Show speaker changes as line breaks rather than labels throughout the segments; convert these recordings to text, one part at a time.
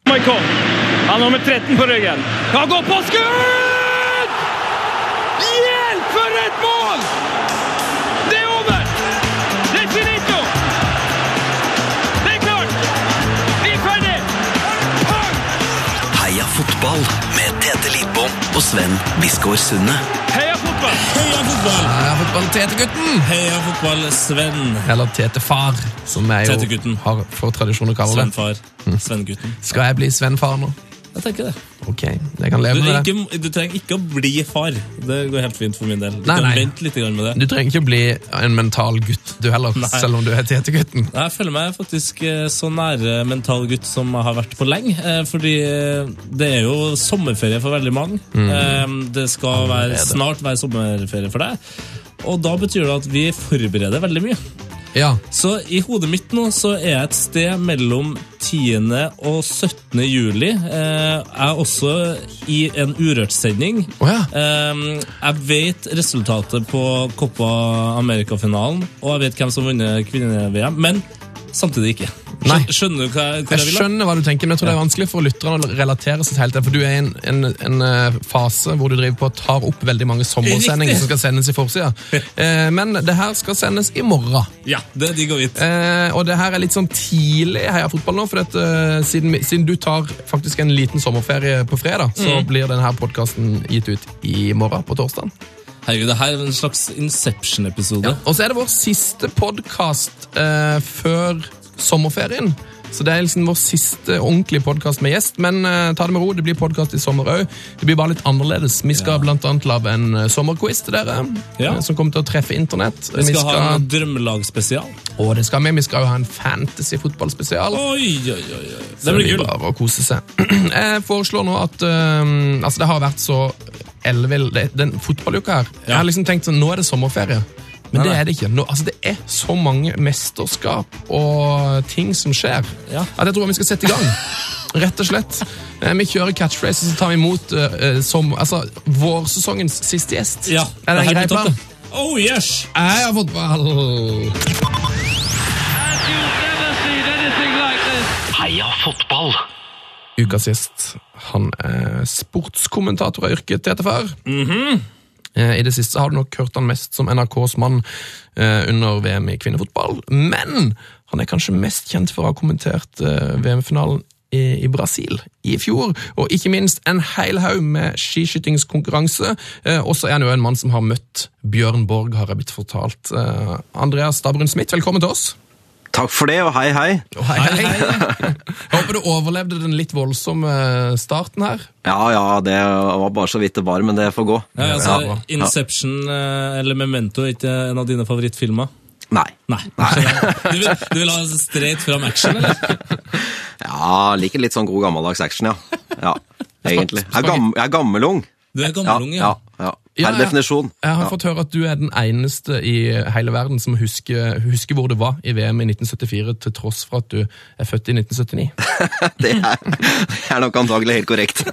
Stoikov. Han har nummer 13 på ryggen. Han går på skudd! Hjelp, for et mål! Det er over! Det er finito! Det er klart! Vi er ferdig!
Heia fotball med Tete Lidbom og Sven Biskår Sunde.
Heia fotball!
Heia fotball!
Heia fotball, Tete-gutten!
Heia fotball, Sven.
Eller Tete-far, som jeg jo
Tete-gutten.
har for tradisjon å kalle det.
Svenfar. Svengutten.
Skal jeg bli Sven-far nå?
Jeg tenker det.
Ok, jeg kan
Du,
leve med det.
ikke, du trenger ikke å bli far. Det går helt fint for min del. Du
Nei,
kan
nei.
vente litt grann med det.
Du trenger ikke bli en mental gutt, du heller,
Nei.
selv om du er Tete-gutten.
Nei, Jeg føler meg faktisk eh, så nære mental gutt som jeg har vært på lenge. eh, Fordi eh, det er jo sommerferie for veldig mange.
Mm.
Eh, Det skal være,
Allerede.
snart være sommerferie for deg. Og da betyr det at vi forbereder veldig mye.
Ja,
Så i hodet mitt nå så er jeg et sted mellom 10. og 17. juli. Eh, Jeg er også i en Urørt-sending.
Å ja.
Eh, Jeg vet resultatet på Copa America-finalen, og jeg vet hvem som har vunnet kvinne-VM, men samtidig ikke. Skjø-
Nei.
Skjønner du hva, hva
jeg
jeg vil? da?
skjønner hva du tenker, men jeg tror det er vanskelig for lytterne å relatere seg helt til, for du er i en, en, en eh, fase hvor du driver på og tar opp veldig mange sommersendinger
Riktig.
som skal sendes i forsida. Eh, Men det her skal sendes i morgen.
Ja, det er digg å vite.
Eh, og det her er litt sånn tidlig heia fotball nå, for at, eh, siden, siden du tar faktisk en liten sommerferie på fredag, så
Mm.
blir denne podkasten gitt ut i morgen, på torsdag.
Herregud, det her er en slags Inception-episode.
Og så er det vår siste podkast eh, før sommerferien. Så det er liksom vår siste ordentlige podkast med gjest. Men eh, ta det med ro, det blir podkast i sommer òg. Det blir bare litt annerledes. Vi skal
Ja.
blant annet lage en eh, sommerquiz til dere,
Ja.
eh, som kommer til å treffe internett.
Vi skal ha en drømmelagspesial.
og det skal vi. Vi skal jo ha en fantasy-fotballspesial.
Oi, oi, oi. oi.
Så
Det blir gull.
bare å kose seg. Jeg foreslår nå at øhm, Altså, det har vært så ellevill det- Den fotballuka her Jeg har liksom tenkt sånn Nå er det sommerferie. Men
Nei,
det
nei.
er det ikke. Nå, altså, det er så mange mesterskap og ting som skjer,
Ja.
at jeg tror vi skal sette i gang. Rett og slett. Eh, Vi kjører catchphrase, så tar vi imot eh, eh, som altså, vårsesongens siste gjest.
Ja,
er det en
her
grei
blir topp,
plan?
det. Oh, yes!
Jeg har fotball!
As you've never seen anything like this.
Heia fotball!
ukas gjest. Han er sportskommentator av yrket TTFR. Eh, I det siste har du nok hørt han mest som NRKs mann eh, under VM i kvinnefotball. Men han er kanskje mest kjent for å ha kommentert eh, VM-finalen i, i Brasil i fjor. Og ikke minst en hel haug med skiskytingskonkurranse. Eh, og så er han jo en mann som har møtt Bjørn Borg, har jeg blitt fortalt. Eh, Andreas Stabrun Smith, velkommen til oss.
Takk for det, og hei, hei.
Hei, hei. Jeg håper du overlevde den litt voldsomme starten her.
Ja, ja, det var bare så vidt det var, men det får gå.
Ja,
Ja.
altså, Inception eh, eller Memento er ikke en av dine favorittfilmer?
Nei.
Nei. Du, vil, du vil ha straight fram action, eller?
Ja, liker litt sånn god gammeldags action, ja. Ja, egentlig. Jeg er, gam, jeg er gammelung.
Du er gammelunge, ja.
ja. ja.
Ja,
Per
ja.
definisjon.
Jeg har
Ja.
fått høre at du er den eneste i hele verden som husker, husker hvor det var i VM i 1974, til tross for at du er født i 1979.
Det er, det er nok antagelig helt korrekt.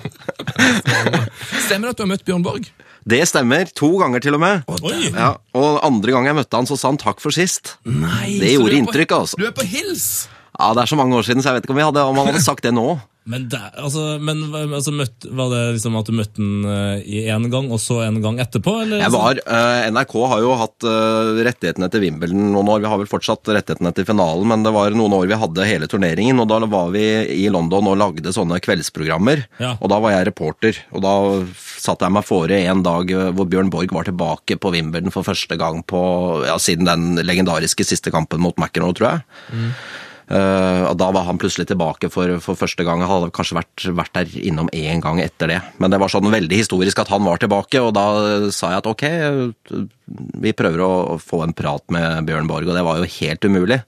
Stemmer det at du har møtt Bjørn Borg?
Det stemmer. To ganger til og med.
Oi!
Ja, og andre gang jeg møtte han, så sa han takk for sist.
Nei,
Det
så
gjorde
du er
inntrykk,
på,
altså.
Du er på hils!
Ja, Det er så mange år siden, så jeg vet ikke om, jeg hadde, om han hadde sagt det nå.
Men, der, altså, men altså, møtt, var det liksom at du møtte den eh, i én gang, og så en gang etterpå? Eller?
Jeg var, eh, NRK har jo hatt eh, rettighetene til Wimbledon noen år. Vi har vel fortsatt rettighetene til finalen, men det var noen år vi hadde hele turneringen. og Da var vi i London og lagde sånne kveldsprogrammer.
Ja.
og Da var jeg reporter. og Da satte jeg meg fore en dag eh, hvor Bjørn Borg var tilbake på Wimbledon for første gang på, ja, siden den legendariske siste kampen mot McEnroe, tror jeg. Eh, og da var han plutselig tilbake for, for første gang. Han hadde kanskje vært, vært der innom én gang etter det. Men det var sånn veldig historisk at han var tilbake, og da eh, sa jeg at ok, eh, vi prøver å få en prat med Bjørn Borg, og det var jo helt umulig.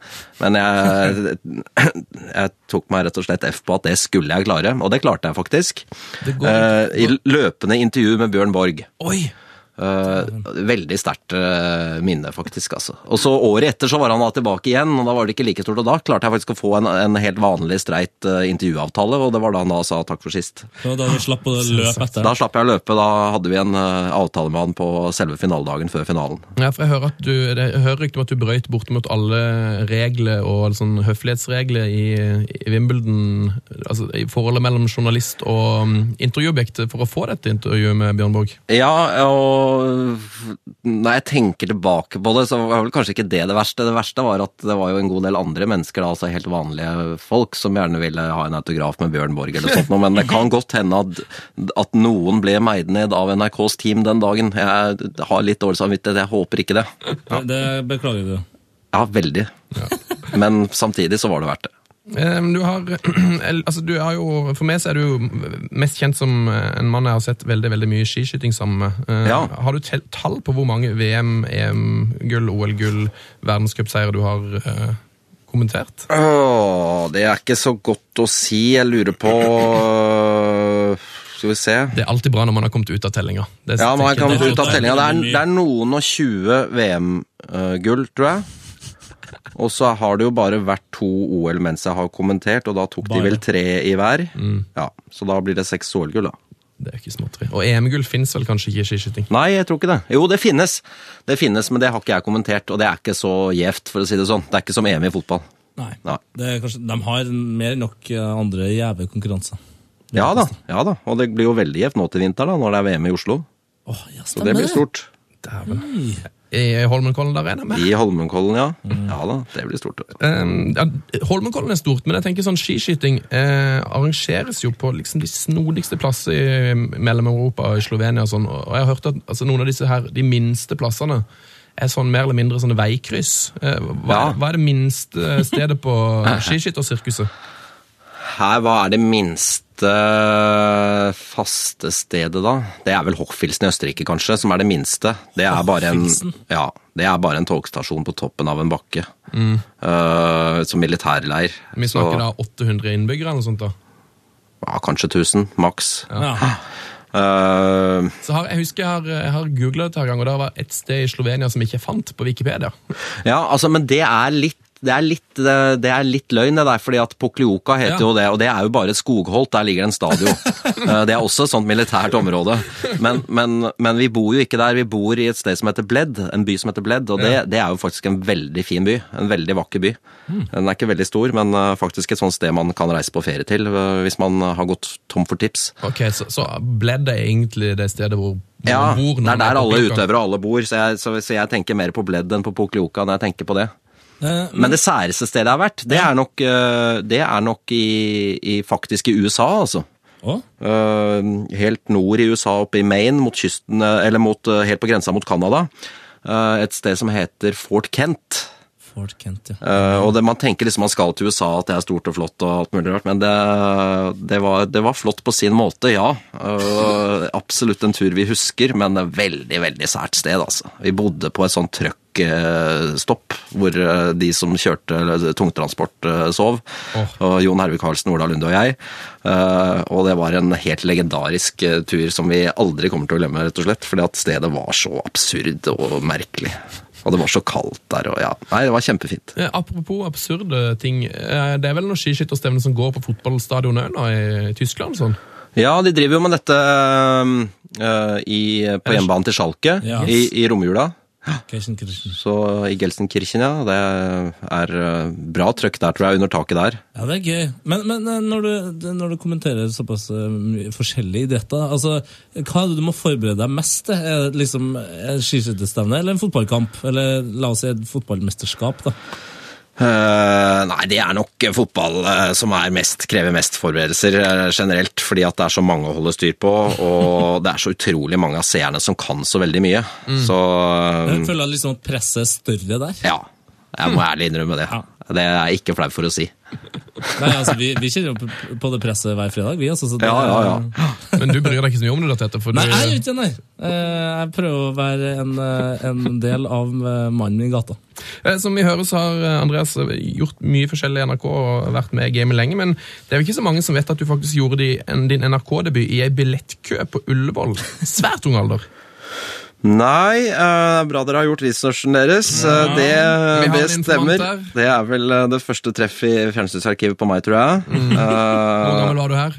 Men jeg, jeg tok meg rett og slett F på at det skulle jeg klare, og det klarte jeg faktisk.
Det går
Eh, I løpende intervju med Bjørn Borg.
Oi!
Eh, veldig sterkt eh, minne, faktisk. Altså. Og så Året etter så var han da tilbake igjen, og da var det ikke like stort. Og da klarte jeg faktisk å få en, en helt vanlig streit eh, intervjuavtale, og det var da han da sa takk for sist.
Det var liksom, da du slapp å løpe etter.
Da slapp jeg å løpe, da hadde vi en eh, avtale med han på selve finaledagen før finalen.
Ja, for jeg hører, at du, det- jeg hører rykte om at du brøyt bortimot alle regler og sånn høflighetsregler i, i Wimbledon, altså i forholdet mellom journalist og mm, intervjuobjektet, for å få dette intervjuet med Bjørn Borg.
Ja, og når jeg tenker tilbake på det, så var vel kanskje ikke det det verste. Det verste var at det var jo en god del andre mennesker, da, altså helt vanlige folk, som gjerne ville ha en autograf med Bjørn Borg eller sånt noe, men det kan godt hende at, at noen ble meid ned av NRKs team den dagen. Jeg har litt dårlig samvittighet, jeg håper ikke det.
Det, det beklager du.
Ja, veldig. Men samtidig så var det verdt det.
Eh, men Du har, el- altså du er jo, for meg så er du jo mest kjent som eh, en mann jeg har sett veldig, veldig mye skiskyting sammen med. Eh,
Ja.
Har du tel- tall på hvor mange E VM, EM-gull, OL-gull, verdenscupseier du har eh, kommentert?
Åh, det er ikke så godt å si. Jeg lurer på øh, Skal vi se.
Det er alltid bra når man har kommet ut av tellinga. Det
Ja, man kan
tenker
ut
jeg.
av
det er
tellinga. Det, er-
mye.
det er noen og 20 VM-gull, tror jeg. Og så har det jo bare vært to OL mens jeg har kommentert, og da tok de
Bare.
vel tre i hver. Ja, Så da blir det seks OL-gull, da.
Det er ikke småtteri. Og EM-gull fins vel kanskje ikke i skiskyting?
Nei, jeg tror ikke det. Jo, det finnes, Det finnes, men det har ikke jeg kommentert, og det er ikke så gjevt, for å si det sånn. Det er ikke som EM i fotball.
Nei.
Nei.
Det er kanskje, de har mer enn nok eh, andre gjeve konkurranser.
Ja da, ja da, og det blir jo veldig gjevt nå til vinter, da, når det er VM i Oslo.
Åh, ja,
Så det
stemmer
blir
det.
stort.
I Holmenkollen der regner jeg med.
I Holmenkollen, ja. Ja da, det blir stort.
Eh, ja, Holmenkollen er stort, men jeg tenker sånn skiskyting eh, arrangeres jo på liksom de snodigste plasser i Mellom-Europa, i Slovenia og sånn. Og jeg har hørt at altså, noen av disse her, de minste plassene er sånn mer eller mindre sånne veikryss. Eh, hva,
Ja.
hva er det minste eh, stedet på skiskyttersirkuset?
Her, hva er det minste eh, faste stedet, da? Det er vel Hochfilsen i Østerrike, kanskje, som er det minste. Det er bare en,
Hochfilzen?
ja, det er bare en togstasjon på toppen av en bakke. Eh, som militærleir.
Mm. Vi snakker da 800 innbyggere eller noe sånt. da.
Ja, kanskje 1000, maks.
Ja.
Eh,
Så har, jeg husker jeg har, jeg har googlet det et par ganger, og det var et sted i Slovenia som jeg ikke fant på Wikipedia.
Ja, altså, men det er litt det er, litt, det er litt løgn, det der, fordi at Poklioka heter
Ja.
jo det, og det er jo bare skogholt, der ligger det en stadion. Eh, det er også et sånt militært område. Men, men, men vi bor jo ikke der, vi bor i et sted som heter Bled, en by som heter Bled, og det, det er jo faktisk en veldig fin by, en veldig vakker by. Den er ikke veldig stor, men eh, faktisk et sånt sted man kan reise på ferie til, eh, hvis man har gått tom for tips.
Ok, Så, så ble det egentlig det stedet hvor hvor
Ja,
man bor når
det er
man
der
på
alle
Blekka?
utøvere og alle bor, så jeg, så, så jeg tenker mer på Bled enn på Poklioka når jeg tenker på det.
Eh,
Men det særeste stedet jeg har vært, det er nok, øh, det er nok i, i faktisk i USA, altså.
å,
Øh, Helt nord i USA, oppe i Maine, mot kysten, øh, eller mot, øh, helt på grensa mot Canada. Øh, Et sted som heter Fort Kent.
Fort Kent, ja.
Øh, Og det, man tenker liksom man skal til USA, at det er stort og flott og alt mulig rart, men det, det, var, det var flott på sin måte, ja. Øh, Absolutt en tur vi husker, men det er veldig, veldig sært sted, altså. Vi bodde på et sånt trøkkstopp, hvor øh, de som kjørte eller tungtransport øh, sov, og Jon Herve Karlsen, Ola Lunde og jeg. Øh, Og det var en helt legendarisk øh, tur som vi aldri kommer til å glemme, rett og slett, fordi at stedet var så absurd og merkelig. Og det var så kaldt der, og ja. Nei, det var kjempefint.
Eh, Apropos absurde ting. eh, Det er vel noen skiskytterstevner som går på fotballstadionet òg nå, i Tyskland? sånn?
Ja, de driver jo med dette øhm, øh, i, på hjemmebanen til Schalke,
Ja.
i, i romjula.
Krishn, Krishn.
Så i Gelsenkirchen, ja. Det er øh, bra trøkk der, tror jeg, under taket der.
Ja, det er gøy. Men, men eh, når, du, når du kommenterer såpass eh, mye forskjellige idretter, altså, hva er det du må forberede deg mest til? Er det liksom en skiskytterstevne eller en fotballkamp? Eller la oss si et fotballmesterskap, da.
Eh, nei, det er nok fotball eh, som er mest, krever mest forberedelser eh, generelt, fordi at det er så mange å holde styr på, og det er så utrolig mange av seerne som kan så veldig mye.
Mm.
Så øhm,
Jeg føler liksom at presset er større der.
ja, jeg må ærlig innrømme det.
Ja.
Det er jeg ikke flau for å si.
Nei, altså, vi, vi kjenner jo p- på det presset hver fredag, vi. Altså, så det,
Ja, ja, ja.
Men du bryr deg ikke så mye om det? Dette, for
Nei, jeg gjør
du,
ikke det, nei. Eh, Jeg prøver å være en, eh, en del av eh, mannen i gata.
Eh, som vi hører, så har eh, Andreas eh, gjort mye forskjellig i NRK og vært med i gamet lenge, men det er jo ikke så mange som vet at du faktisk gjorde de, en, din NRK-debut i ei billettkø på Ullevål. Svært ung alder.
Nei, eh, det er bra dere har gjort researchen deres. Eh,
vi
det,
har
det
en informant
stemmer.
her.
Det er vel eh, det første treff i fjernsynsarkivet på meg, tror jeg.
Mm.
Eh,
Hvor gammel var du her?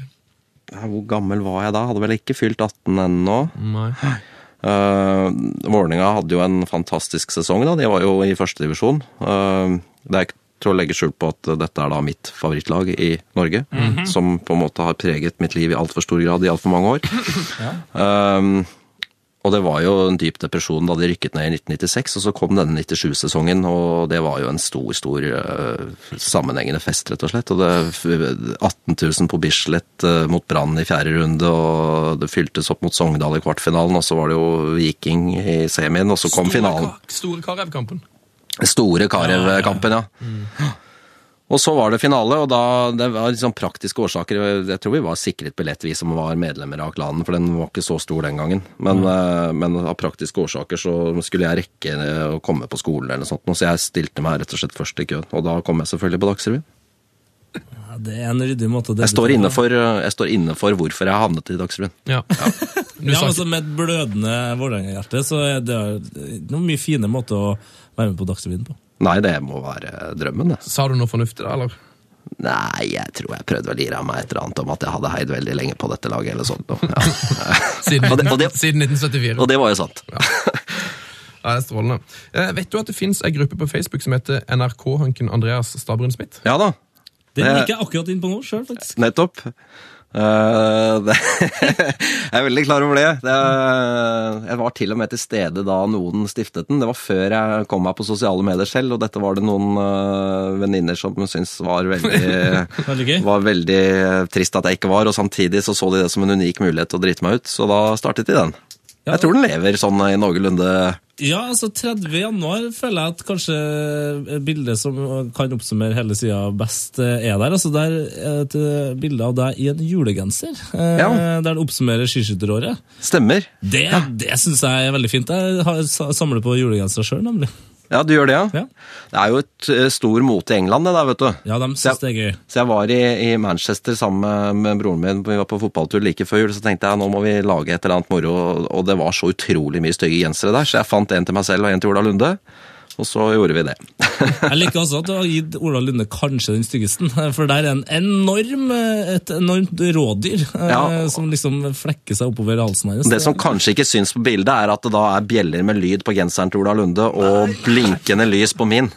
ja, hvor gammel var jeg da? Hadde vel ikke fylt 18 ennå.
Nei.
Uh, Vålerenga hadde jo en fantastisk sesong, da. De var jo i førstedivisjon. Uh, det er ikke til å legge skjul på at dette er da mitt favorittlag i Norge.
Mhm.
Som på en måte har preget mitt liv i altfor stor grad i altfor mange år. Um, og det var jo en dyp depresjon da de rykket ned i 1996, og så kom denne 97-sesongen, og det var jo en stor, stor eh, sammenhengende fest, rett og slett. Og det 18 000 på Bislett eh, mot Brann i fjerde runde, og det fyltes opp mot Sogndal i kvartfinalen, og så var det jo Viking i semien, og så kom finalen.
Ka- Store Karev-kampen.
Store Karev-kampen, ja. Mm. Og så var det finale, og da det var liksom praktiske årsaker. Jeg tror vi var sikret billett, vi som var medlemmer av klanen, for den var ikke så stor den gangen. Men, eh, men av praktiske årsaker så skulle jeg rekke eh, å komme på skolen eller noe sånt, nå, så jeg stilte meg rett og slett først i køen. Og da kom jeg selvfølgelig på Dagsrevyen.
Ja, det er en ryddig måte å
Jeg står
debutere
inne
på.
for, eh, jeg står inne for hvorfor jeg havnet i Dagsrevyen.
Ja. Du
Ja, men
sa
altså, med et blødende Vålerenga-hjerte, så er det ikke noen mye fine måter å være med på Dagsrevyen på.
Nei, det må være drømmen, det.
Sa du noe fornuftig da, eller?
Nei, jeg tror jeg prøvde å lire av meg et eller annet om at jeg hadde heid veldig lenge på dette laget eller sånt. noe. Ja.
Siden,
Og det- og det-
siden 1974.
Og det var jo sant.
Ja, det er strålende. Eh, vet du at det finnes ei gruppe på Facebook som heter NRK-hunken Andreas Stabrun Smith?
Ja da,
Den
Det-
gikk jeg akkurat inn på nå sjøl, faktisk.
nettopp. Eh, det, jeg er veldig klar over det. det. Jeg var til og med til stede da noen stiftet den. Det var før jeg kom meg på sosiale medier selv, og dette var det noen eh, venninner som syntes var veldig
Veldig gøy.
var veldig trist at jeg ikke var, og samtidig så så de det som en unik mulighet til å drite meg ut, så da startet de den.
Ja.
Jeg tror den lever sånn i noenlunde
Ja, altså 30. januar føler jeg at kanskje bildet som kan oppsummere hele sida best, eh, er der. Altså Det er et eh, bilde av deg i en julegenser, eh,
Ja.
der det oppsummerer skiskytteråret.
stemmer.
Det, det syns jeg er veldig fint. Jeg har, sa- samler på julegensere sjøl, nemlig.
Ja, du gjør det, ja?
Ja.
Det er jo et eh, stor mote i England, det der, vet du.
Ja, de
Ja.
syns det er gøy.
Så jeg var i, i Manchester sammen med, med broren min, vi var på fotballtur like før jul, så tenkte jeg nå må vi lage et eller annet moro, og- og det var så utrolig mye stygge gensere der, så jeg fant en til meg selv og en til Ola Lunde, og så gjorde vi det.
Jeg liker altså at du har gitt Ola Lunde kanskje den styggeste, for der er en enorm, et enormt rådyr eh,
Ja.
som liksom flekker seg oppover halsen hennes.
Det som kanskje ikke syns på bildet, er at det da er bjeller med lyd på genseren til Ola Lunde, og blinkende lys på min.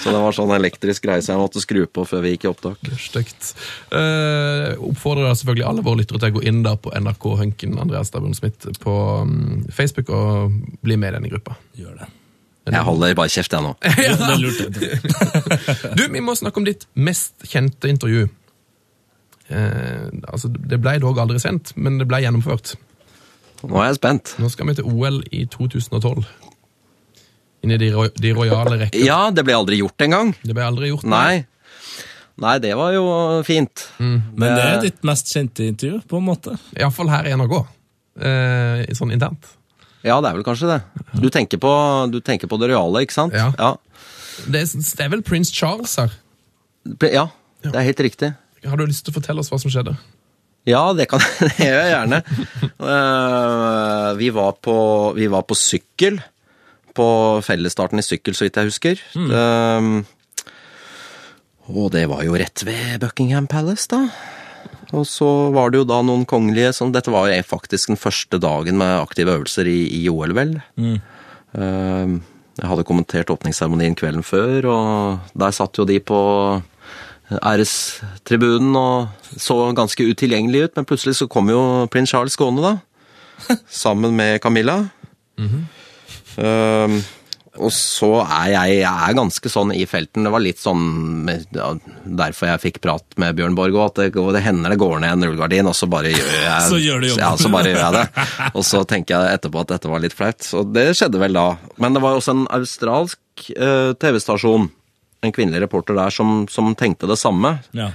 Så det var sånn elektrisk greie som jeg måtte skru på før vi gikk i opptak.
Stygt. Eh, oppfordrer da selvfølgelig alle våre lyttere til å gå inn der på NRK-hunken Andreas Stabrun Smith på mm, Facebook og bli med i denne gruppa.
Gjør det.
Jeg holder bare kjeft, jeg nå.
Ja. det er lurt. det.
Du, vi må snakke om ditt mest kjente intervju. Eh, altså, det ble dog aldri sendt, men det ble gjennomført.
Nå er jeg spent.
Nå skal vi til OL i 2012. Inn i de, ro de rojale rekker.
Ja, det ble aldri gjort engang.
Det ble aldri gjort.
Nei. Nei, det var jo fint.
Men det er ditt mest kjente intervju, på en måte.
Iallfall her i NRK. Eh, sånn internt.
Ja, det er vel kanskje det. Du tenker på, du tenker på det reale, ikke sant?
Ja.
Ja.
Det er, det er vel prins Charles her.
P- ja, det er helt riktig.
Har du lyst til å fortelle oss hva som skjedde?
Ja, det kan det gjør jeg gjerne. Eh, vi, var på, vi var på sykkel, på fellesstarten i sykkel, så vidt jeg husker. Eh, og det var jo rett ved Buckingham Palace, da. Og så var det jo da noen kongelige som Dette var jo faktisk den første dagen med aktive øvelser i, i OL, vel. Eh, Jeg hadde kommentert åpningsseremonien kvelden før, og der satt jo de på ærestribunen og så ganske utilgjengelige ut, men plutselig så kom jo prins Charles gående, da. Sammen med Camilla.
Mhm.
Eh, og så er jeg, jeg er ganske sånn i felten. Det var litt sånn ja, derfor jeg fikk prat med Bjørn Borg òg, at det, og det hender det går ned en rullegardin, og så bare gjør jeg
Så gjør du jobben.
Ja, så bare gjør jeg det. Og så tenker jeg etterpå at dette var litt flaut. Og det skjedde vel da. Men det var jo også en australsk eh, TV-stasjon, en kvinnelig reporter der, som, som tenkte det samme.
Ja.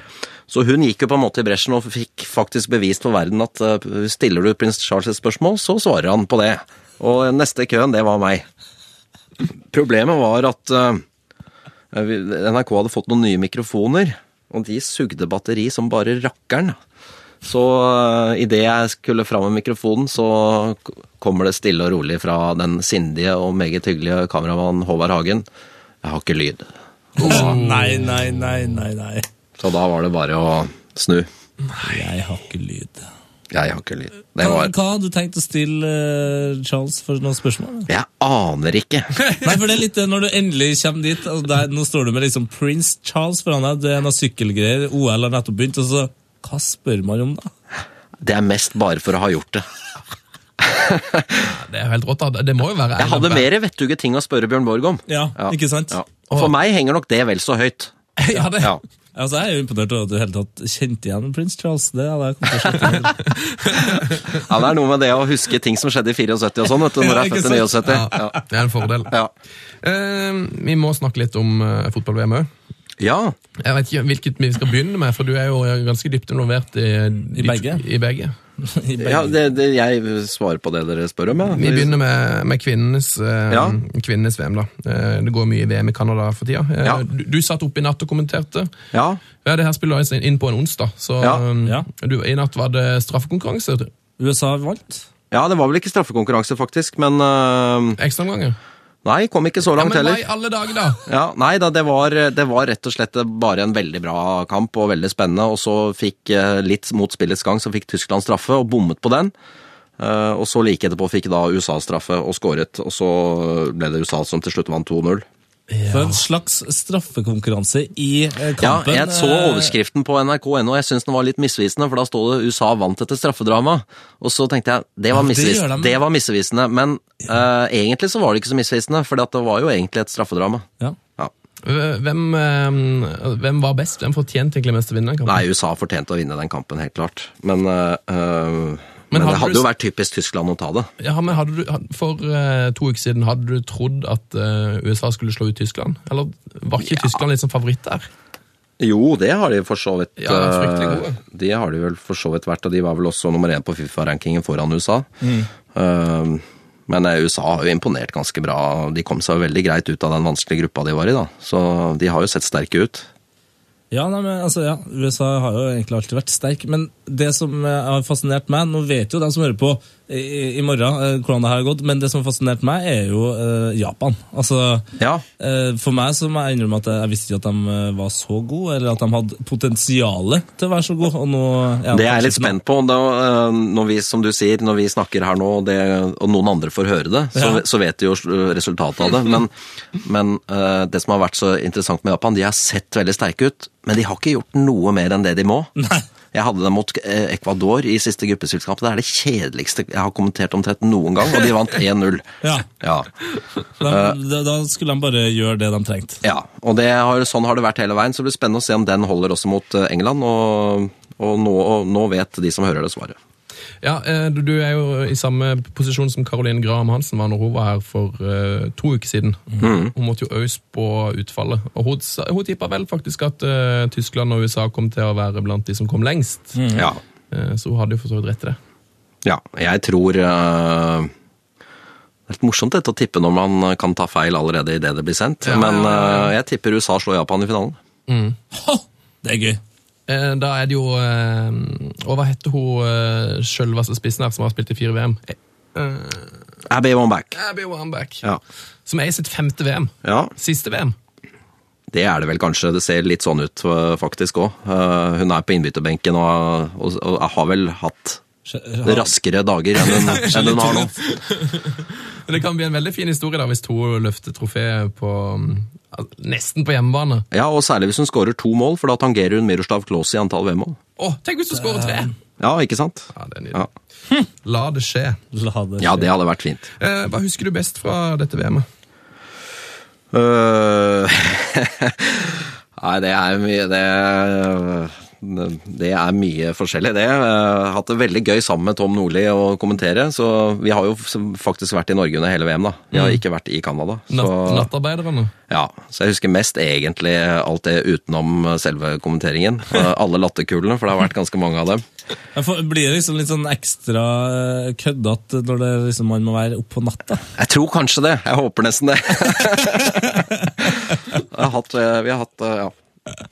Så hun gikk jo på en måte i bresjen og fikk faktisk bevist for verden at eh, stiller du prins Charles et spørsmål, så svarer han på det. Og neste i køen, det var meg. Problemet var at eh, vi- NRK hadde fått noen nye mikrofoner, og de sugde batteri som bare rakkeren. Så uh, idet jeg skulle fram med mikrofonen, så k- kommer det stille og rolig fra den sindige og meget hyggelige kameramannen Håvard Hagen. Jeg har ikke lyd.
Nei, nei, nei, nei, nei.
Så da var det bare å snu.
Jeg har ikke lyd.
Jeg har ikke lyd. Det
Hva,
var
hva hadde du tenkt å stille eh, Charles for noen spørsmål? da?
Jeg aner ikke.
Nei, for det er litt det når du endelig kommer dit altså der, Nå står du med liksom Prince Charles foran deg, det er noe sykkelgreier, OL har nettopp begynt, og så Hva spør man om, da?
Det er mest bare for å ha gjort det.
Det er jo helt rått. da. Det må jo være
Jeg hadde mer vettuge ting å spørre Bjørn Borg om.
Ja, ikke sant?
Ja. Og for meg henger nok det vel så høyt.
ja, det,
Ja.
Altså, Jeg er jo imponert over at du i hele tatt kjente igjen Prince Charles. Det hadde jeg kommet til å slutte med.
Ja, Det er noe med det å huske ting som skjedde i 74 og sånn, vet du, når jeg er født
ikke
i 79. Ja.
ja, det er en fordel.
Ja.
Eh, vi må snakke litt om eh, fotball-VM òg.
ja.
Jeg vet ikke hvilket vi skal begynne med, for du er jo ganske dypt involvert i,
I begge.
I begge.
I
ja
Bergen.
det, det, jeg svarer på det dere spør om,
Vi
jeg.
begynner med, med kvinnenes, eh,
Ja.
kvinnenes VM. da. Eh, det går mye VM i Canada for tida. Eh,
Ja.
du, du satt opp i natt og kommenterte.
Ja.
Ja, Det her spiller altså inn på en onsdag, så
Ja.
eh,
Ja.
Du, i natt var det straffekonkurranse. vet du.
USA vant.
ja, det var vel ikke straffekonkurranse, faktisk, men øh,
Ekstraomganger.
Nei, kom ikke så
Ja,
langt
men hva
heller.
i alle dager, da?
Ja, nei da, det var, det var rett og slett bare en veldig bra kamp og veldig spennende, og så fikk eh, litt mot spillets gang, så fikk Tyskland straffe og bommet på den. Eh, Og så like etterpå fikk da USA straffe og skåret, og så ble det USA som til slutt vant 2-0.
For en slags straffekonkurranse i eh,
Ja,
kampen.
jeg så
eh,
overskriften på nrk.no, og jeg syns den var litt misvisende, for da stod det 'USA vant etter straffedrama', og så tenkte jeg det var,
Ja, det
misvis
gjør de.
det var misvisende, men eh, egentlig så var det ikke så misvisende, for det var jo egentlig et straffedrama.
Ja.
Ja.
Eh, Hvem, eh, hvem var best? Hvem fortjente egentlig mest å vinne? den kampen?
Nei, USA fortjente å vinne den kampen, helt klart. Men, øh, øh,
Men
men,
hadde
det hadde
du-
jo vært typisk Tyskland å ta det.
Ja, men hadde du, had- for eh, to uker siden, hadde du trodd at eh, USA skulle slå ut Tyskland? Eller var ikke Tyskland litt som favoritt der?
Jo, det har de for så vidt.
Ja, de er fryktelig gode.
øh, det har de vel for så vidt vært, og de var vel også nummer én på Fifa-rankingen foran USA.
Mm.
Ehm, men eh, USA har jo imponert ganske bra. De kom seg jo veldig greit ut av den vanskelige gruppa de var i, da. Så de har jo sett sterke ut.
Ja, nei, men altså, ja, USA har jo egentlig alltid vært sterk, men det som eh, har fascinert meg, nå vet jo de som hører på i, i- i morgen eh, hvordan det her har gått, men det som har fascinert meg er jo eh, Japan. Altså,
Ja.
eh, for meg så må jeg innrømme at jeg, jeg visste ikke at de eh, var så gode, eller at de hadde potensialet til å være så gode, og nå...
Det er jeg litt spent på. og Da, øh, når vi, som du sier, når vi snakker her nå, og det, og noen andre får høre det, så,
Ja.
så vet de jo øh, resultatet av det. Men, men øh, det som har vært så interessant med Japan, de har sett veldig sterke ut, men de har ikke gjort noe mer enn det de må. Jeg hadde dem mot eh, Ecuador i siste gruppespillkamp. Det er det kjedeligste jeg har kommentert omtrent noen gang, og de vant 1-0.
Ja,
Ja.
de, da- da skulle de bare gjøre det de trengte.
ja. Og det har, sånn har det vært hele veien, så det blir spennende å se om den holder også mot eh, England. Og, og, nå, og nå vet de som hører det, svaret.
Ja, eh, du, du er jo i samme posisjon som Caroline Graham Hansen var når hun var her for eh, to uker siden.
Mm.
Hun måtte jo også på utfallet. Og hun, sa- hun tippa vel faktisk at eh, Tyskland og USA kom til å være blant de som kom lengst.
Mm.
Ja.
Eh, så hun hadde jo for så vidt rett til det.
Ja, jeg tror eh, Det er litt morsomt dette å tippe når man eh, kan ta feil allerede idet det blir sendt. men eh, jeg tipper USA slår Japan i finalen.
Ha! Det er gøy.
Eh, Da er det jo eh, Og hva heter hun eh, sjølveste spissen her som har spilt i fire VM? Eh,
Abby Wambach.
Abby Wambach.
Ja.
Som er i sitt femte VM.
ja,
Siste VM.
det er det vel kanskje. Det ser litt sånn ut eh, faktisk òg. hun er på innbytterbenken og, og, og har vel hatt raskere dager enn hun, enn hun har nå.
Men Det kan bli en veldig fin historie da hvis to løfter trofeet på mm, al- nesten på hjemmebane.
Ja, og særlig hvis hun skårer to mål, for da tangerer hun Miroslav Klause i antall VM-mål.
Å, tenk hvis du skårer tre!
Ja, ikke sant?
Ja, det er
Ja.
nydelig. La det skje.
La det skje.
ja, det hadde vært fint.
Eh, hva husker du best fra dette VM-et?
Øh, Nei, det er mye det, det er mye forskjellig, det. Jeg har hatt det veldig gøy sammen med Tom Nordli å kommentere. Så vi har jo faktisk vært i Norge under hele VM, da. Vi har ikke vært i Canada. Så,
Mm. Natt, nattarbeiderne?
ja, så jeg husker mest egentlig alt det utenom selve kommenteringen. Eh, Alle latterkulene, for det har vært ganske mange av dem.
Ja, for Blir det liksom litt sånn ekstra eh, køddete når det liksom man må være oppe på natta?
Jeg tror kanskje det. Jeg håper nesten det. jeg eh, har hatt, vi har hatt ja,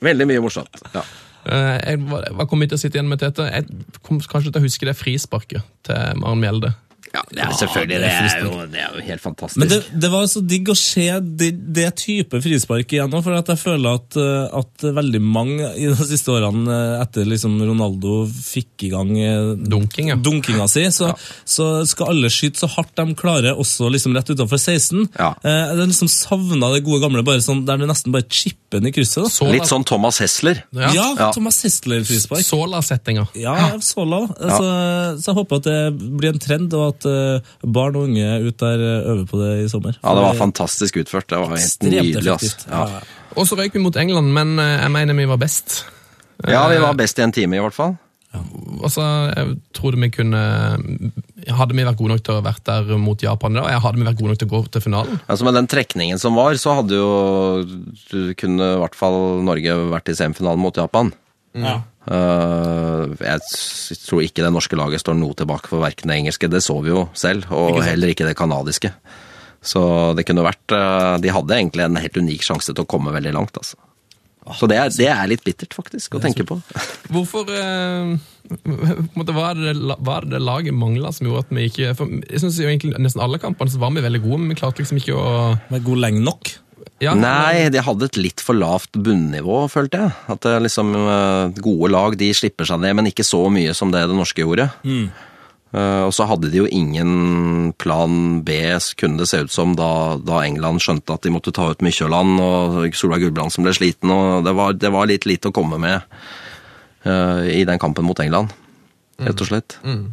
veldig mye morsomt. Ja.
Eh, Jeg var, hva kom vi til å sitte igjen med, Tete? Jeg kom kanskje til å huske det frisparket til Maren Mjelde.
Ja, det er selvfølgelig. Det er jo, det er jo helt fantastisk.
Men det, det var så digg å se det, det type frispark igjen nå, for at jeg føler at, eh, at veldig mange i de siste årene eh, etter liksom Ronaldo fikk i gang eh,
Dunking, ja.
dunkinga si, så, så skal alle skyte så hardt de klarer, også liksom rett utenfor 16.
Ja.
Eh, jeg liksom savna det gode gamle, bare sånn, der du nesten bare chipper den i krysset. Da.
Så
Litt sånn Thomas Hessler.
Ja.
Ja,
Ja.
Thomas Hestler-frispark.
Sola-settinga.
Ja, så la. Så, så jeg håper at det blir en trend, og at eh, barn og unge ut der eh, øver på det i sommer.
Ja, det var fantastisk utført. Det var helt
Ekstremt
nydelig. ass.
effektivt.
Ja.
Ja, ja.
Og så røyk vi mot England, men eh, jeg mener vi var best.
ja, vi var best i en time, i hvert fall.
Altså, jeg trodde vi kunne Hadde vi vært gode nok til å ha vært der mot Japan i dag? Jeg hadde vi vært gode nok til å gå til finalen?
Altså Med den trekningen som var, så hadde jo du kunne i hvert fall Norge vært i semifinalen mot Japan.
Ja.
Eh, jeg s- tror ikke det norske laget står noe tilbake for verken det engelske, det så vi jo selv, og heller ikke det canadiske. Så det kunne vært eh, De hadde egentlig en helt unik sjanse til å komme veldig langt, altså. Så det er, det er litt bittert, faktisk, å tenke på.
Hvorfor eh, på en måte, hva, er det, la- hva er det laget mangla som gjorde at vi ikke for Jeg synes jo egentlig Nesten alle kampene så var vi veldig gode, men vi klarte liksom ikke å
Med god lenge nok.
ja,
Nei, de hadde et litt for lavt bunnivå, følte jeg. At det liksom eh, gode lag de slipper seg ned, men ikke så mye som det det norske gjorde.
Mm.
Eh, Og så hadde de jo ingen plan B, kunne det se ut som, da, da England skjønte at de måtte ta ut Mykjåland og Solveig Gulbrandsen ble sliten, og det var, det var litt lite å komme med eh, i den kampen mot England, rett og slett.
Mm.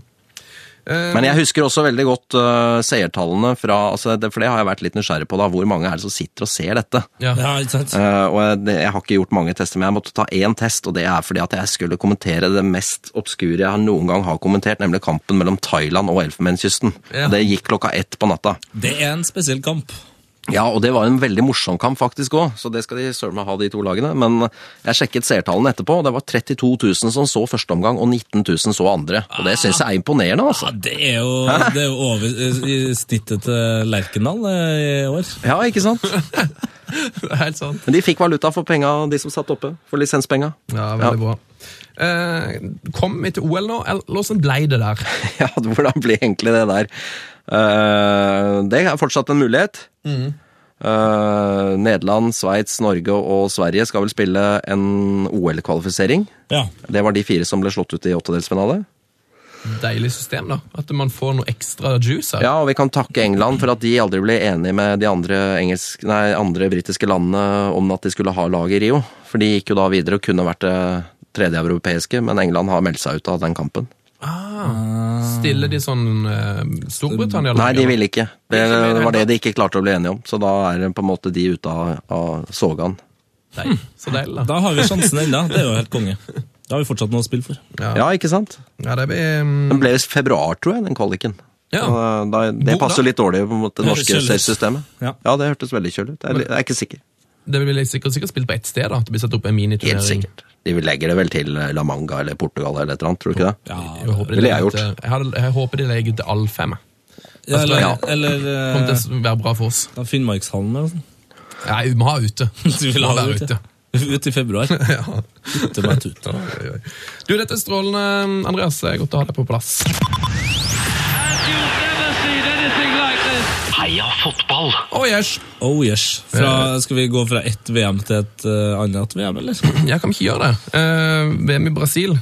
eh,
Men jeg husker også veldig godt eh, seertallene fra altså det, For det har jeg vært litt nysgjerrig på, da. Hvor mange er det som sitter og ser dette?
ja.
Ja, ikke sant?
Eh, og jeg, det- jeg har ikke gjort mange tester, men jeg måtte ta én test, og det er fordi at jeg skulle kommentere det mest obskure jeg noen gang har kommentert, nemlig kampen mellom Thailand og Elfenbenskysten.
Ja.
Og Det gikk klokka ett på natta.
Det er en spesiell kamp.
Ja, og det var en veldig morsom kamp faktisk òg, så det skal de søren meg ha, de to lagene. Men jeg sjekket seertallene etterpå, og det var 32 000 som så første omgang, og 19 000 så andre. Og det syns jeg er imponerende, altså.
Ja, det er jo, det er jo over i i snittet til Lerkendal eh, i år.
Ja, ikke sant?
Det er helt sant.
Men de fikk valuta for penga, de som satt oppe. For lisenspenga.
Ja, veldig bra. Eh, kom vi til OL nå, eller åssen ble det der?
Ja, hvordan blir egentlig det der? Eh, det er fortsatt en mulighet. Eh, Nederland, Sveits, Norge og Sverige skal vel spille en OL-kvalifisering.
Ja.
Det var de fire som ble slått ut i åttedelsfinale.
Deilig system, da. At man får noe ekstra juice her.
Ja, og vi kan takke England for at de aldri ble enige med de andre, engelsk, nei, andre britiske landene om at de skulle ha lag i Rio. For de gikk jo da videre og kunne vært det tredje europeiske, men England har meldt seg ut av den kampen.
Ah, stiller de sånn eh, Storbritannia?
Nei, de ville ikke. Det,
Ikke mer,
var det
da.
de ikke klarte å bli enige om. Så da er det på en måte de ute av, av sogan.
Nei, så deilig, da.
Da har vi sjansen ennå. Det er jo helt konge. Da har vi fortsatt noe å spille for.
Ja, ikke sant?
Ja, det blir mm,
Den ble i februar, tror jeg, den kvaliken.
Ja.
Og Da, det
God
passer
da.
litt dårlig mot det
Høres
norske
kjølig ut.
systemet.
Ja.
det hørtes veldig kjølig ut. Jeg, er- jeg er ikke sikker.
Det blir sikkert, sikkert spilt på ett sted, da. At Det blir satt opp en miniturnering.
Helt sikkert. De legger det vel til eh, La Manga eller Portugal eller et eller annet, tror du ikke det?
Jeg håper de
Ville jeg
legger
gjort.
til- Jeg, hadde, jeg håper de legger til all fem. jeg.
Ja, eller
Ja.
eller
Kommer
eh,
til å være bra for oss.
da Finnmarkshallen eller noe sånt.
Nei, vi må ha ute.
Du vil ha
Må være
det ut, ja. Ut i februar.
Ja.
Putte meg tut.
Oi, oi, oi. Du, dette er strålende, Andreas. Det er Godt å ha deg på plass.
And you've never seen anything like this.
Heia fotball!
Oh, yes.
Oh yes. Fra, skal vi gå fra ett VM til et eh, annet VM, eller?
Jeg kan vi ikke gjøre det. Eh, VM i Brasil.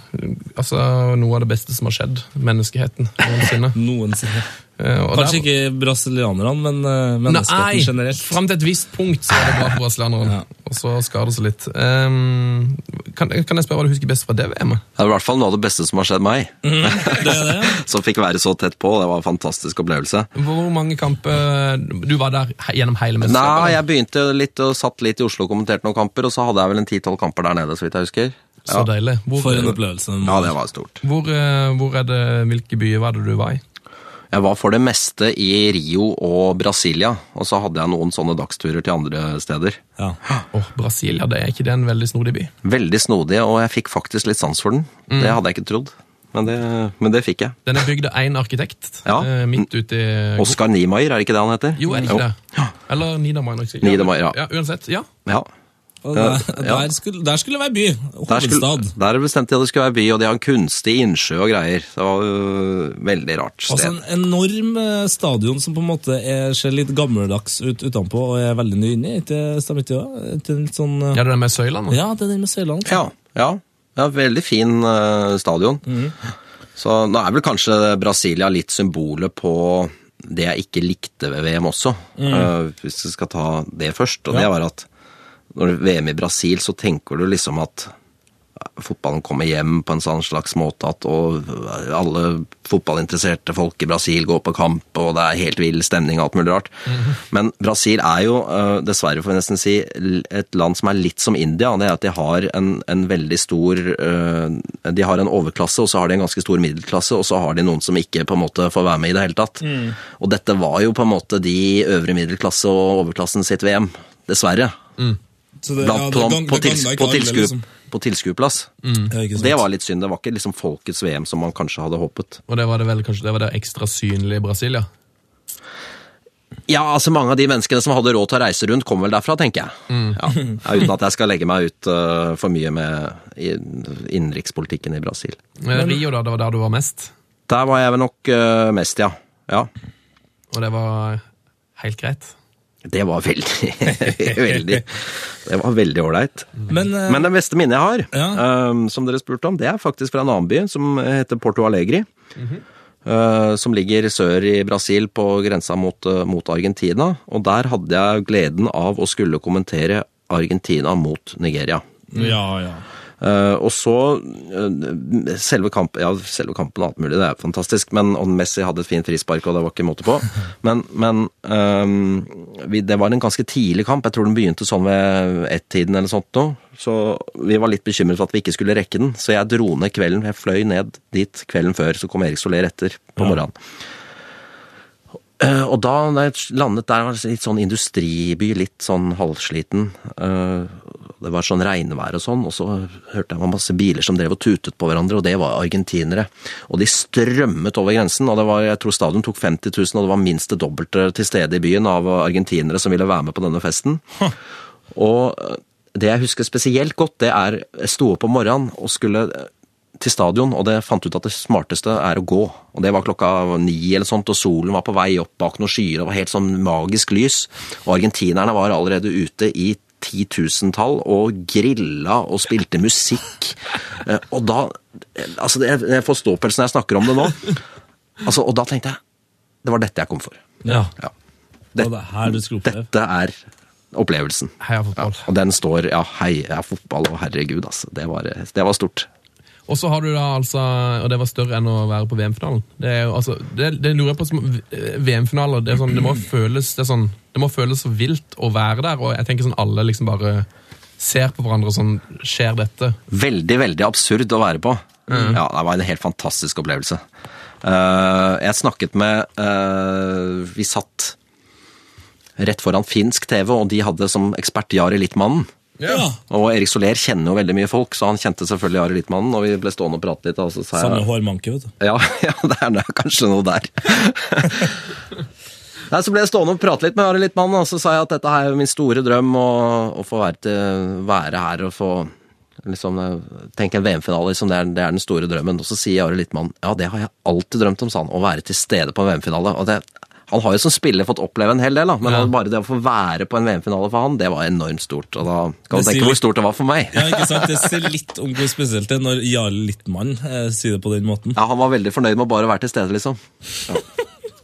Altså noe av det beste som har skjedd menneskeheten noensinne.
Noensinne.
Eh, og
Kanskje
der-
ikke brasilianerne, men eh,
Nei,
menneskeheten generelt.
fram til et visst punkt så er det bra for brasilianerne.
Ja.
Og så skader det seg litt. Ehm, kan, kan jeg spørre hva du husker best fra det VM-et?
Det er i hvert fall noe av det beste som har skjedd meg.
Det er det.
Som fikk være så tett på. Det var en fantastisk opplevelse.
Hvor mange kamper Du var der he gjennom hele mesterskapet?
Nei, jeg begynte litt og satt litt i Oslo og kommenterte noen kamper, og så hadde jeg vel en ti-tolv kamper der nede, så vidt jeg husker.
Så deilig. Hvor,
For en opplevelse.
Ja, det var stort.
hvor, eh, hvor er det, hvilke byer var det du var i?
Jeg var for det meste i Rio og Brasilia, og så hadde jeg noen sånne dagsturer til andre steder.
Ja.
Ah.
Åh, Brasilia, det er ikke det en veldig snodig by?
Veldig snodig, og jeg fikk faktisk litt sans for den. Det hadde jeg ikke trodd, men det, men det fikk jeg.
Den er bygd av én arkitekt
Ja. Mm.
eh, midt ute i
Oskar Niemeyer, er det ikke det han heter?
Jo, er det ikke det? Eller Niedermayer. nok sikkert.
Niedermayer, ja.
ja. Uansett, ja.
Ja.
Og der,
Ja.
der, skulle, der skulle det være by.
Der, skulle,
Hovedstad.
der bestemte de at det skulle være by, og de har en kunstig innsjø og greier. Det var jo et veldig rart sted.
Altså en enorm eh, stadion som på en måte er, ser litt gammeldags ut utenpå og er veldig ny inni. Ikke- Stemmer ikke det? Ikke litt sånn, eh,
Ja, det der med søylene.
ja, det er den med Søyland.
ja, ja, ja, veldig fin eh, stadion. Så nå er vel kanskje Brasilia litt symbolet på det jeg ikke likte ved VM også, eh, hvis vi skal ta det først. Og det var at når det er VM i Brasil, så tenker du liksom at fotballen kommer hjem på en sånn slags måte at og alle fotballinteresserte folk i Brasil går på kamp, og det er helt vill stemning og alt mulig rart.
Mhm.
Men Brasil er jo, eh, dessverre får jeg nesten si, l- et land som er litt som India. Det er at de har en, en veldig stor eh, De har en overklasse, og så har de en ganske stor middelklasse, og så har de noen som ikke på en måte får være med i det hele tatt.
Mm.
Og dette var jo på en måte de øvre middelklasse og overklassen sitt VM. Dessverre.
Så det-
Blant,
ja, det
på,
gang-
på,
det
tils,
gangla ikke
på,
alle,
tilsku,
liksom. Mm.
på tilskuerplass.
Ja, ikke
Og
sant.
Det var litt synd. Det var ikke liksom folkets VM som man kanskje hadde håpet.
Og det var det vel kanskje det var det ekstra synlige Brasilia.
Ja, altså mange av de menneskene som hadde råd til å reise rundt, kom vel derfra, tenker jeg. Ja. Ja, uten at jeg skal legge meg ut øh, for mye med i- innenrikspolitikken i Brasil.
Eh, Rio, da, det var der du var mest.
Der var jeg vel nok øh, mest, ja. ja.
Og det var helt greit.
Det var veldig, veldig Det var veldig ålreit.
Men, eh,
Men det beste minnet jeg har,
Ja.
øhm, som dere spurte om, det er faktisk fra en annen by som heter Porto Alegre. øh, som ligger sør i Brasil, på grensa mot, øh, mot Argentina. Og der hadde jeg gleden av å skulle kommentere Argentina mot Nigeria.
ja, ja.
Eh, og så eh, selve, kamp, ja, selve kampen og alt mulig, det er fantastisk. Men, og Messi hadde et fint frispark, og det var ikke måte på. Men, men eh, vi, det var en ganske tidlig kamp. Jeg tror den begynte sånn ved ett-tiden eller sånt nå. Så vi var litt bekymret for at vi ikke skulle rekke den. Så jeg dro ned kvelden. Jeg fløy ned dit kvelden før, så kom Erik Soler etter på morgenen. Eh, og da da jeg landet der, var det litt sånn industriby, litt sånn halvsliten. Eh, det var sånn regnvær og sånn, og så hørte jeg det var masse biler som drev og tutet på hverandre, og det var argentinere. Og de strømmet over grensen, og det var, jeg tror stadion tok 50 000, og det var minst det dobbelte til stede i byen av argentinere som ville være med på denne festen. Og eh, det jeg husker spesielt godt, det er jeg sto opp om morgenen og skulle eh, til stadion, og det fant ut at det smarteste er å gå. Og det var klokka ni eller sånt, og solen var på vei opp bak noen skyer, og det var helt sånn magisk lys. Og argentinerne var allerede ute i titusentall og grilla og spilte musikk. Eh, Og da eh, Altså, jeg jeg får ståpels når jeg snakker om det nå. Altså, og da tenkte jeg Det var dette jeg kom for.
ja.
Ja.
Det var det her du skulle oppleve.
Dette er opplevelsen.
Heia fotball.
Ja, og den står ja, heia fotball og herregud, altså. Det var, det var stort.
Og så har du da altså Og det var større enn å være på VM-finalen. Det er jo altså Det, det lurer jeg på som eh, VM-finaler. Det, er sånn, det må føles Det er sånn Det må føles så vilt å være der, og jeg tenker sånn alle liksom bare ser på hverandre og sånn Skjer dette?
Veldig, veldig absurd å være på. Ja, det var en helt fantastisk opplevelse. Eh, jeg snakket med eh, Vi satt rett foran finsk TV, og de hadde som ekspert Jari Littmannen.
Ja.
Og Erik Soler kjenner jo veldig mye folk, så han kjente selvfølgelig Jari Littmannen. Og vi ble stående og prate litt. Og så sa jeg,
Samme hårmanke, vet du.
Ja, ja det er nok kanskje noe der. Nei, Så ble jeg stående og prate litt med Arild Littmann, og så sa jeg at dette her er min store drøm å, å få være, til, være her og få liksom, Tenk en VM-finale, liksom, det, er, det er den store drømmen. Og så sier Arild Littmann ja, det har jeg alltid drømt om, sa han, å være til stede på en VM-finale. og det han har jo som spiller fått oppleve en hel del, da, men han- bare det å få være på en VM-finale for han, det var enormt stort. Og da kan
Det
du tenke
sier
hvor
litt-
stort det var for meg.
Ja, ikke sant? Det sier litt om hvor spesielt det er når Jarl Littmann eh, sier det på den måten.
Ja, Han var veldig fornøyd med å bare være til stede, liksom.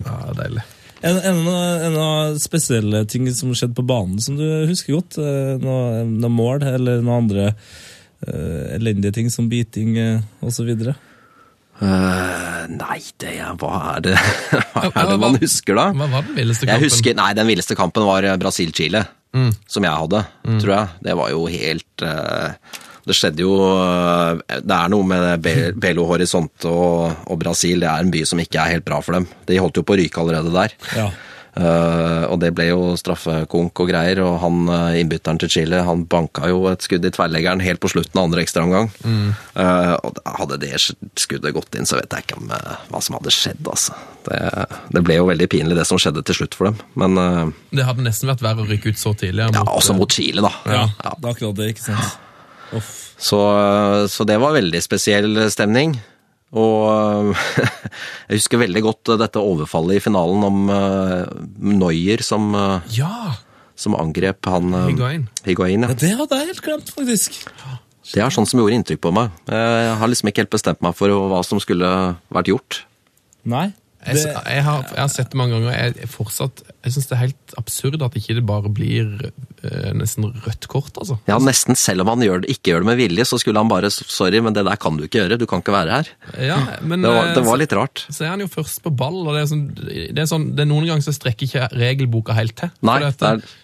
Ja, deilig.
En, en, av- en av spesielle ting som skjedde på banen som du husker godt? eh, Noe, noe mål eller noen andre eh, elendige ting som biting eh, og osv.?
Øh, nei, det er, hva er det Hva
Ja,
er det
hva-
man husker, da?
Hva var den villeste
Jeg
kampen? Mm.
husker, nei, Den villeste kampen var eh, Brasil-Chile, som jeg hadde, tror jeg. Det var jo helt eh, Det skjedde jo eh, Det er noe med Be- Belo Horizonte og, og Brasil. Det er en by som ikke er helt bra for dem. De holdt jo på å ryke allerede der.
Ja.
Eh, og det ble jo straffekonk og greier, og han eh, innbytteren til Chile han banka jo et skudd i tverrleggeren helt på slutten av andre ekstraomgang. Eh, og da hadde det skuddet gått inn, så vet jeg ikke om eh, hva som hadde skjedd, altså. Det, det ble jo veldig pinlig, det som skjedde til slutt for dem. Men eh,
Det hadde nesten vært verre å rykke ut så tidlig.
ja, altså, også mot Chile, da.
Ja, det er akkurat det, ikke sant? Uff.
Så, eh, så det var veldig spesiell stemning. Og jeg husker veldig godt dette overfallet i finalen om eh, Neuer som, eh,
Ja!
som angrep han eh,
Higuain.
Higuain, ja.
Det hadde jeg helt glemt, faktisk.
Det er sånn som gjorde inntrykk på meg. Jeg har liksom ikke helt bestemt meg for hva som skulle vært gjort.
Nei.
Jeg,
Det,
jeg, har, jeg har sett det mange ganger. og Jeg, er fortsatt, jeg syns det er helt absurd at ikke det bare blir eh, nesten rødt kort, altså.
Ja, nesten selv om han gjør det, ikke gjør det med vilje, så skulle han bare Sorry, men det der kan du ikke gjøre. Du kan ikke være her.
Ja, men
Det var,
eh,
det
så-
var litt rart.
så er han jo først på ball, og det er, sånn, det er, sånn, det er noen ganger så strekker ikke regelboka helt til.
Nei,
Fordi at
det er-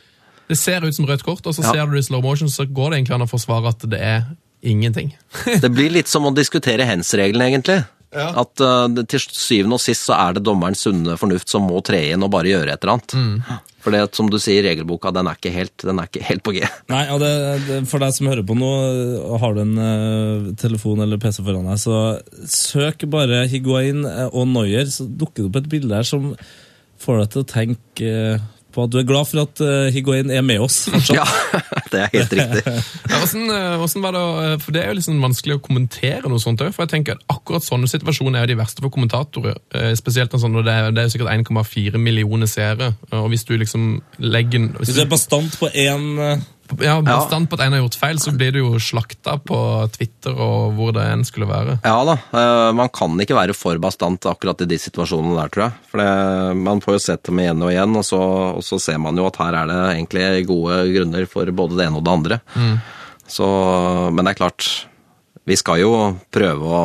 det ser ut som rødt kort, og så
Ja.
ser du det i slow motion, så går det egentlig an å forsvare at det er ingenting.
Det blir litt som å diskutere hands-regelen, egentlig. At eh, det- til syvende og sist så er det dommerens sunne fornuft som må tre inn og bare gjøre et eller annet.
Mm.
For det som du sier, regelboka den er ikke helt, den er ikke helt på G.
nei, og det, det, For deg som hører på nå, og har du en eh, telefon eller PC foran deg, så søk bare Higuain eh, og Neuer, så dukker det opp et bilde her som får deg til å tenke eh, på at du er glad for at eh, Higuain er med oss. fortsatt.
Ja, det er helt riktig.
Ja, hvordan, eh, hvordan var det, å- for Det er jo liksom vanskelig å kommentere noe sånt òg. For jeg tenker at akkurat sånne situasjoner er jo de verste for kommentatorer. eh, Spesielt når sånn, når det er, det er jo sikkert 1,4 millioner seere. Og hvis du liksom legger hvis
Hvis du
du,
er bastant på eh, én
ja, Bestand på at en har gjort feil, så blir du jo slakta på Twitter og hvor det enn skulle være.
Ja da, eh, man kan ikke være for bastant akkurat i de situasjonene der, tror jeg. For det, man får jo sett dem igjen og igjen, og så, og så ser man jo at her er det egentlig gode grunner for både det ene og det andre. Så, men det er klart, vi skal jo prøve å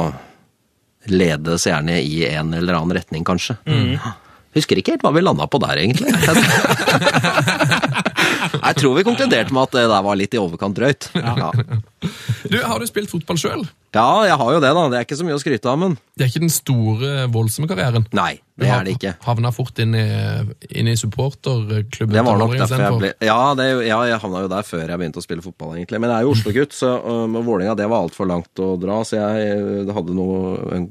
lede seerne i en eller annen retning, kanskje. Husker ikke helt hva vi landa på der, egentlig. Jeg tror vi konkluderte med at det der var litt i overkant drøyt. Ja.
Du, Har du spilt fotball sjøl?
ja, jeg har jo det, da. Det er ikke så mye å skryte av, men
Det er ikke den store, voldsomme karrieren.
nei, det er det ikke.
Havna fort inn i, inn i supporterklubben.
Det var
til
nok
Vålerenga
derfor jeg
istedenfor.
ble Ja, det, ja jeg havna jo der før jeg begynte å spille fotball, egentlig. Men jeg er jo Oslo-gutt, så øh, med Vålerenga det var altfor langt å dra. Så jeg øh, hadde noen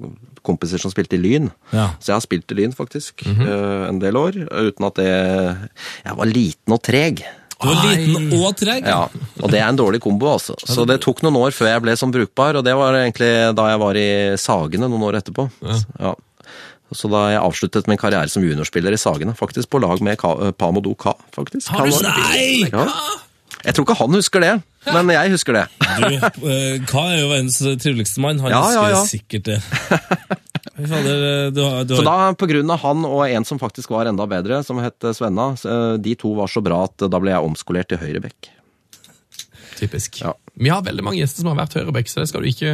kompiser som spilte i Lyn.
Ja.
Så jeg har spilt i Lyn, faktisk, øh, en del år. Uten at det Jeg var liten og treg.
Du var liten og treg.
Ja, og det er en dårlig kombo, altså. Så det tok noen år før jeg ble sånn brukbar, og det var egentlig da jeg var i Sagene noen år etterpå. Ja. Så da jeg avsluttet min karriere som juniorspiller i Sagene, faktisk på lag med Ka- Pamodo Ka, faktisk.
Har du
Han var-
spilt?
Ja. Jeg tror ikke han husker det, men jeg husker det.
Du, eh, Ka er jo verdens triveligste mann. Han
Ja,
husker
ja, ja.
sikkert det. Fy fader, eh, du har, du
Så
har
da, på grunn av han og en som faktisk var enda bedre, som het Svenna, så, eh, de to var så bra at da ble jeg omskolert til høyrebekk.
Typisk.
Ja.
Vi har veldig mange gjester som har vært høyrebekk, så det skal du ikke,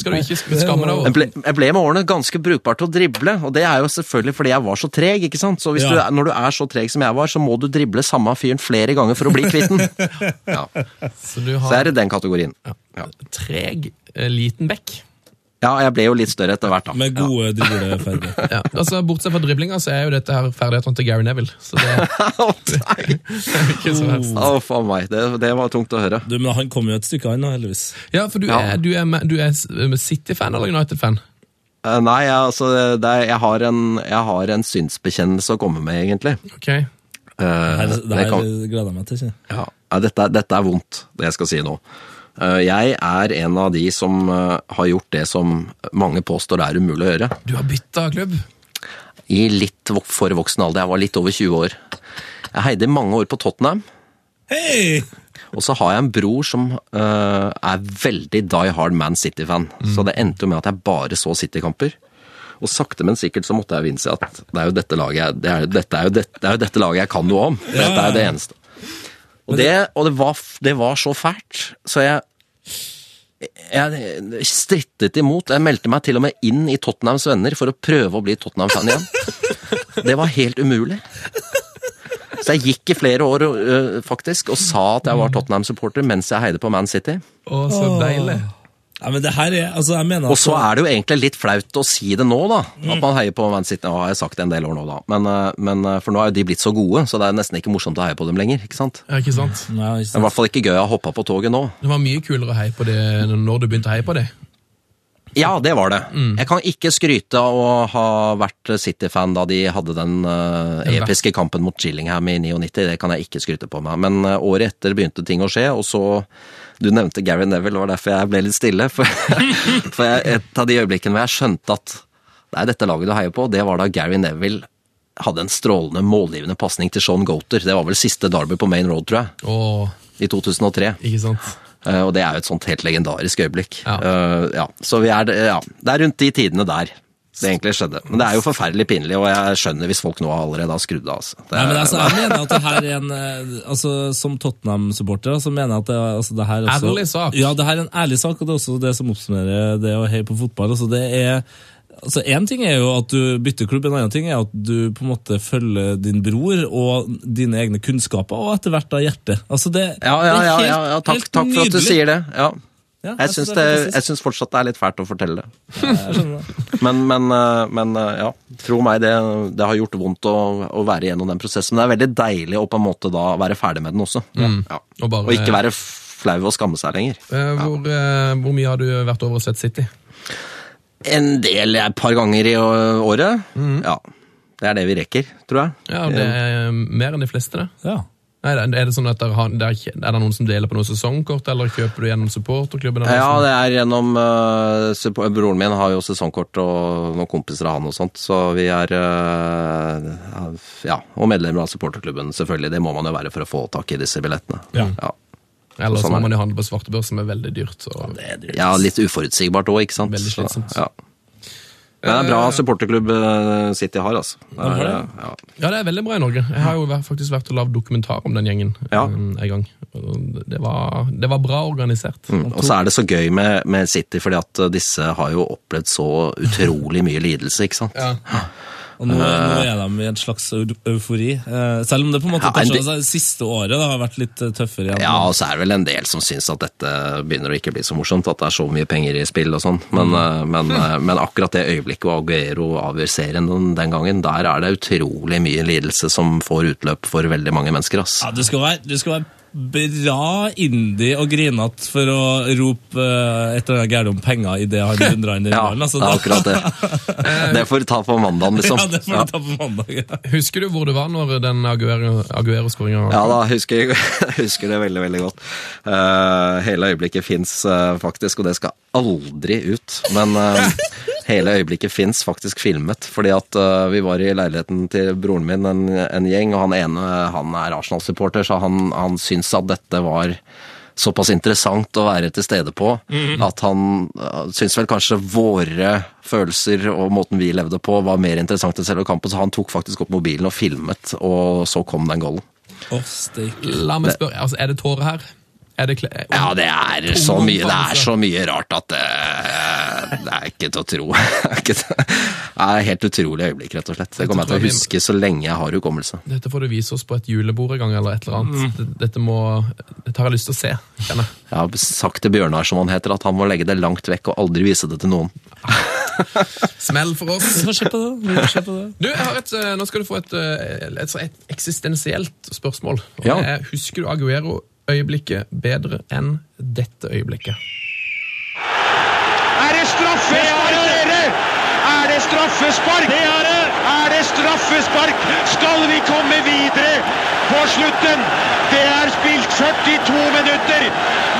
skal du ikke skamme deg
Jeg
over.
ble, jeg ble med årene ganske brukbar til å drible, og det er jo selvfølgelig fordi jeg var så treg. ikke sant? Så hvis
Ja.
du, er- når du er så treg som jeg var, så må du drible samme fyren flere ganger for å bli kvitt den. Ja.
Så du
Så er
har
det den kategorien. Ja.
treg, eh, liten bekk.
ja, jeg ble jo litt større etter hvert, da.
med gode dribleferdigheter.
Ja. Altså, bortsett fra driblinga, så er jo dette her ferdighetene til Gary Neville. Så det er
Å, nei.
ikke så verst.
Å, faen meg. Det, det var tungt å høre.
Du, men han kom jo et stykke, han da, heldigvis.
Ja, for du
Oh. Ja.
er, du er, med- du er s- City-fan eller United-fan?
Eh, Nei, jeg, altså, det er, jeg, har en, jeg har en synsbekjennelse å komme med, egentlig.
Ok.
Eh,
Her, det
det
her
kan-
gleder jeg meg til. Ikke?
Ja, ja, dette, er- dette er vondt, det jeg skal si nå. Eh, Jeg er en av de som eh, har gjort det som mange påstår er umulig å gjøre.
Du har bytta klubb.
I litt vok- for voksen alder, jeg var litt over 20 år. Jeg heide i mange år på Tottenham,
Hei!
og så har jeg en bror som eh, er veldig die hard Man City-fan. Så det endte jo med at jeg bare så City-kamper. Og sakte, men sikkert så måtte jeg innse at det er jo dette laget jeg, det er, jo- dette er jo, det, det er jo dette laget jeg kan noe om. For Dette er jo det eneste. Og det, og det, var, f- det var så fælt, så jeg jeg strittet imot. Jeg meldte meg til og med inn i Tottenhams venner for å prøve å bli Tottenham-fan igjen. Det var helt umulig. Så jeg gikk i flere år øh, faktisk og sa at jeg var Tottenham-supporter mens jeg heide på Man City.
Å, så deilig.
Ja, men det her er, altså jeg mener
Og så er det jo egentlig litt flaut å si det nå, da. At man heier på Man City. Nå har jeg sagt det en del år nå, da. Men, eh, men eh, for nå er jo de blitt så gode, så det er nesten ikke morsomt å heie på dem lenger. ikke sant?
Ja, ikke sant?
ja, ikke
Det er i
sant?
hvert fall ikke gøy å hoppe på toget nå.
Det var mye kulere å heie på det når du begynte å heie på det.
Ja, det var det. Jeg kan ikke skryte av å ha vært City-fan da de hadde den eh,
Den verste.
episke kampen mot Chillingham i 99. Det kan jeg ikke skryte på meg. Men eh, året etter begynte ting å skje, og så Du nevnte Gary Neville, det var derfor jeg ble litt stille. For, for jeg, et av de øyeblikkene hvor jeg skjønte at det er dette laget du heier på, det var da Gary Neville hadde en strålende, målgivende pasning til Sean Goater. Det var vel siste Derby på Main Road, tror jeg.
Åh,
I 2003.
ikke sant?
Eh, Og det er jo et sånt helt legendarisk øyeblikk.
Ja.
Eh, ja. Så vi er, ja, det er rundt de tidene der det egentlig skjedde. Men det er jo forferdelig pinlig, og jeg skjønner hvis folk nå allerede har skrudd av. Altså. Det
Nei,
er,
men altså, jeg mener at det her er en eh, altså, Som Tottenham-supporter så mener jeg at det, altså, det her er også,
Ærlig sak.
Ja, det her er en ærlig sak, og det er også det som oppsummerer det å heie på fotball. Altså, det er Altså, Én ting er jo at du bytter klubb, en annen ting er at du på en måte følger din bror og dine egne kunnskaper, og etter hvert da hjertet. Altså, det,
ja, ja,
det
ja,
er helt,
ja, ja takk,
helt
takk for at du
nydelig.
sier det. Ja.
Ja,
Jeg syns det- jeg syns fortsatt det er litt fælt å fortelle det. Men, men, eh, men eh, ja, tro meg, det, det har gjort vondt å, å være gjennom den prosessen. Men det er veldig deilig å på en måte da være ferdig med den også.
Mm.
Ja.
Og bare-
Og ikke være flau og skamme seg lenger.
Eh, Hvor, eh, hvor mye har du vært over og sett City?
En del, et par ganger i å- året. Ja. Det er det vi rekker, tror jeg.
Ja, det er mer enn de fleste, det.
Ja.
Nei, Er det sånn at der har, der, er det noen som deler på noe sesongkort, eller kjøper du gjennom supporterklubben? eller sånn?
Ja,
noe
det er gjennom eh, suppo- Broren min har jo sesongkort og noen kompiser av han og sånt, så vi er eh, Ja. Og medlemmer av supporterklubben, selvfølgelig. Det må man jo være for å få tak i disse billettene.
Ja.
ja.
sånt? Eller så
sånn
må
er
man jo handle på svartebørs, som er veldig dyrt. Så.
Ja, litt uforutsigbart òg, ikke sant.
Veldig
Så,
slitsomt.
Ja. Men det er bra supporterklubb eh, City har, altså. Det
har
er,
det.
ja.
Ja, det er veldig bra i Norge. Jeg har jo vært- faktisk vært og lagd dokumentar om den gjengen
Ja.
eh, en gang. Og Det var, det var bra organisert.
Mm, Og så er det så gøy med, med City, fordi at eh, disse har jo opplevd så utrolig mye lidelse, ikke sant.
Ja.
Og nå, nå er de i en slags eu- eufori. eh, Selv om det på en måte
Eh. Ja, en
kanskje
del-
altså, siste året da, har vært litt eh, tøffere. igjen.
Ja, og så er det vel en del som syns at dette begynner å ikke bli så morsomt, at det er så mye penger i spill og sånn, men,
Mm.
eh, men,
Hm.
eh, men akkurat det øyeblikket hvor Aguero avgjør serien den, den gangen, der er det utrolig mye lidelse som får utløp for veldig mange mennesker, ass.
Ja, du skal være, du skal være bra indie og grinete for å rope eh, et eller annet gærent om penger idet han dundrer inn i
Ja,
ballen.
det
Altså,
er
da-
akkurat det. Det får du ta på mandagen, liksom.
ja, det får du ta på mandag. Ja.
Husker du hvor du var når den Aguero-skåringa
Ja da, husker, husker det veldig, veldig godt. Eh, hele øyeblikket fins eh, faktisk, og det skal aldri ut. Men eh, hele øyeblikket fins faktisk filmet, fordi at eh, vi var i leiligheten til broren min, en, en gjeng, og han ene han er Arsenal-supporter, så han, han syns at dette var såpass interessant å være til stede på at han uh, syntes vel kanskje våre følelser og måten vi levde på var mer interessant enn selve kampen, så han tok faktisk opp mobilen og filmet, og så kom den goalen.
Å, steik.
La meg spørre, altså, er det tårer her? Er det kle...
Ja, det er så mye, det er så mye rart at det, det er ikke til å tro. Det er ikke til- det er helt utrolig øyeblikk, rett og slett. Det kommer jeg til å huske så lenge jeg har hukommelse.
Dette får du vise oss på et julebord en gang, eller et
Mm.
eller annet. Dette, må, dette har jeg lyst til å se. kjenner jeg.
Jeg har sagt til Bjørnar, som han heter, at han må legge det langt vekk og aldri vise det til noen.
Smell for oss.
Vi får se på det. Vi får se på det.
Du, jeg har et, eh, Nå skal du få et, eh, et, sånn- et eksistensielt spørsmål. Og
Ja.
det er, husker du Aguero-øyeblikket bedre enn dette øyeblikket?
Er det straffespark, dere? Er det straffespark? Det er det! Er det straffespark? Skal vi komme videre på slutten? Det er spilt 42 minutter.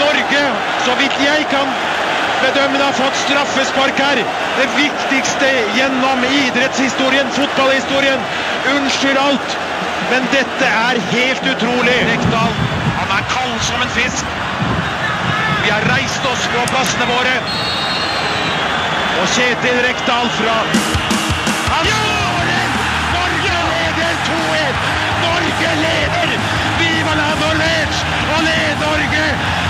Norge, så vidt jeg kan bedømme, har fått straffespark her. Det viktigste gjennom idrettshistorien, fotballhistorien. Unnskyld alt, men dette er helt utrolig. Rekdal, han er kald som en fisk. Vi har reist oss på plassene våre. Og Kjetil Rekdal fra Han skårer! Norge leder 2-1! Norge leder! Viva la Norwich! Og led Norge!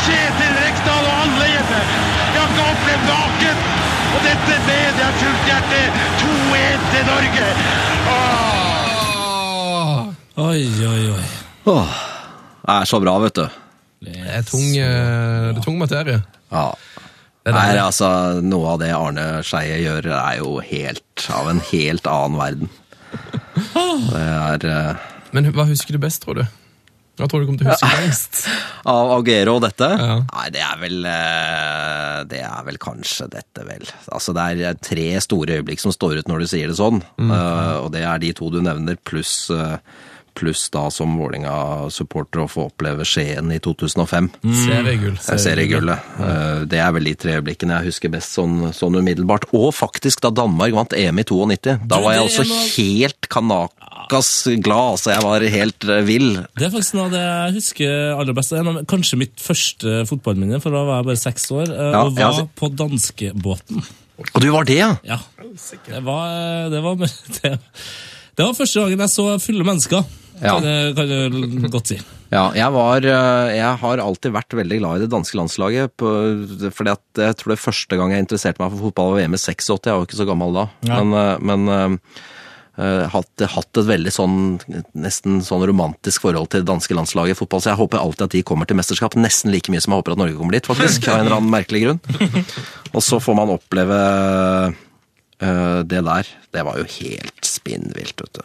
Kjetil Rekdal og alle hjemme. Jeg har ikke opplevd maken. Og dette med jeg fullt hjerte. 2-1 til Norge. Åh.
Oi, oi, oi.
Åh, det er så bra, vet du.
Det er tung, eh, det er tung materie.
Ja.
Det der,
Nei, altså, noe av det Arne Skeie gjør, er jo helt av en helt annen verden. Det er eh,
Men hva husker du best, tror du? Hva tror du kommer til å huske lengst?
Av Aguero og dette?
Ja.
Nei, det er vel eh, Det er vel kanskje dette, vel. Altså, det er tre store øyeblikk som står ut når du sier det sånn,
Mm.
Eh, og det er de to du nevner, pluss eh, Pluss da som Vålerenga-supporter å få oppleve Skien i 2005.
Mm.
Seriegull.
Jeg ser i gullet. Eh, Det er vel de tre øyeblikkene jeg husker best sånn, sånn umiddelbart. Og faktisk da Danmark vant EM i 92. Da
Du,
var jeg
det er
også
noe-
helt kanakas glad, altså. Jeg var helt eh, vill.
Det er faktisk noe av det jeg husker aller best. Det er noe med- Kanskje mitt første fotballminne, for da var jeg bare seks år, eh,
Ja, ja,
og var
altså-
på danskebåten.
Og du var det, ja?
Ja, det var, eh, det var det, det var første gangen jeg så fulle mennesker,
Ja.
kan, jeg, kan jeg godt si.
Ja, jeg var eh, Jeg har alltid vært veldig glad i det danske landslaget. på- Fordi at jeg tror det første gang jeg interesserte meg for fotball var VM i 86. Jeg var jo ikke så gammel da. Men, eh, men eh, eh, hatt, hatt et veldig sånn nesten sånn romantisk forhold til det danske landslaget i fotball, så jeg håper alltid at de kommer til mesterskap. Nesten like mye som jeg håper at Norge kommer dit, faktisk. Av en eller annen merkelig grunn. Og så får man oppleve eh, det der. Det var jo helt spinnvilt, vet du.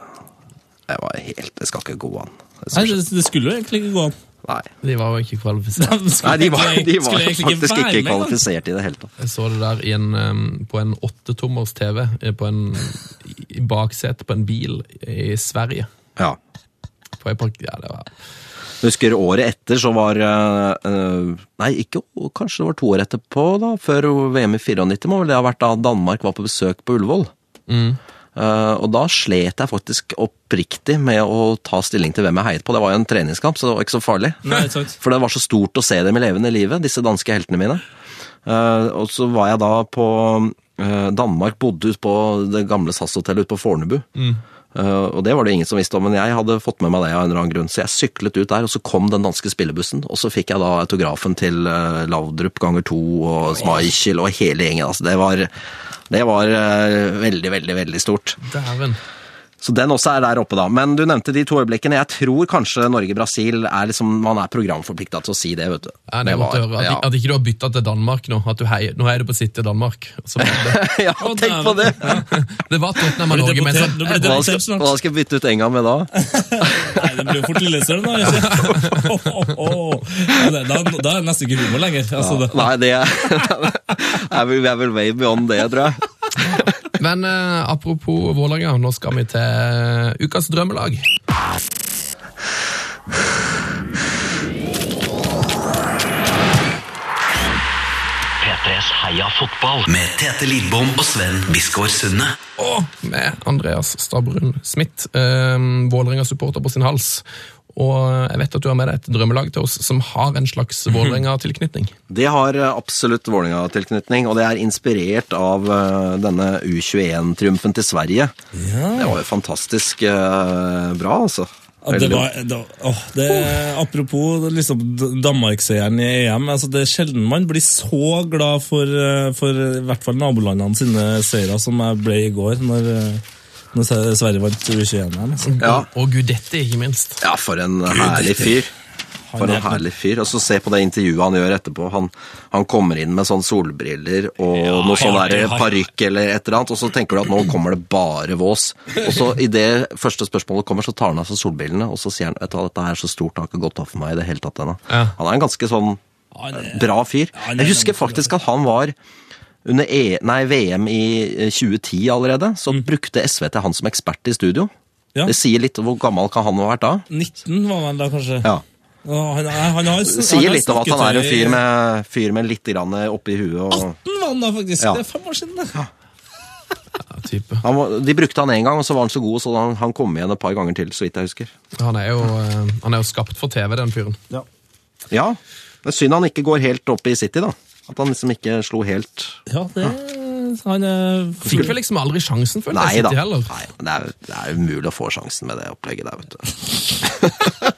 Det var helt Det skal ikke gå an. Det
Nei,
som
det,
skjedde.
det skulle jo egentlig ikke gå an.
Nei.
De var jo ikke kvalifisert.
De skulle
Nei, de var,
egentlig-
de
skulle
var
egentlig
faktisk
være
ikke
med, da.
kvalifisert i det hele tatt.
Jeg så det der i en, em, på en åttetommers TV eh, på en i- i baksetet på en bil i Sverige.
Ja.
På en park, ja, det var
Jeg Husker året etter så var eh, eh, Nei, ikke, kanskje det var to år etterpå, da, før VM i 94 må vel det ha vært da Danmark var på besøk på Ullevål.
Mm.
Eh, og da slet jeg faktisk oppriktig med å ta stilling til hvem jeg heiet på. Det var jo en treningskamp, så det var ikke så farlig.
Nei, ikke sant.
For det var så stort å se dem i levende livet, disse danske heltene mine. Eh, og så var jeg da på eh, Danmark, bodde ute på det gamle SAS-hotellet ute på Fornebu. Eh, og det var det ingen som visste om, men jeg hadde fått med meg det av en eller annen grunn. Så jeg syklet ut der, og så kom den danske spillebussen. Og så fikk jeg da autografen til eh, Laudrup ganger to og Schmeichel og hele gjengen. Altså, det var, det var eh, veldig, veldig, veldig stort.
Dæven.
Så den også er der oppe, da. Men du nevnte de to øyeblikkene. Jeg tror kanskje Norge-Brasil er liksom Man er programforplikta til å si det, vet du.
Ja, det er godt å høre. At,
ja.
at ikke du har bytta til Danmark nå. At du heier, nå heier du på City og Danmark. Så var det,
ja,
Å,
tenk på det!
dæven.
det var Tottenham og
Blir
Norge, men
deportert-
så
Nå blir det
Hva
deportert
skal,
snart.
hva skal vi bytte ut Enga med da?
Nei, det blir jo fort Lillestrøm, da. ikke sant? Ja, det- Da, da er det nesten ikke humor lenger. Altså, det.
Nei, det er, er vel- vi er vel way beyond det, tror jeg.
Men eh, apropos Vålerenga, nå skal vi til eh, ukas drømmelag.
P3s Heia fotball med Tete Lidbom og Sven Biskår Sunde.
Og med Andreas Stabrun Smith, eh, Vålerenga-supporter på sin hals. Og jeg vet at du har med deg et drømmelag til oss som har en slags Vålerenga-tilknytning.
Det har eh, absolutt Vålerenga-tilknytning, og det er inspirert av eh, denne U21-triumfen til Sverige. Det var jo fantastisk eh, bra, altså.
Ja, det
Veldig-
var, det, var- åh, det, apropos liksom, D- Danmark-seieren i EM. Altså, det er sjelden man blir så glad for, eh, for i hvert fall nabolandene sine seire som jeg ble i går, når, eh, når Se- Sverige vant U21-EM. Altså.
Ja.
Og, og Gudetti, ikke minst.
Ja, for en herlig fyr. For en herlig fyr. Og så se på det intervjuet han gjør etterpå. Han, han kommer inn med sånn solbriller og noe sånn
ja,
der
ja.
parykk eller et eller annet, og så tenker du at nå kommer det bare vås. Og så i det første spørsmålet kommer, så tar han av seg solbrillene, og så sier han vet du hva, dette her er så stort, det har ikke gått av for meg i det hele tatt ennå.
Ja.
Han er en ganske sånn
Han er-
bra fyr.
han er
Jeg husker
en-
faktisk at han var under e nei, VM i eh, 2010 allerede, så brukte SV til han som ekspert i studio.
Mhm. Ja.
Det sier litt om hvor gammel kan han ha vært da.
19 var han da, kanskje.
Ja.
Og han, han, han har,
Det sier litt om at han er en fyr med, fyr med litt grann oppi huet.
Ah!
Og
18 var han da, faktisk.
Ja.
Det er fem år siden, det.
Ja, type.
han var, de brukte han én gang, og så var han så god, så han, han kom igjen et par ganger til. så vidt jeg husker.
Han er, jo, eh, han er jo skapt for TV, den fyren.
Ja, det er Synd han ikke går helt opp i City, da. At han liksom ikke slo helt
Ja, det Han er
Fikk vel liksom aldri sjansen, føler
Nei
jeg.
da.
City heller.
Nei, men det, er, det er umulig å få sjansen med det opplegget der, vet du.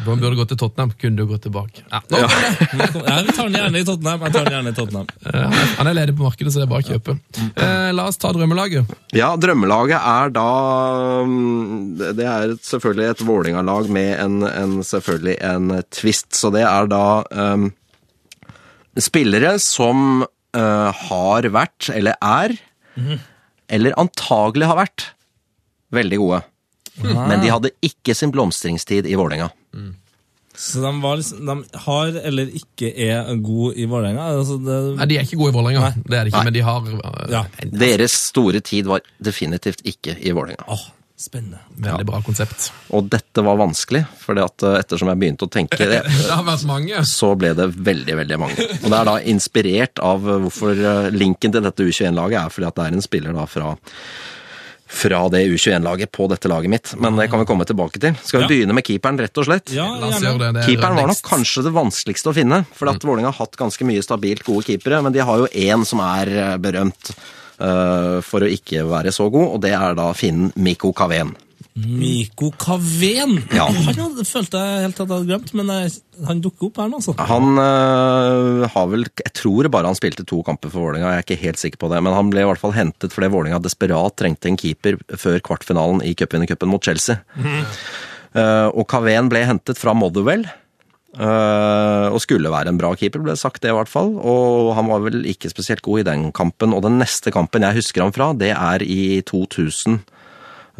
Da burde gå til Tottenham, kunne du gå tilbake. Ja, nå,
Ja, vi tar den gjerne i Tottenham. Jeg tar den gjerne i Tottenham.
eh, han er- Han er ledig på markedet, så det er bare å kjøpe. Eh, la oss ta drømmelaget.
Ja, drømmelaget er da mm, Det det er et- selvfølgelig et Vålerenga-lag med en, en, selvfølgelig en twist, så det er da um, mm, spillere som eh, har vært, eller er, eller antagelig har vært, veldig gode. Men de hadde ikke sin blomstringstid i Vålerenga.
Så de, var liksom, de har eller ikke er god i Vålerenga? Altså det-
Nei, De er ikke gode i Vålerenga, det er de ikke, men de har eh,
Ja.
en
Deres store tid var definitivt ikke i Vålerenga.
Åh, spennende.
veldig bra konsept.
Og dette var vanskelig, for ettersom jeg begynte å tenke eh, det,
Det har vært mange.
så ble det veldig, veldig mange. Og det er da inspirert av hvorfor eh, linken til dette U21-laget er fordi at det er en spiller da fra fra det U21-laget på dette laget mitt, men det kan vi komme tilbake til. Skal vi
Ja.
begynne med keeperen, rett og slett?
Ja,
La oss
gjerne.
gjøre det. det er
Keeperen var nok
lengst.
kanskje det vanskeligste å finne, for
Mm.
at Vålerenga har hatt ganske mye stabilt gode keepere, men de har jo én som er eh, berømt eh, for å ikke være så god, og det er da finnen Mikko Kaveen.
Miko Kaveen!
Ja.
Han hadde, følte jeg helt at jeg hadde glemt, men jeg, han dukker opp her nå, altså.
Han øh, har vel Jeg tror bare han spilte to kamper for Vålinga, jeg er ikke helt sikker på det. Men han ble i hvert fall hentet fordi Vålinga desperat trengte en keeper før kvartfinalen i cupvinnercupen mot Chelsea. Eh, og Kaveen ble hentet fra Motherwell. eh, og skulle være en bra keeper, ble det sagt det i hvert fall. Og han var vel ikke spesielt god i den kampen. Og den neste kampen jeg husker ham fra, det er i 2000.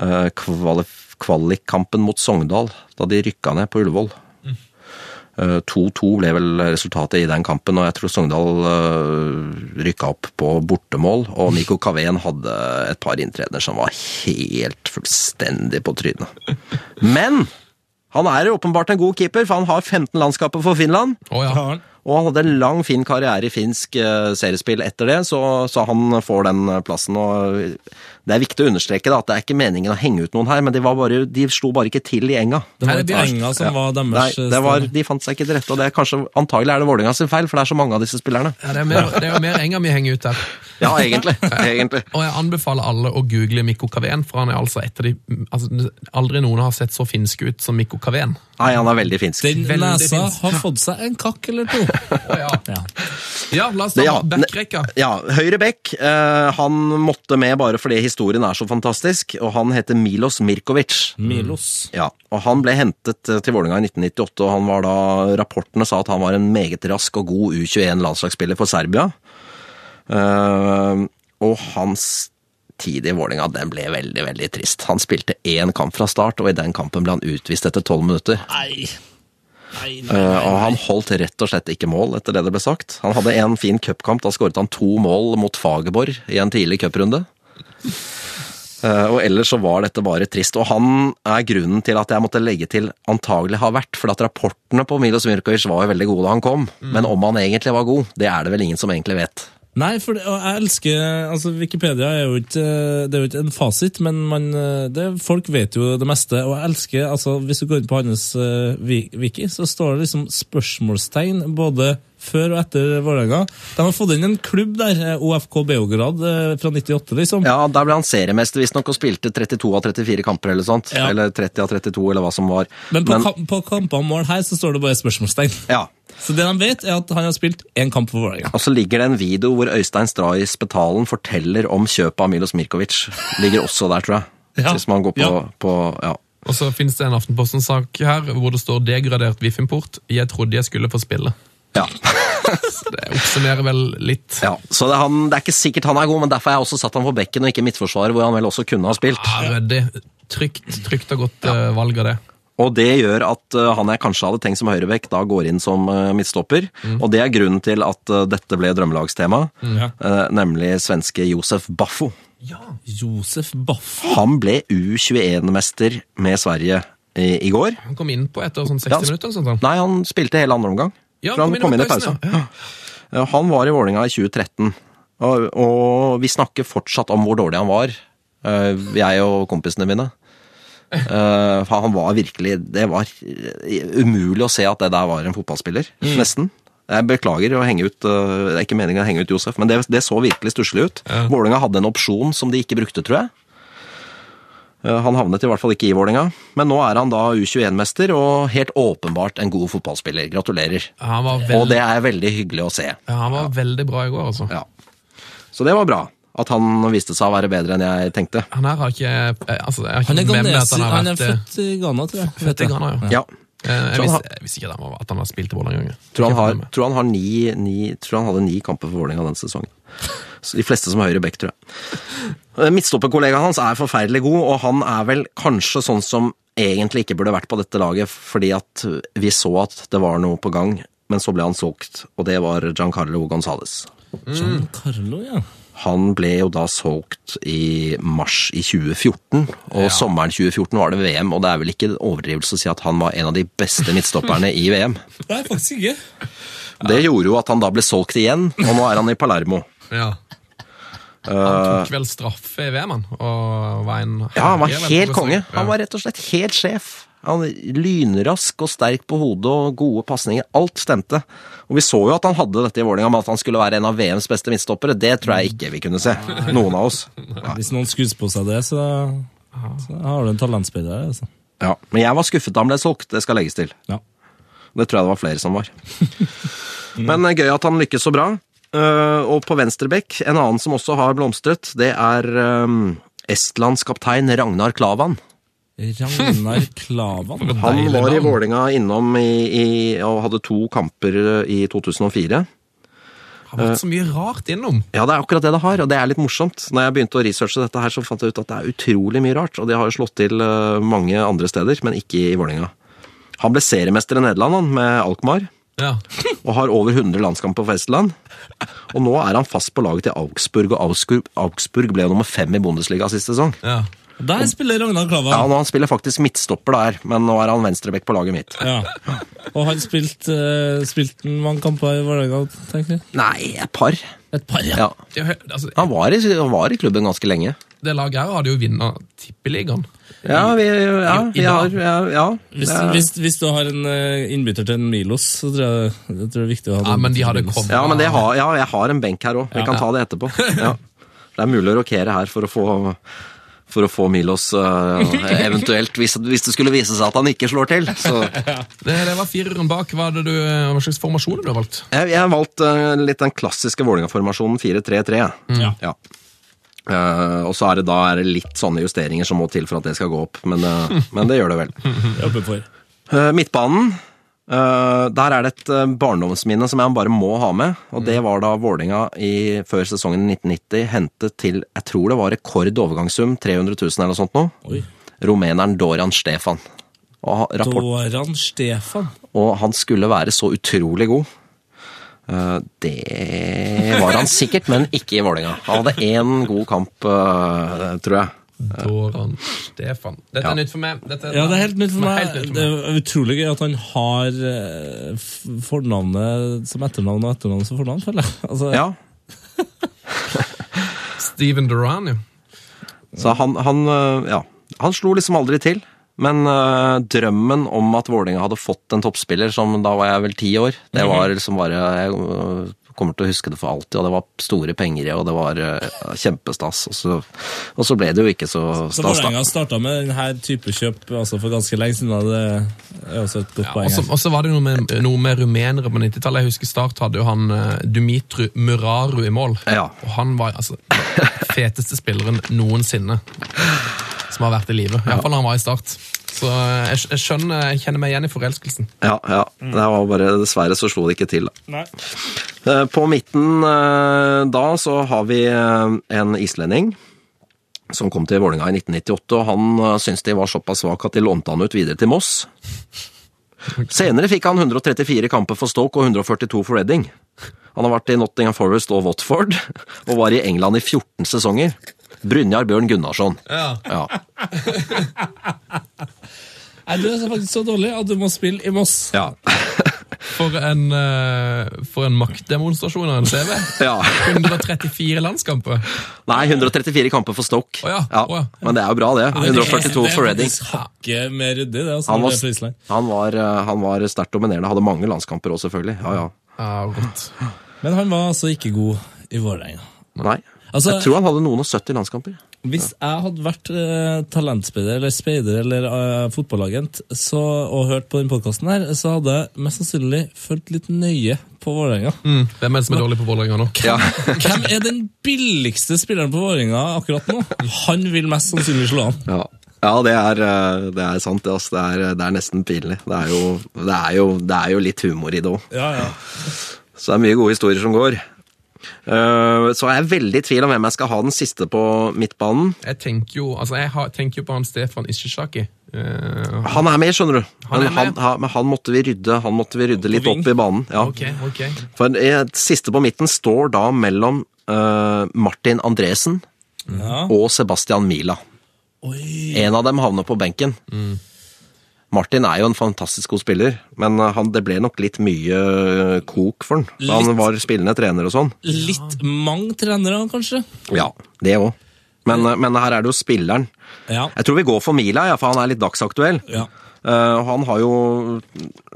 eh, kvalif- Kvalikkampen mot Sogndal, da de rykka ned på Ullevål. Eh, 2-2 ble vel resultatet i den kampen, og jeg tror Sogndal eh, rykka opp på bortemål. Og Nico Kaveen hadde et par inntredener som var helt fullstendig på trynet. Men han er jo åpenbart en god keeper, for han har 15 landskaper for Finland.
Å, ja.
Har han.
Og han hadde en lang, fin karriere i finsk eh, seriespill etter det, så, så han får den eh, plassen. Og det er viktig å understreke da, at det er ikke meningen å henge ut noen her, men de, var bare, de slo bare ikke til i enga.
Det
Nei,
var
det
ikke
blir-
enga som var
Nei,
deres eh,
det var,
stemme.
de fant seg ikke til rette, og det er kanskje, antagelig er det Vålinga sin feil, for det er så mange av disse spillerne.
Ja, det, er mer, det er jo mer enga vi henger ut her.
Ja, egentlig. egentlig.
Og jeg anbefaler alle å google Mikko Kaveen, for han er altså et av de altså, Aldri noen har sett så finsk ut som Mikko Kaveen.
Nei, han er veldig finsk.
Den
Veldig
nesa
finsk.
har fått seg en kakk eller to.
ja.
Ja.
la oss ta
Ja, ne-
backrekka.
Ja, Høyre Bekk, eh, han måtte med bare fordi historien er så fantastisk, og han heter Milos Mirkovic.
Milos.
Ja, og Han ble hentet eh, til Vålerenga i 1998, og han var da, rapportene sa at han var en meget rask og god U21-landslagsspiller for Serbia. Eh, og hans tid i Vålerenga den ble veldig veldig trist. Han spilte én kamp fra start, og i den kampen ble han utvist etter tolv minutter.
Nei. Nei,
Eh,
nei, nei.
og han holdt rett og slett ikke mål, etter det det ble sagt. Han hadde en fin cupkamp, da skåret han to mål mot Fagerborg i en tidlig cuprunde. Eh, og ellers så var dette bare trist. Og han er grunnen til at jeg måtte legge til antagelig har vært, for at rapportene på Milos Mirkovic var jo veldig gode da han kom.
Mm.
Men om han egentlig var god, det er det vel ingen som egentlig vet.
Nei, for det, og jeg elsker altså Wikipedia er jo ikke, eh, det er jo ikke en fasit, men man, eh, det, folk vet jo det meste. Og jeg elsker altså Hvis du går inn på hans eh, vi- wiki, så står det liksom spørsmålstegn både før og etter Vålerenga. De har fått inn en klubb der, eh, OFK Beograd, eh, fra 98, liksom.
Ja, der ble han seriemester visstnok og spilte 32 av 34 kamper eller sånt.
Ja.
Eller 30 av 32, eller hva som var.
Men på, kam- på kampene mål her så står det bare spørsmålstegn.
ja,
Så det de vet, er at han har spilt én kamp for Vålerenga.
Og så ligger det en video hvor Øystein Stray Spetalen forteller om kjøpet av Milos Mirkovic. Ligger også der, tror jeg.
Ja.
Hvis man går på
Ja.
ja. på ja.
Og så finnes det en Aftenposten-sak her hvor det står 'degradert Vifimport'. Jeg trodde jeg skulle få spille.
Ja.
Det oppsummerer vel litt.
ja. Så det er, han, det er ikke sikkert han er god, men derfor har jeg også satt han på bekken og ikke midtforsvaret, hvor han vel også kunne ha spilt.
Ja, Ryddig. Trygt, trygt og godt eh, valg av det.
Og det gjør at eh, han jeg kanskje hadde tenkt som høyrebekk, da går inn som eh, midtstopper. Og det er grunnen til at eh, dette ble drømmelagstema,
Mm. Ja.
eh, nemlig svenske Josef Baffo.
Josef Baff.
Han ble U21-mester med Sverige i, i går.
Han kom inn på etter sånn 60
Ja, han sp-
minutter. eller Sånn, sånn.
Nei, han spilte hele andre omgang.
Ja,
for han kom inn i
pausen,
pausen. Ja, Eh, Han var i Vålinga i 2013, og, og vi snakker fortsatt om hvor dårlig han var, eh, jeg og kompisene mine. Eh, For han var virkelig Det var eh, umulig å se at det der var en fotballspiller,
Mm.
nesten. Jeg beklager å henge ut eh, Det er ikke meningen å henge ut Josef, men det, det så virkelig stusslig ut.
Ja.
Vålinga hadde en opsjon som de ikke brukte, tror jeg. Eh, Han havnet i hvert fall ikke i Vålinga, men nå er han da U21-mester og helt åpenbart en god fotballspiller. Gratulerer.
Ja. Han, var
Og
veld...
det er veldig hyggelig å se.
ja, han var veldig bra i går, altså.
Ja. Så det var bra. At han viste seg å være bedre enn jeg tenkte.
Han her har ikke eh, altså, Jeg
Han
har ikke
er
fått med meg at
ghanesi.
han har
Han er
vært eh,
født i Ghana, tror jeg.
født i Ghana, ja.
Ja.
Eh, Jeg
Tror han har-
visste, jeg visste ikke at han, var- at han har spilt i Vålerenga engang.
Tror han, har,
Ikke
tror, han har ni, ni, tror han hadde ni kamper for Vålerenga denne sesongen. Så de fleste som er høyre back, tror jeg. Eh, Midtstopperkollegaen hans er forferdelig god, og han er vel kanskje sånn som egentlig ikke burde vært på dette laget, fordi at vi så at det var noe på gang, men så ble han solgt, og det var Giancarlo Gonzales.
Mm.
Carlo, ja.
Han ble jo da solgt i mars i 2014, og sommeren 2014 var det VM, og det er vel ikke overdrivelse å si at han var en av de beste midtstopperne i VM.
Nei, faktisk ikke.
Det gjorde jo at han da ble solgt igjen, og nå er han i Palermo.
Ja.
Eh,
Han tok vel straffe i VM, han. Og var en
Ja, han var
herre, vel,
helt
på
konge.
besøk.
Han var rett og slett helt sjef. Han Lynrask og sterk på hodet og gode pasninger. Alt stemte. Og vi så jo at han hadde dette i Vålerenga, men at han skulle være en av VMs beste midtstoppere, det tror jeg ikke vi kunne se. Noen av oss. Nei.
Hvis noen skrus på seg det, så, så har du en talentspiller der, altså.
Ja. Men jeg var skuffet da han ble solgt, det skal legges til.
Ja.
Det tror jeg det var flere som var. Men eh, gøy at han lykkes så bra. Eh, og på venstrebekk, en annen som også har blomstret, det er eh, Estlands kaptein Ragnar Klavan.
Ragnar Klavan.
Han
Deilig
var i
navn.
Vålinga innom i, i, og hadde to kamper eh, i 2004.
Han har vært så mye rart innom.
Ja, det er akkurat det det har, og det er litt morsomt. Når jeg begynte å researche dette her, så fant jeg ut at det er utrolig mye rart, og de har jo slått til eh, mange andre steder, men ikke i Vålinga. Han ble seriemester i Nederland, han, med Alkmaar,
Ja.
og har over 100 landskamper for Estland. Og nå er han fast på laget til Augsburg, og Augsburg, Augsburg ble jo nummer fem i Bundesliga sist sesong.
ja.
Der spiller Ragnar Klavan.
Ja, nå han spiller faktisk midtstopper der, men nå er han venstrebekk på laget mitt.
Ja. Og han spilte uh, spilt mange kamper i Vålerenga, tenker jeg.
Nei, et par.
Et par, ja.
Ja.
Det, er jo helt- altså,
Han var, i, han var i klubben ganske lenge.
det laget her hadde jo vunnet Tippeligaen.
Ja, vi, ja,
I- i
vi har
dag.
ja, ja.
Hvis,
Det-
hvis, hvis du har en eh, innbytter til en Milos, så tror jeg, jeg tror det er viktig å ha
Ja,
en
men de
innbytter
hadde
til Milos.
kommet
ja, men det har, ja, jeg har en benk her òg. Vi kan ta det etterpå. Ja. Det er mulig å rokere her for å få for å få Milos eh, eventuelt, hvis, hvis det skulle vise seg at han ikke slår til. Så
Det, det var fireren bak. Hva, hadde du, eh, hva slags formasjon du har valgt?
jeg, jeg har valgt eh, litt den klassiske Vålerenga-formasjonen 4-3-3.
Ja.
Ja. Eh, og så er det da er det litt sånne justeringer som må til for at det skal gå opp, men, eh, men det gjør det vel.
Jeg håper for.
Eh, Midtbanen. eh, der er det et eh, barndomsminne som jeg bare må ha med. Og det var da Vålerenga i- før sesongen 1990 hentet til jeg tror det var rekord overgangssum, 300 000 eller noe sånt nå,
Oi.
rumeneren Dorian Stefan. Og, ha- rapport,
Doran Stefan.
og han skulle være så utrolig god. Eh, det var han sikkert, men ikke i Vålerenga. Han hadde én god kamp, eh, tror jeg.
Doran Stefan. Dette
Ja.
er nytt for meg. Dette
Ja, det er helt nytt for meg.
Helt nytt for
Det er utrolig gøy at han har eh, f- fornavnet som etternavn og etternavn som fornavn, føler jeg. Altså,
Ja,
Steven Duran, jo.
Så han, han, øh, ja, han slo liksom aldri til. Men øh, drømmen om at Vålerenga hadde fått en toppspiller, som da var jeg vel ti år,
Mhm.
det var liksom bare Jeg øh, kommer til å huske det for alltid, og det var store penger i, og det var øh, kjempestas. Og så, og så ble det jo ikke så
Så
stas, da.
Vålerenga starta med denne type kjøp altså for ganske lenge siden. og Det er også et godt
Ja,
poeng.
altså,
og så-
her.
og så var det noe med, noe med rumenere på 90-tallet. Jeg husker Start hadde jo han eh, Dumitru Muraru i mål.
Ja.
Og han var altså feteste spilleren noensinne som har vært i live. Iallfall han var i Start. Så eh, jeg, jeg skjønner, jeg kjenner meg igjen i forelskelsen.
Ja, ja. Det var bare Dessverre så slo det ikke til, da.
Nei.
Eh, På midten eh, da så har vi eh, en islending som kom til Vålinga i 1998, og han eh, syntes de var såpass svak at de lånte han ut videre til Moss. Senere fikk han 134 kamper for Stoke og 142 for Reading. Han har vært i Nottingham Forest og Watford, og var i England i 14 sesonger. Brynjar Bjørn Gunnarsson.
Ja.
Ja.
Nei, du er så faktisk så dårlig at du må spille i Moss.
Ja.
For en, eh, for en maktdemonstrasjon av en CV.
Ja.
134 landskamper.
Nei, 134 kamper for Stoke.
Å ja, å ja.
Men det er jo bra, det. 142 for Reading.
Det er faktisk hakket mer ryddig, det. Altså,
Han
når
var,
det er Friesland.
han var, eh, han var sterkt dominerende, hadde mange landskamper òg, selvfølgelig. Ja, ja.
Ja, rått.
Men han var altså ikke god i Vålerenga.
Nei.
Altså-
jeg tror han hadde noen og 70 landskamper.
Hvis jeg hadde vært eh, talentspeider eller speider eller eh, fotballagent så, og hørt på den podkasten her, så hadde jeg mest sannsynlig fulgt litt nøye på Vålerenga.
Mm. Hvem er det som er dårlig på Vålerenga nå?
Hvem er den billigste spilleren på Vålerenga akkurat nå? Han vil mest sannsynlig slå an.
Ja. Ja, det er, eh, det er sant, det. Altså. Det, er, det er nesten pinlig. Det er, jo, det, er jo, det er jo litt humor i det òg.
Ja, ja.
Så det er mye gode historier som går. Eh, Så er jeg veldig i tvil om hvem jeg skal ha den siste på midtbanen.
Jeg tenker jo, altså jeg har, tenker jo på han Stefan Ishizaki. Eh,
Han er med, skjønner du.
Han er
men, han,
med.
ha- men han måtte vi rydde, han måtte vi rydde litt
wing.
opp i banen. Ja.
ok, ok.
For eh, siste på midten står da mellom eh, Martin Andresen
ja.
og Sebastian Mila.
Oi. Mm.
En av dem havner på benken. Martin er jo en fantastisk god spiller, men eh, han, det ble nok litt mye eh, kok for han. Da
Litt.
Han var spillende trener og sånn.
Litt mange trenere, kanskje?
Ja, det òg. Men, eh, men her er det jo spilleren.
Ja.
Jeg tror vi går for Mila, ja, for han er litt dagsaktuell.
ja.
Eh, og han har jo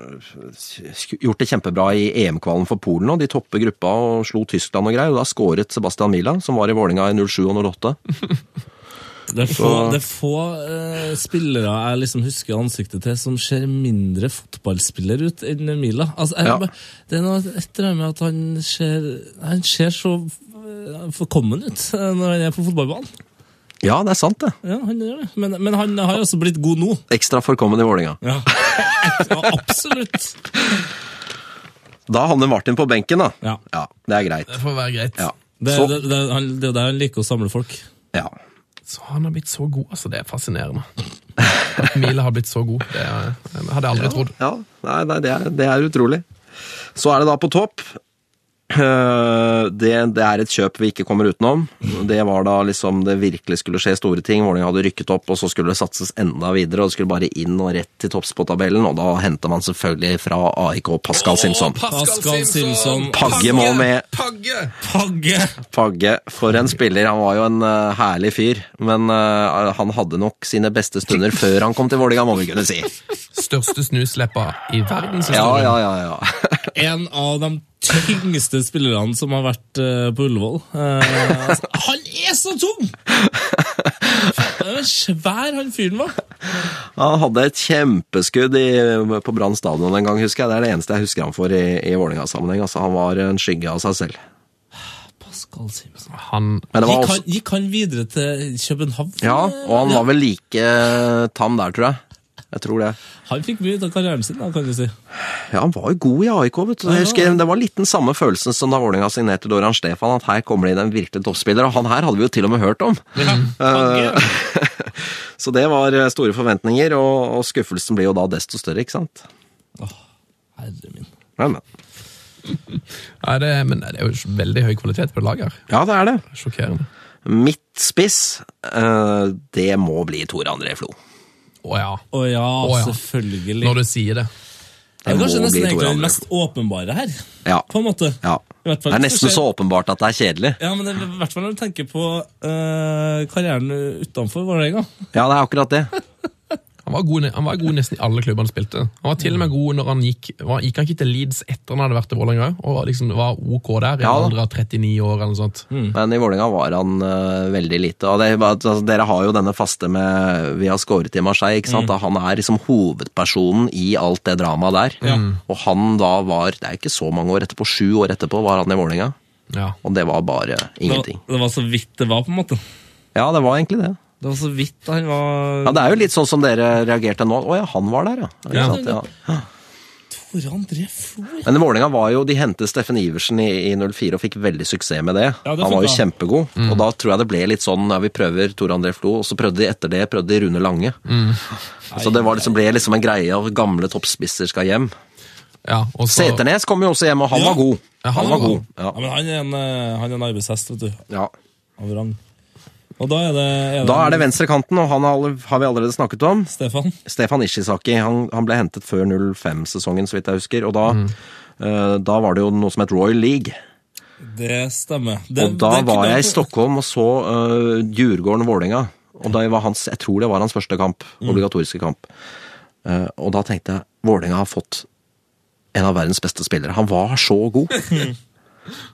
eh, gjort det kjempebra i EM-kvalen for Polen nå. De topper gruppa og slo Tyskland og greier. Og da skåret Sebastian Mila, som var i Vålinga i 07 og 08.
Det er få, det er få eh, spillere jeg liksom husker ansiktet til som ser mindre fotballspiller ut enn Mila. Altså, jeg,
Ja.
bare- Det er noe et eller annet med at han ser, han ser så eh, forkommen ut eh, når han er på fotballbanen.
Ja, det er sant, det.
Ja, han gjør det. Men, men han har jo også blitt god nå.
Ekstra forkommen i Vålinga.
Ja. Absolutt.
Da havner Martin på benken, da.
Ja.
Det er greit.
Det får være greit.
Ja.
Det,
Så-
det, det, han, det er jo der han liker å samle folk.
ja.
Så han har blitt så god, altså det er fascinerende. At Mila har blitt så god, det er, det hadde jeg aldri trodd.
ja. Nei, nei det, er, det er utrolig. Så er det da på topp. Eh, Det, det er et kjøp vi ikke kommer utenom. Det var da liksom det virkelig skulle skje store ting. Vålerenga hadde rykket opp, og så skulle det satses enda videre. Og det skulle bare inn og rett til topps på tabellen, og da henter man selvfølgelig fra AIK Pascal Simpson.
Pascal Simpson.
Pagge må med.
Pagge!
Pagge!
Pagge, for en spiller. Han var jo en eh, herlig fyr. Men eh, han hadde nok sine beste stunder før han kom til Vålerenga, må vi kunne si.
Største snusleppa i
Ja,
verdenshistorien.
ja, ja. ja.
En av de tyngste spillerne som har vært eh, på Ullevål. Eh, altså, han er så tung! Det var svær han fyren var.
Han hadde et kjempeskudd i, på Brann stadion en gang, husker jeg. Det er det eneste jeg husker han for i, i Vålerenga-sammenheng. Altså, han var en skygge av seg selv.
Pascal Simpson.
Han
Men det var
Gikk
også,
han, gikk han videre til København?
ja, og han var vel like eh, tam der, tror jeg. Jeg tror det.
Han fikk mye ut av karrieren sin, da, kan du si.
Ja, Han var jo god i AIK, vet du. Jeg husker, det var litt den samme følelsen som da Vålerenga signerte Doran Stefan, at her kommer det inn en virkelig toppspiller. Og han her hadde vi jo til og med hørt om. Eh, Så det var eh, store forventninger, og, og skuffelsen blir jo da desto større, ikke sant.
Herre min.
Men, men.
Nei, det, men det er jo veldig høy kvalitet på det laget her.
Ja, det er det.
Sjokkerende.
Midtspiss, eh, det må bli Tore André Flo.
Å ja.
Å ja,
ja.
selvfølgelig.
Når du sier det.
Det er kanskje
må bli
nesten egentlig
Tore
den
André.
mest åpenbare her.
Ja.
På en måte.
Ja.
I hvert fall
Det er
hvis
nesten
ser-
så åpenbart at det er kjedelig.
Ja, men det er i hvert fall når du tenker på eh, karrieren utenfor Vålerenga.
Ja, det er akkurat det.
Han var, god, han var god nesten i alle klubber han spilte. Han var til og med god når han gikk var, Gikk han ikke til Leeds etter han hadde vært i Vålerenga òg? Og liksom var OK der, i
Ja,
en
da. Mm.
alder av 39 år eller noe sånt.
Mm.
Men i Vålerenga var han eh, veldig lite. Og det, er bare at, altså, dere har jo denne faste med Vi har skåret i Marseille, ikke
Mm.
sant? Da han er liksom hovedpersonen i alt det dramaet der. Og han da var Det er ikke så mange år etterpå. Sju år etterpå var han i Vålerenga.
Ja.
Og det var bare
Det,
ingenting.
det var så vidt det var, på en måte.
Ja, det var egentlig det.
Det var så vidt han var
Ja, Det er jo litt sånn som dere reagerte nå. Å ja, han var der, ja. Ikke
Ja.
sant? ja.
Tore André Flo, ja.
Men Vålerenga var jo, de hentet Steffen Iversen i, i 04 og fikk veldig suksess med det.
Ja, det
han var jo
funka.
kjempegod.
Mm.
Og da tror jeg det ble litt sånn ja, vi prøver Tor André Flo, og så prøvde de etter det prøvde de Rune Lange.
Mm.
Så det var liksom, ble liksom en greie av gamle toppspisser skal hjem.
ja og så,
Seternes kom jo også hjem, og han
Ja.
var god.
Ja, han
han,
var
var god.
men han er en, eh, han er en arbeidshest, vet du.
Ja. Ja.
Av rang. Og da er det, er
Da er det venstrekanten, og han har alle- har vi allerede snakket om.
Stefan.
Stefan Ishizaki han, han ble hentet før 05-sesongen, så vidt jeg husker. Og da,
Mm.
eh, da var det jo noe som het Royal League.
Det stemmer. Det,
Og da
det kunne
var jeg i
han-
Stockholm og så uh, Djurgården-Vålerenga. Og det var hans, jeg tror det var hans første kamp, obligatoriske kamp. Eh, og da tenkte jeg Vålerenga har fått en av verdens beste spillere. Han var så god!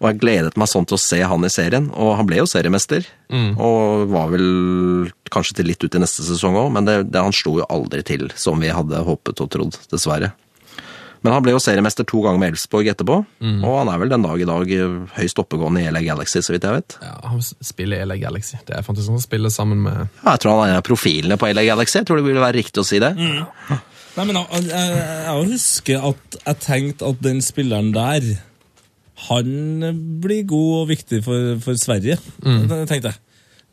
og jeg gledet meg sånn til å se han i serien. Og han ble jo seriemester. Og var vel kanskje til litt ut i neste sesong òg, men det, det, han slo jo aldri til som vi hadde håpet og trodd, dessverre. Men han ble jo seriemester to ganger med Elfsborg etterpå, og han er vel den dag i dag eh, høyst oppegående i LA Galaxy, så vidt jeg vet.
Ja, han spiller i LA Galaxy. Det er fantastisk. Han spiller sammen med
Ja, jeg tror han er en av profilene på LA Galaxy, jeg tror det ville være riktig å si det.
Nei, men jeg, jeg, jeg husker at jeg tenkte at den spilleren der Han blir god og viktig for, for Sverige,
Mm.
Det tenkte jeg.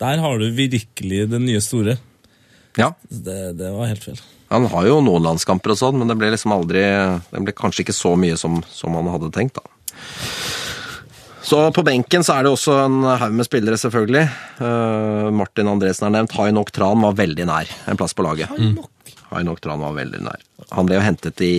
Der har du virkelig den nye store.
Ja,
Det, det var helt feil.
Han har jo noen landskamper og sånn, men det ble liksom aldri Det ble kanskje ikke så mye som, som han hadde tenkt, da. Så på benken så er det også en haug med spillere, selvfølgelig. Eh, Martin Andresen er nevnt. Hainok Tran var veldig nær en plass på laget. Hainok Tran var veldig nær. Han ble jo hentet i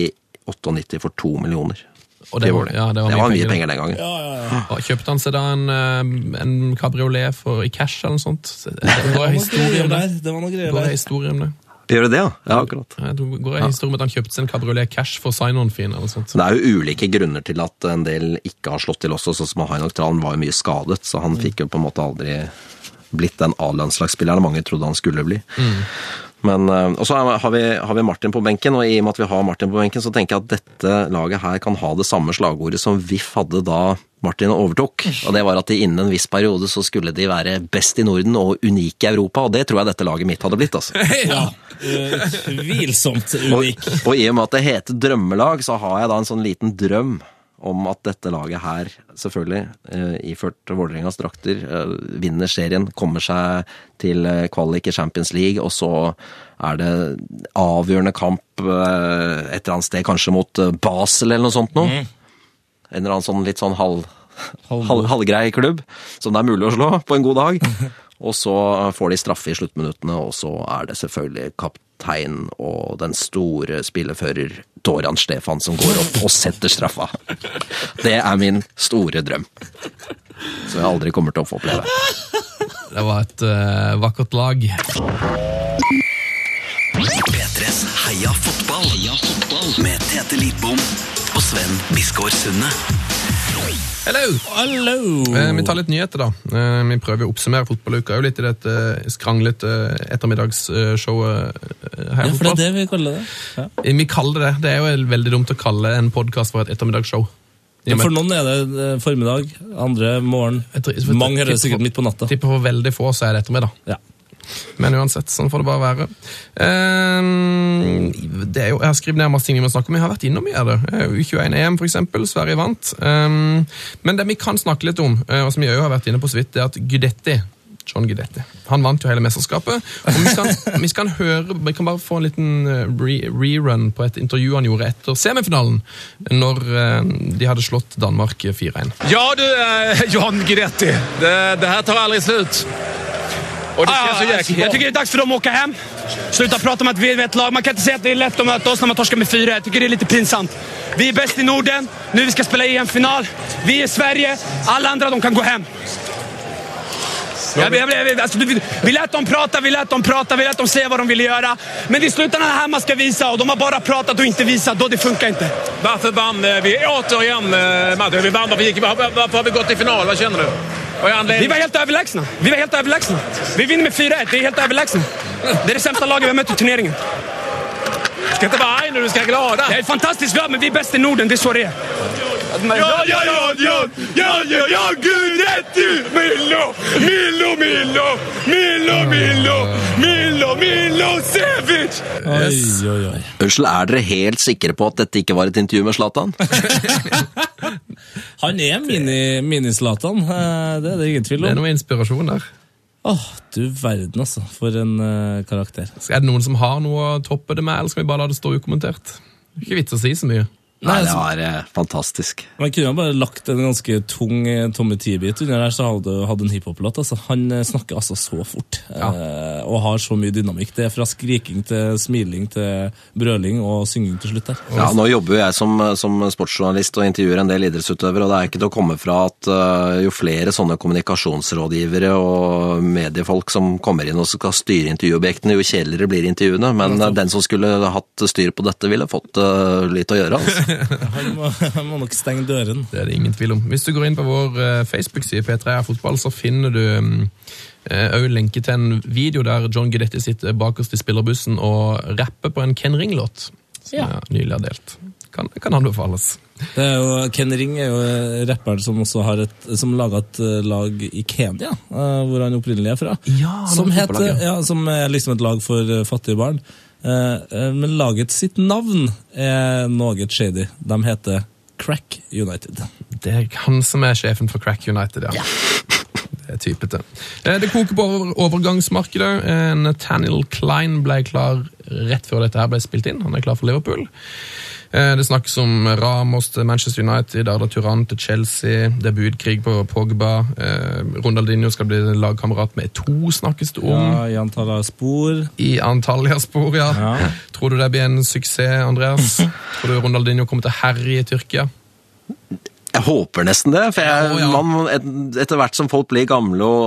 98 for to millioner.
Og det var- ja, det var
det
mye
var mye
penger.
penger den gangen.
og Kjøpte han seg da en, eh, en cabriolet for i cash eller noe sånt? Så Det det går en historie om det.
Det var noe
Det
greier
Går en
der.
historie om det.
Gjør det det, ja? Ja, akkurat.
Ja, Det går en historie om at han kjøpte seg en cabriolet cash for sign-on-fin eller noe sånt.
Så det er jo ulike grunner til at en del ikke har slått til også, sånn som Hainok Tran var jo mye skadet, så han fikk jo på en måte aldri blitt den A-landslagsspilleren mange trodde han skulle bli.
Mm.
Men, eh, og så er- har vi, har vi Martin på benken, og i og med at vi har Martin på benken, så tenker jeg at dette laget her kan ha det samme slagordet som VIF hadde da Martin overtok, og det var at de innen en viss periode så skulle de være best i Norden og unike i Europa, og det tror jeg dette laget mitt hadde blitt, altså.
Ja, Eh, Utvilsomt unik.
Og, og i og med at det heter drømmelag, så har jeg da en sånn liten drøm om at dette laget her, selvfølgelig, eh, iført Vålerengas drakter, eh, vinner serien, kommer seg til eh, kvalik i Champions League, og så er det avgjørende kamp eh, et eller annet sted, kanskje mot eh, Basel eller noe sånt nå. En eller annen sånn litt sånn halv, halv, halvgrei klubb, som det er mulig å slå på en god dag. Og så får de straffe i sluttminuttene, og så er det selvfølgelig kaptein og den store spillefører Doran Stefan som går opp og setter straffa. Det er min store drøm. Som jeg aldri kommer til å få oppleve.
Det var et eh, vakkert lag.
P3s Heia fotball. Heia fotball. Med Tete Lidbom og Sven Biskår Sunde.
Hello!
Hallo!
Eh, Vi tar litt nyheter, da. Eh, Vi prøver å oppsummere fotballuka jo litt i dette eh, skranglete ettermiddagsshowet. eh,
Ja, for det
Heia Fotball.
er det vi kaller det. Ja.
Eh, Vi kaller det det. er jo veldig dumt å kalle en podkast for et ettermiddagsshow. I
Ja,
og med-
for noen er det eh, formiddag, andre morgen.
Jeg tror- jeg tror-
Mange hører det sikkert midt på natta.
tipper for veldig få så er det ettermiddag.
Ja.
Men uansett, sånn får det bare være. Eh, det er jo, jeg har skrevet ned masse ting vi må snakke om. Jeg har vært innom mye av det. Eh, U21-EM, for eksempel. Sverige vant. Eh, men det vi kan snakke litt om, eh, og som jeg jo har vært inne på så vidt, det er at Gudetti John Gudetti. Han vant jo hele mesterskapet. og Vi skal, vi skal høre, vi kan bare få en liten eh, re rerun på et intervju han gjorde etter semifinalen, når eh, de hadde slått Danmark 4-1.
Ja du, eh, John Guidetti. Det, det här tar aldrig slut. Och det känns Ah, så
jag
jäkla bra.
tycker det är dags för dem att åka hem. Sluta prata om att vi är ett lag. Man kan inte säga att det är lätt att möta oss när man torskar med fyra. Jag tycker det är lite pinsamt. Vi är bäst i Norden. Nu vi ska spela EM-final. Vi är Sverige. Alla andra, de kan gå hem. Jag, jag, jag, alltså, vi, vi lät dem prata, vi lät dem prata, vi lät dem säga vad de ville göra. Men det är slutändan här man ska visa och de har bara pratat och inte visat. Då det funkar inte.
Varför vann eh, vi återigen eh, matchen? Vi vann, varför, gick, varför, varför har vi gått till final? Vad känner du? Vad är
Vi var
anledningen?
helt överlägsna. Vi var helt överlägsna. Vi vinner med 4-1. Det är helt överlägsna. Det är det sämsta laget vi har mött i turneringen.
Du ska inte vara arg nu, du ska vara glada.
Det är fantastiskt bra, men vi är bäst i Norden. Det är så det är.
Ja, ja, ja, ja, ja, ja, ja, Guidetti! Millo, Millo, Millo, Millo, Millo, Millo, Milosevic!
Oi, oi, oi.
Unnskyld, er dere helt sikre på at dette ikke var et intervju med Zlatan?
Han er mini- mini-Zlatan, eh, det er det ingen tvil
Det er
om.
noe inspirasjon der.
Åh, du verden, altså. For en eh, karakter.
Er det noen som har noe å toppe det med, eller skal vi bare la det stå ukommentert? Det er Ikke vits å si så mye.
Nei,
altså-
det var eh, fantastisk.
Man kunne jo bare lagt en ganske tung eh, Tommy T-bit under der, så hadde du hatt en hiphop-låt. Altså. Han eh, snakker altså så fort, eh, og har så mye dynamikk. Det er fra skriking til smiling til brøling og synging til slutt der.
Ja, Nå jobber jo jeg som, som sportsjournalist og intervjuer en del idrettsutøvere, og det er ikke til å komme fra at øh, jo flere sånne kommunikasjonsrådgivere og mediefolk som kommer inn og skal styre intervjuobjektene, jo kjedeligere blir intervjuene. Men øh, den som skulle hatt styr på dette, ville fått øh, litt å gjøre. Altså.
Han må, han må nok stenge døren.
Det er det ingen tvil om. Hvis du går inn på vår eh, Facebook-side, P3 er fotball, så finner du mm, òg lenke til en video der John Guidetti sitter bakerst i spillerbussen og rapper på en Ken Ring-låt. Som jeg nylig har delt. Kan, kan anbefales.
Det er jo, Ken Ring er jo eh, rapperen som også har et, som laga et eh, lag i Kenya, eh, hvor han opprinnelig er fra.
Ja, han har
som,
et
heter,
fotballag,
ja, som er liksom et lag for eh, fattige barn. Eh, eh, Men laget sitt navn er noe shady. De heter Crack United.
Det er han som er sjefen for Crack United, ja. Det er typete. Eh, Det koker på over- overgangsmarkedet. Eh, Nathaniel Klein ble klar rett før dette her ble spilt inn. Han er klar for Liverpool. Eh, Det snakkes om Ramos til Manchester United, Arda Turan til Chelsea, det er budkrig på Pogba, eh, Ronaldinho skal bli lagkamerat med to, snakkes det om,
Ja, Jan Tala Spor.
i Antalya-spor, ja.
Ja.
Tror du det blir en suksess, Andreas? Tror du Ronaldinho kommer til å herje i Tyrkia?
Jeg håper nesten det, for jeg,
Ja, ja.
Man, et, etter hvert som folk blir gamle og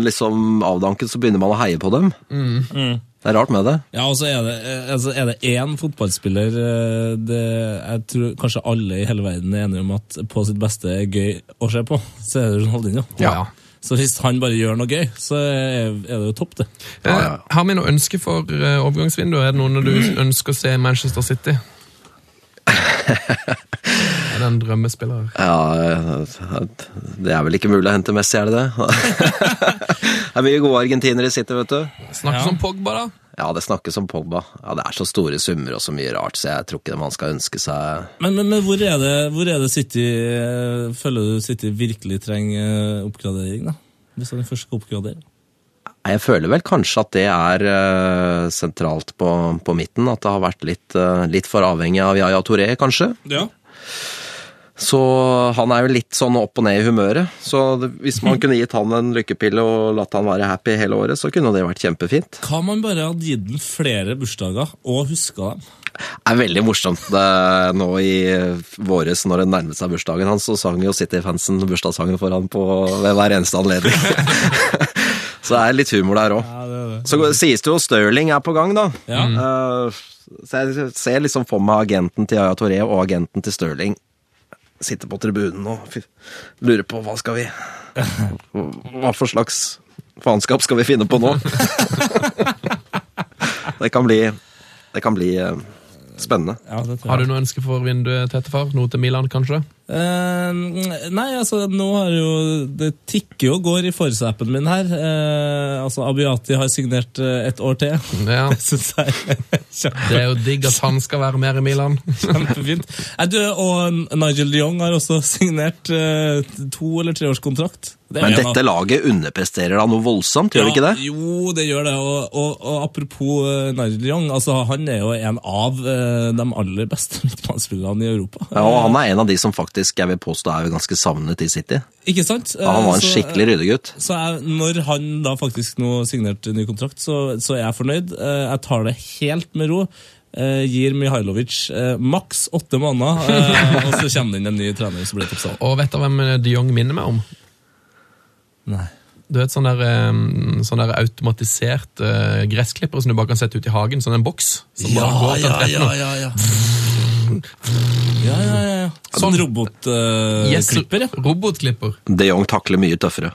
øh, liksom avdanket, så begynner man å heie på dem.
Mm.
Det er rart med det.
Ja, og så er det, eh, altså er det én fotballspiller eh, det, Jeg tror kanskje alle i hele verden er enige om at på sitt beste er gøy å se på, så er det Ronaldinho.
Ja.
Så hvis han bare gjør noe gøy, så er er det jo topp, det.
Eh, Har vi noe ønske for eh, overgangsvinduet? Er det noen du ønsker å se i Manchester City? Er det en drømmespiller?
Ja, øh, det er vel ikke mulig å hente Messi, er det det? det er mye gode argentinere i City, vet du.
Snakkes om Pogba, da.
Ja, det snakkes om Pogba. Ja, Det er så store summer og så mye rart, så jeg tror ikke man skal ønske seg
Men, men, men hvor, er det, hvor er det City eh, Føler du City virkelig trenger eh, oppgradering, da? Hvis han først skal oppgradere?
Nei, Jeg føler vel kanskje at det er eh, sentralt på, på midten, at det har vært litt, eh, litt for avhengig av Yaya Touré, kanskje.
Ja.
Så han er jo litt sånn opp og ned i humøret. Så det, hvis man kunne gitt han en lykkepille og latt han være happy hele året, så kunne det vært kjempefint.
Hva om man bare hadde gitt den flere bursdager og huska dem?
Det er veldig morsomt eh, nå i våres, når det nærmet seg bursdagen hans, så sang jo City-fansen bursdagssangen for han på ved hver eneste anledning. så det er litt humor der òg.
Ja, det er det.
Så går- sies det jo Stirling er på gang, da.
Ja.
Eh, så jeg ser liksom for meg agenten til Yaya Toré og agenten til Stirling sitte på tribunen og fy- lure på hva skal vi Hva for slags faenskap skal vi finne på nå? det kan bli Det kan bli eh, spennende.
Ja, det tror jeg.
Har du noe ønske for vinduet, Tettefar? Noe til Milan, kanskje?
Eh, nei, altså nå har jo Det tikker jo og går i Forsa-appen min her. Eh, altså Abiati har signert eh, et år til.
Ja.
Det syns jeg er kjempe-
Det er jo digg at han skal være mer i Milan.
kjempefint. Nei, du, og Nigel de Jong har også signert eh, to- eller treårskontrakt. Det er
Men
jo en av-
dette laget underpresterer da noe voldsomt, gjør det ikke det?
Ja, jo, det gjør det. Og, og, og apropos uh, Nigel de Jong, altså, han er jo en av eh, de aller beste midtbanespillerne i Europa.
Ja, og han er en av de som faktisk jeg vil påstå er ganske savnet i City.
Ikke sant?
Ja, han var en
altså,
Eh, så-
skikkelig ryddegutt.
Så jeg, når han da faktisk nå signerte ny kontrakt, så, så er jeg fornøyd. Eh, Jeg tar det helt med ro. Eh, Gir Mihailovic eh, maks åtte måneder, eh, og så kommer det inn en ny trener som blir toppsal.
Og vet du hvem eh, de Jong minner meg om?
Nei.
Du vet, sånn der, eh, sånn der automatisert eh, gressklipper som du bare kan sette ut i hagen. Sånn en boks. Som bare går til et rett nå.
ja, ja. Ja, ja, ja. Sånn
Yes,
robotklipper, ja.
Robotklipper.
De Jong takler mye tøffere.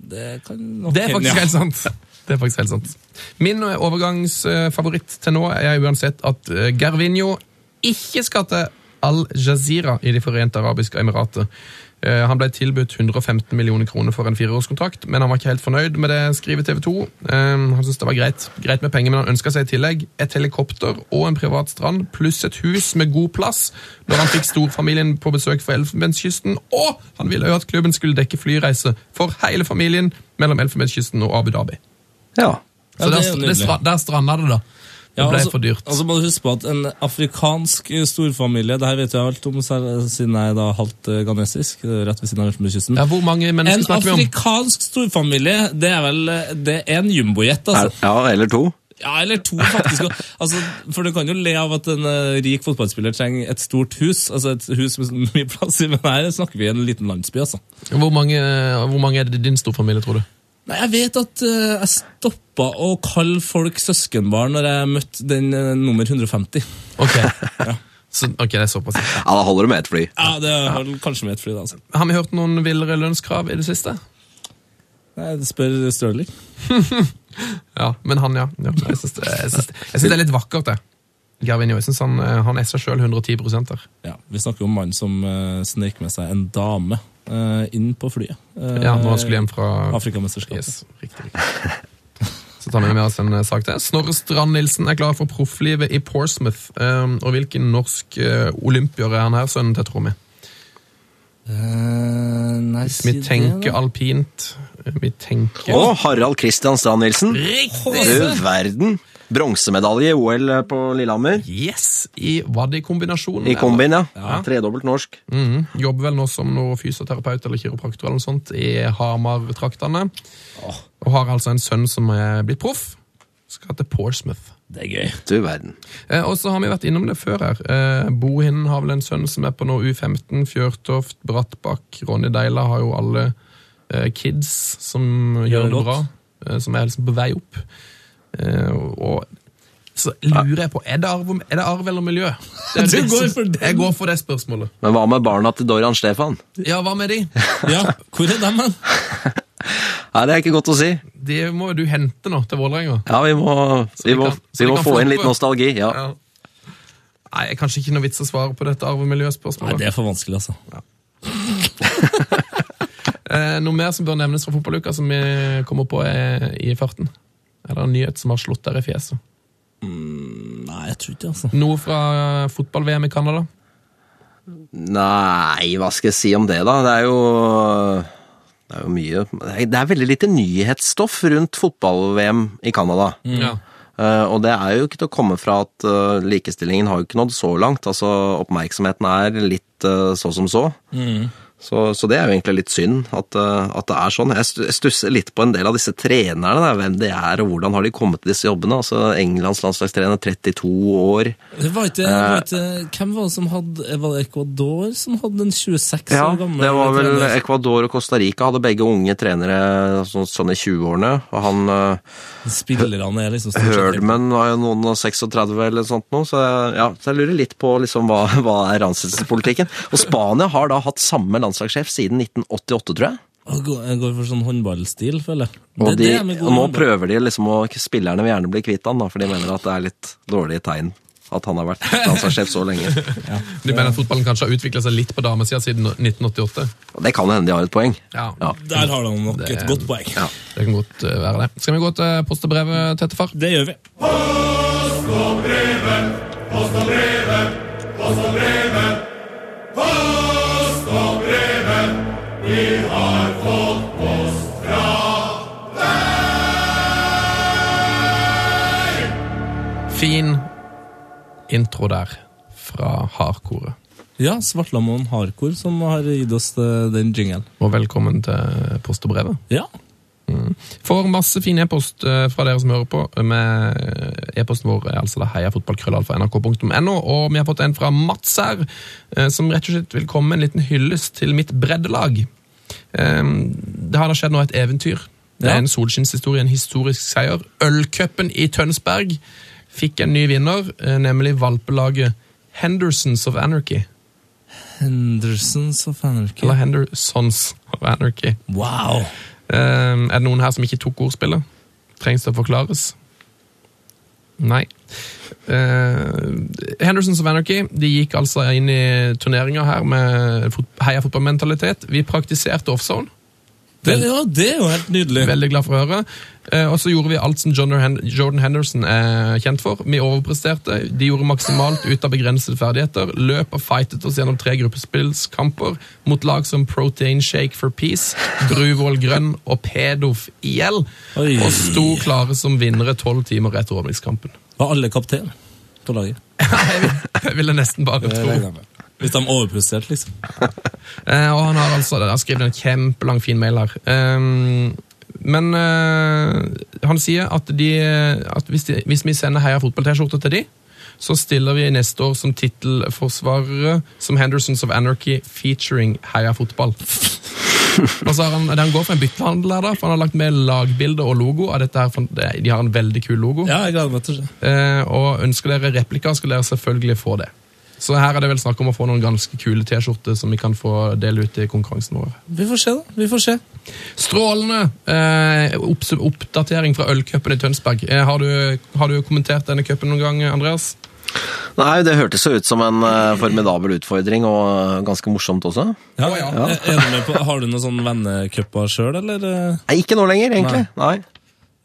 Det, kan nok
Det er
hende,
faktisk
ja.
helt sant. Det er faktisk helt sant. Min eh, overgangsfavoritt eh, til nå er uansett at eh, Gervinho ikke skal til Al-Jazeera i De forente arabiske emirater. Eh, Han ble tilbudt 115 millioner kroner for en fireårskontrakt, men han var ikke helt fornøyd med det, skriver TV 2. Eh, Han syntes det var greit, greit med penger, men han ønska seg i tillegg et helikopter og en privat strand, pluss et hus med god plass, når han fikk storfamilien på besøk fra Elfenbenskysten, og han ville jo at klubben skulle dekke flyreise for hele familien mellom Elfenbenskysten og Abu Dhabi.
Ja.
Ja,
Så
det
der,
er
stra-
nydelig.
det stra- der stranda det, da. Det
Ja,
ble
altså-
for dyrt.
Og så må du huske på at en afrikansk eh, storfamilie Det her vet jeg alt om, selv- siden jeg er da halvt eh, ghanesisk. det er Rett ved siden av Elfenbenskysten.
ja, hvor mange mennesker
En
snakker vi om?
afrikansk storfamilie, det er vel eh, det er en jumbojet,
Er,
altså.
ja, eller to.
Ja, eller to, faktisk. Og- altså, for du kan jo le av at en eh, rik fotballspiller trenger et stort hus, altså et hus med så mye plass i, men her snakker vi i en liten landsby, altså.
Hvor mange, hvor mange er det i din storfamilie, tror du?
Nei, jeg vet at eh, jeg stoppa å kalle folk søskenbarn når jeg møtte den eh, nummer 150.
Ok, så, ok, det er såpass.
Ja, da holder det med ett fly.
Ja, det har kanskje med et fly, da. altså.
Har vi hørt noen villere lønnskrav i det siste?
Nei, det spør Stirling.
Ja, men han, ja. ja jeg syns det, jeg synes det, jeg synes det er litt vakkert, det. Gervinho. Jeg synes han, eh, han er seg sjøl 110 der.
Ja, Vi snakker om mannen som uh, snek med seg en dame eh, inn på flyet. Eh,
Ja, når han skulle hjem fra
Afrikamesterskapet.
Yes, riktig, riktig. Så tar vi med oss en eh, sak til. Snorre Strand Nilsen er klar for profflivet i Porsmouth. Um, og hvilken norsk eh, olympier er han her, sønnen til Tromi?
Eh, nei, si
Vi
det,
tenker
da.
alpint. eh, Vi tenker
Og Harald Christian Strand Nilsen.
Riktig!
Du verden! Bronsemedalje i OL på Lillehammer.
Yes! I, var det i kombinasjon?
I kombin, ja.
Ja.
Tredobbelt norsk.
Mhm. Jobber vel nå som noe fysioterapeut eller kiropraktor eller noe sånt i Hamar-traktene. Og har altså en sønn som er blitt proff. Skal til Porsmouth.
Det er gøy.
Du verden.
Eh, og så har vi vært innom det før her. Eh, Bohinen har vel en sønn som er på nå U15. Fjørtoft, Brattbakk, Ronny Deila har jo alle eh, kids som gjør
det
det
godt.
bra. Eh, som er liksom på vei opp. Eh, og så lurer jeg på, er det arv, om- er det arv eller miljø? Det er
Du
det som-
går for den.
Jeg går for det spørsmålet.
Men hva med barna til Dorian Stefan?
Ja, hva med de?
Ja, Hvor er dem hen?
Nei, det er ikke godt å si.
Det må jo du hente nå til Vålerenga.
Ja, vi må,
vi
vi må,
kan- så
vi
vi
må
kan
få
få
inn
opp-
litt nostalgi. Ja.
Ja. Nei, kanskje ikke noe vits å svare på dette arv- og miljøspørsmålet.
Nei, det er for vanskelig, altså.
Eh, noe mer som bør nevnes fra fotballuka som vi kommer på eh, i farten? Er det en nyhet som har slått dere i fjeset?
Nei, jeg tror ikke det, altså.
Noe fra eh, fotball-VM i Canada?
Nei, hva skal jeg si om det, da? Det er jo det er jo mye Nei, Det er veldig lite nyhetsstoff rundt fotball-VM i Canada.
Ja.
Eh, og det er jo ikke til å komme fra at eh, likestillingen har jo ikke nådd så langt. Altså, oppmerksomheten er litt eh, så som så. så. Så det er jo egentlig litt synd at, eh, at det er sånn. Jeg stu- jeg stusser litt på en del av disse trenerne, da, hvem de er og hvordan har de kommet til disse jobbene. Altså, Englands landslagstrener, 32 år.
Det var ikke, var ikke, hvem var det som hadde Var det Ecuador som hadde en 26
Ja,
år gammel
det var vel
trener?
Ecuador og Costa Rica hadde begge unge trenere sånn, sånn i 20-årene. Og han eh,
Spillerne er liksom stort sett-
Herdman var jo noen og 36 eller sånt nå, så jeg, ja, så jeg lurer litt på liksom hva, hva er ansettelsespolitikken. Og Spania har da hatt samme landslagssjef siden 1988, tror jeg.
Jeg går jeg går for sånn håndballstil, føler jeg.
Og,
Det er
de,
det med god
og nå
håndball.
prøver de liksom å Spillerne vil gjerne bli kvitt han, da, for de mener at det er litt dårlige tegn at han har vært landslagssjef så lenge.
Du mener at fotballen kanskje har utvikla seg litt på damesida siden 1988?
Og det kan jo hende de har et poeng.
Ja.
Ja.
Der har han nok et godt poeng.
Det kan godt eh, være det. Skal vi gå til post og brev, eh, Tete Far?
Det gjør vi.
Fin intro der fra hardkoret.
Ja, Svartlamoen Hardcore som har gitt oss eh, den jingelen.
Og velkommen til post og brevet.
Ja.
Får masse fin e-post eh, fra dere som hører på. Med e-posten vår er altså det heiafotballkrøllalfa.nrk.no. Og vi har fått en fra Mats her, eh, som rett og slett vil komme med en liten hyllest til mitt breddelag. Eh, Det har da skjedd nå et eventyr. Det
Ja.
er en solskinnshistorie, en historisk seier. Ølcupen i Tønsberg fikk en ny vinner, eh, nemlig valpelaget Hendersons of Anarchy.
Hendersons of Anarchy.
Eller Hendersons of Anarchy.
Wow!
Eh, er det noen her som ikke tok ordspillet? Trengs det å forklares? Nei. Eh, Hendersons of Anarchy de gikk altså inn i turneringa her med fot heia fotballmentalitet. Vi praktiserte offzone.
Det, ja, det er jo helt nydelig.
Veldig glad for å høre. Eh, og så gjorde vi alt som John Hen Jordan Henderson er kjent for. Vi overpresterte. De gjorde maksimalt ut av begrensede ferdigheter. Løp og fightet oss gjennom tre gruppespillskamper mot lag som Protein Shake for Peace, Druvål Grønn og Pedof IL.
Oi.
Og sto klare som vinnere tolv timer etter åpningskampen.
Var alle kaptein på laget?
Jeg vil- jeg ville nesten bare tro.
Hvis de overpresterte, liksom.
Eh, og han har altså han har skrevet en kjempelang, fin mail her. Ehm, men eh, han sier at, de, at hvis, de, hvis vi sender Heia fotball-T-skjorte til de, så stiller vi neste år som tittelforsvarere som Hendersons of Anarchy featuring Heia fotball. Og så har han, han går for en byttehandel her, da, for han har lagt med lagbilde og logo. av dette her, for De har en veldig kul logo.
Ja, jeg gleder meg til å se.
Eh, og ønsker dere replikker, skal dere selvfølgelig få det. Så her er det vel snakk om å få noen ganske kule T-skjorter som vi kan få dele ut i konkurransen vår.
Vi får se, da. Vi får se.
Strålende eh, opps- oppdatering fra ølcupen i Tønsberg. Eh, har, du, har du kommentert denne cupen noen gang, Andreas?
Nei, det hørtes jo ut som en eh, formidabel utfordring, og eh, ganske morsomt også.
Ja, Er- Er du med på, har du noen sånne vennecuper sjøl, eller? eh?
Nei, ikke nå lenger, egentlig. Nei.
Det-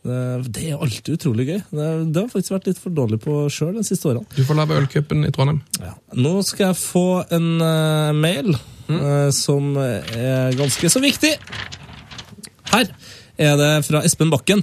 Eh, Det er alltid utrolig gøy. Det det har jeg faktisk vært litt for dårlig på sjøl de siste årene.
Du får lage ølcupen i Trondheim.
Nå skal jeg få en eh, mail
Mm.
eh, som er ganske så viktig. Her er det fra Espen Bakken.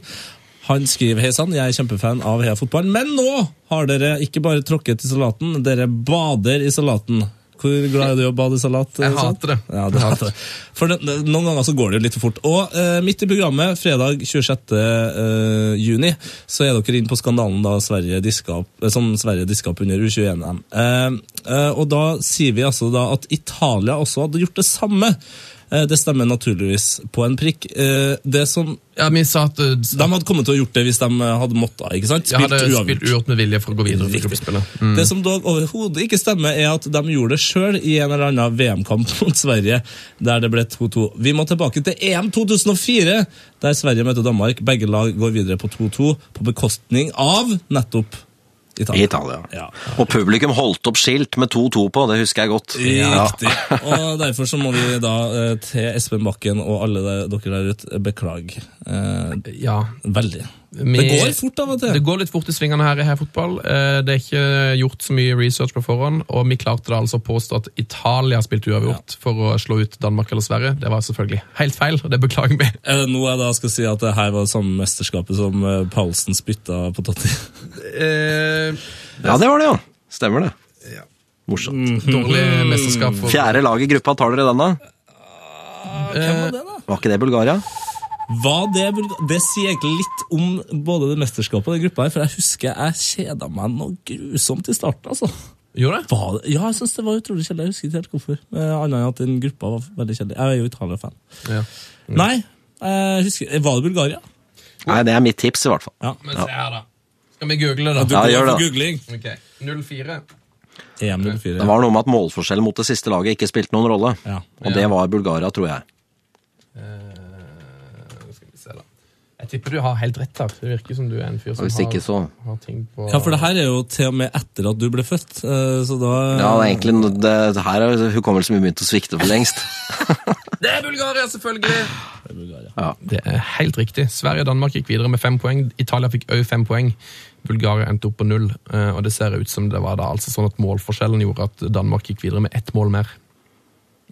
Han skriver Hei sann, jeg er kjempefan av Heia fotball, men nå har dere ikke bare tråkket i salaten, dere bader i salaten. Hvor glad er du i å bade i salat? eh,
Jeg
sant?
hater det.
Ja, du
Jeg
hater det. For det, det, Noen ganger så går det jo litt for fort. Og eh, midt i programmet, fredag 26. eh, juni, så er dere inne på skandalen da Sverige diska opp, eh, som Sverige diska opp under U21-M. Eh, eh, og da sier vi altså da at Italia også hadde gjort det samme. Eh, det stemmer naturligvis på en prikk. Eh, det som
Ja, vi sa at eh,
de hadde kommet til å gjort det hvis de eh, hadde måttet, ikke sant?
jeg hadde spilt uavgjort med vilje for å gå videre. i
Riktig.
gruppespillet.
Det som dog overhodet ikke stemmer, er at de gjorde det sjøl i en eller annen VM-kamp mot Sverige, der det ble 2-2. Vi må tilbake til EM 2004, der Sverige møter Danmark. Begge lag går videre på 2-2 på bekostning av nettopp
I
Italia.
Italia.
Ja.
Og publikum holdt opp skilt med 2-2 på, det husker jeg godt.
Riktig. Og derfor så må vi da eh, til Espen Bakken og alle der, dere der ute beklage eh,
Ja.
veldig.
Vi-
Det går fort av og til.
Det går litt fort i svingene her i her fotball. Eh, Det er ikke gjort så mye research på forhånd, og vi klarte da altså å påstå at Italia spilte uavgjort for å slå ut Danmark eller Sverige. Det var selvfølgelig helt feil, og det beklager vi.
Er det Eh, nå jeg da skal si at det her var det samme mesterskapet som eh, Paulsen spytta på Totti?
Eh,
Ja, det var det, ja. Stemmer det. Morsomt.
Dårlig mesterskap. For,
Fjerde lag i gruppa, tar dere den da? Var ikke det Bulgaria?
Hva det, Bulga- det sier egentlig litt om både det mesterskapet og den gruppa her, for jeg husker jeg kjeda meg noe grusomt i starten, altså.
gjorde det?
Var det? Ja, jeg syns det var utrolig kjedelig. Jeg husker ikke helt hvorfor. Eh, Annet enn at den gruppa var veldig kjedelig. Jeg er jo Italia-fan.
Ja.
Nei, jeg husker, eh, var det Bulgaria?
Nei, det er mitt tips, i hvert fall.
Ja.
Men se her, da. Skal vi google det,
Du
Ja,
da?
går
gjør
for
det.
Googling.
Ok, 04.
EM
Det
04. ja.
var noe med at målforskjellen mot det siste laget ikke spilte noen rolle.
Ja.
Og det var Bulgaria, tror jeg.
Eh, skal vi se, da. Jeg tipper du har helt rett her. Det virker som du er en fyr som
Og hvis ikke,
har,
så
har ting på
Ja, for det her er jo til og med etter at du ble født, eh, så da
Ja, det er egentlig det, det her er hukommelsen min begynt å svikte for lengst.
Det er Bulgaria, selvfølgelig!
Ja.
Det er helt riktig. Sverige og Danmark gikk videre med fem poeng. Italia fikk òg fem poeng. Bulgaria endte opp på null. eh, Og det ser ut som det var da altså sånn at målforskjellen gjorde at Danmark gikk videre med ett mål mer.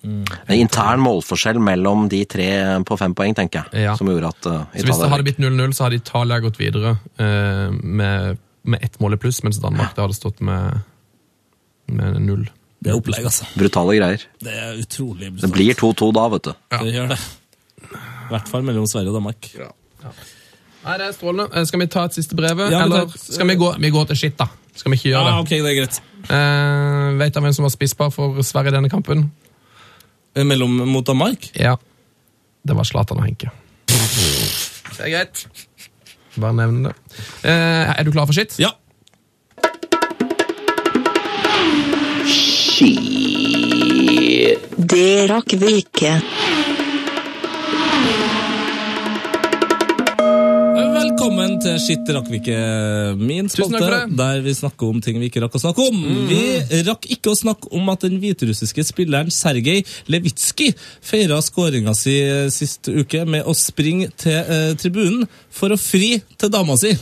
En intern målforskjell mellom de tre på fem poeng, tenker jeg.
Ja.
Som gjorde at eh,
Så hvis det
Italia
hadde blitt 0-0, så hadde Italia gått videre eh, med, med ett mål i pluss, mens Danmark da hadde stått med, med null.
Det er opplegg, altså.
Brutale greier.
Det er utrolig
Det
brutalt.
blir 2-2 da, vet du.
Det gjør det. I hvert fall mellom Sverige og Danmark.
Nei, det er strålende. Eh, Skal vi ta et siste brev,
Ja, vi tar
eller
et- eh,
skal vi gå, vi går til shit, da? Skal vi ikke gjøre
Ja,
det?
Ah, ok, det er greit.
Eh, vet du hvem som var spisspar for Sverige i denne kampen?
Eh, Mellom mot Danmark?
Ja. Det var Zlatan og Henke. Det er greit. Bare nevn det. Eh, er du klar for skitt?
Ja.
Det rakk vi ikke.
Velkommen til Shit rakk vi ikke min
Tusen takk for
spalte,
det. Mhm.
der vi snakker om ting vi ikke rakk å snakke om. Vi rakk ikke å snakke om at den hviterussiske spilleren Sergej Levitskij feira skåringa si eh, sist uke med å springe til eh, tribunen for å fri til dama si.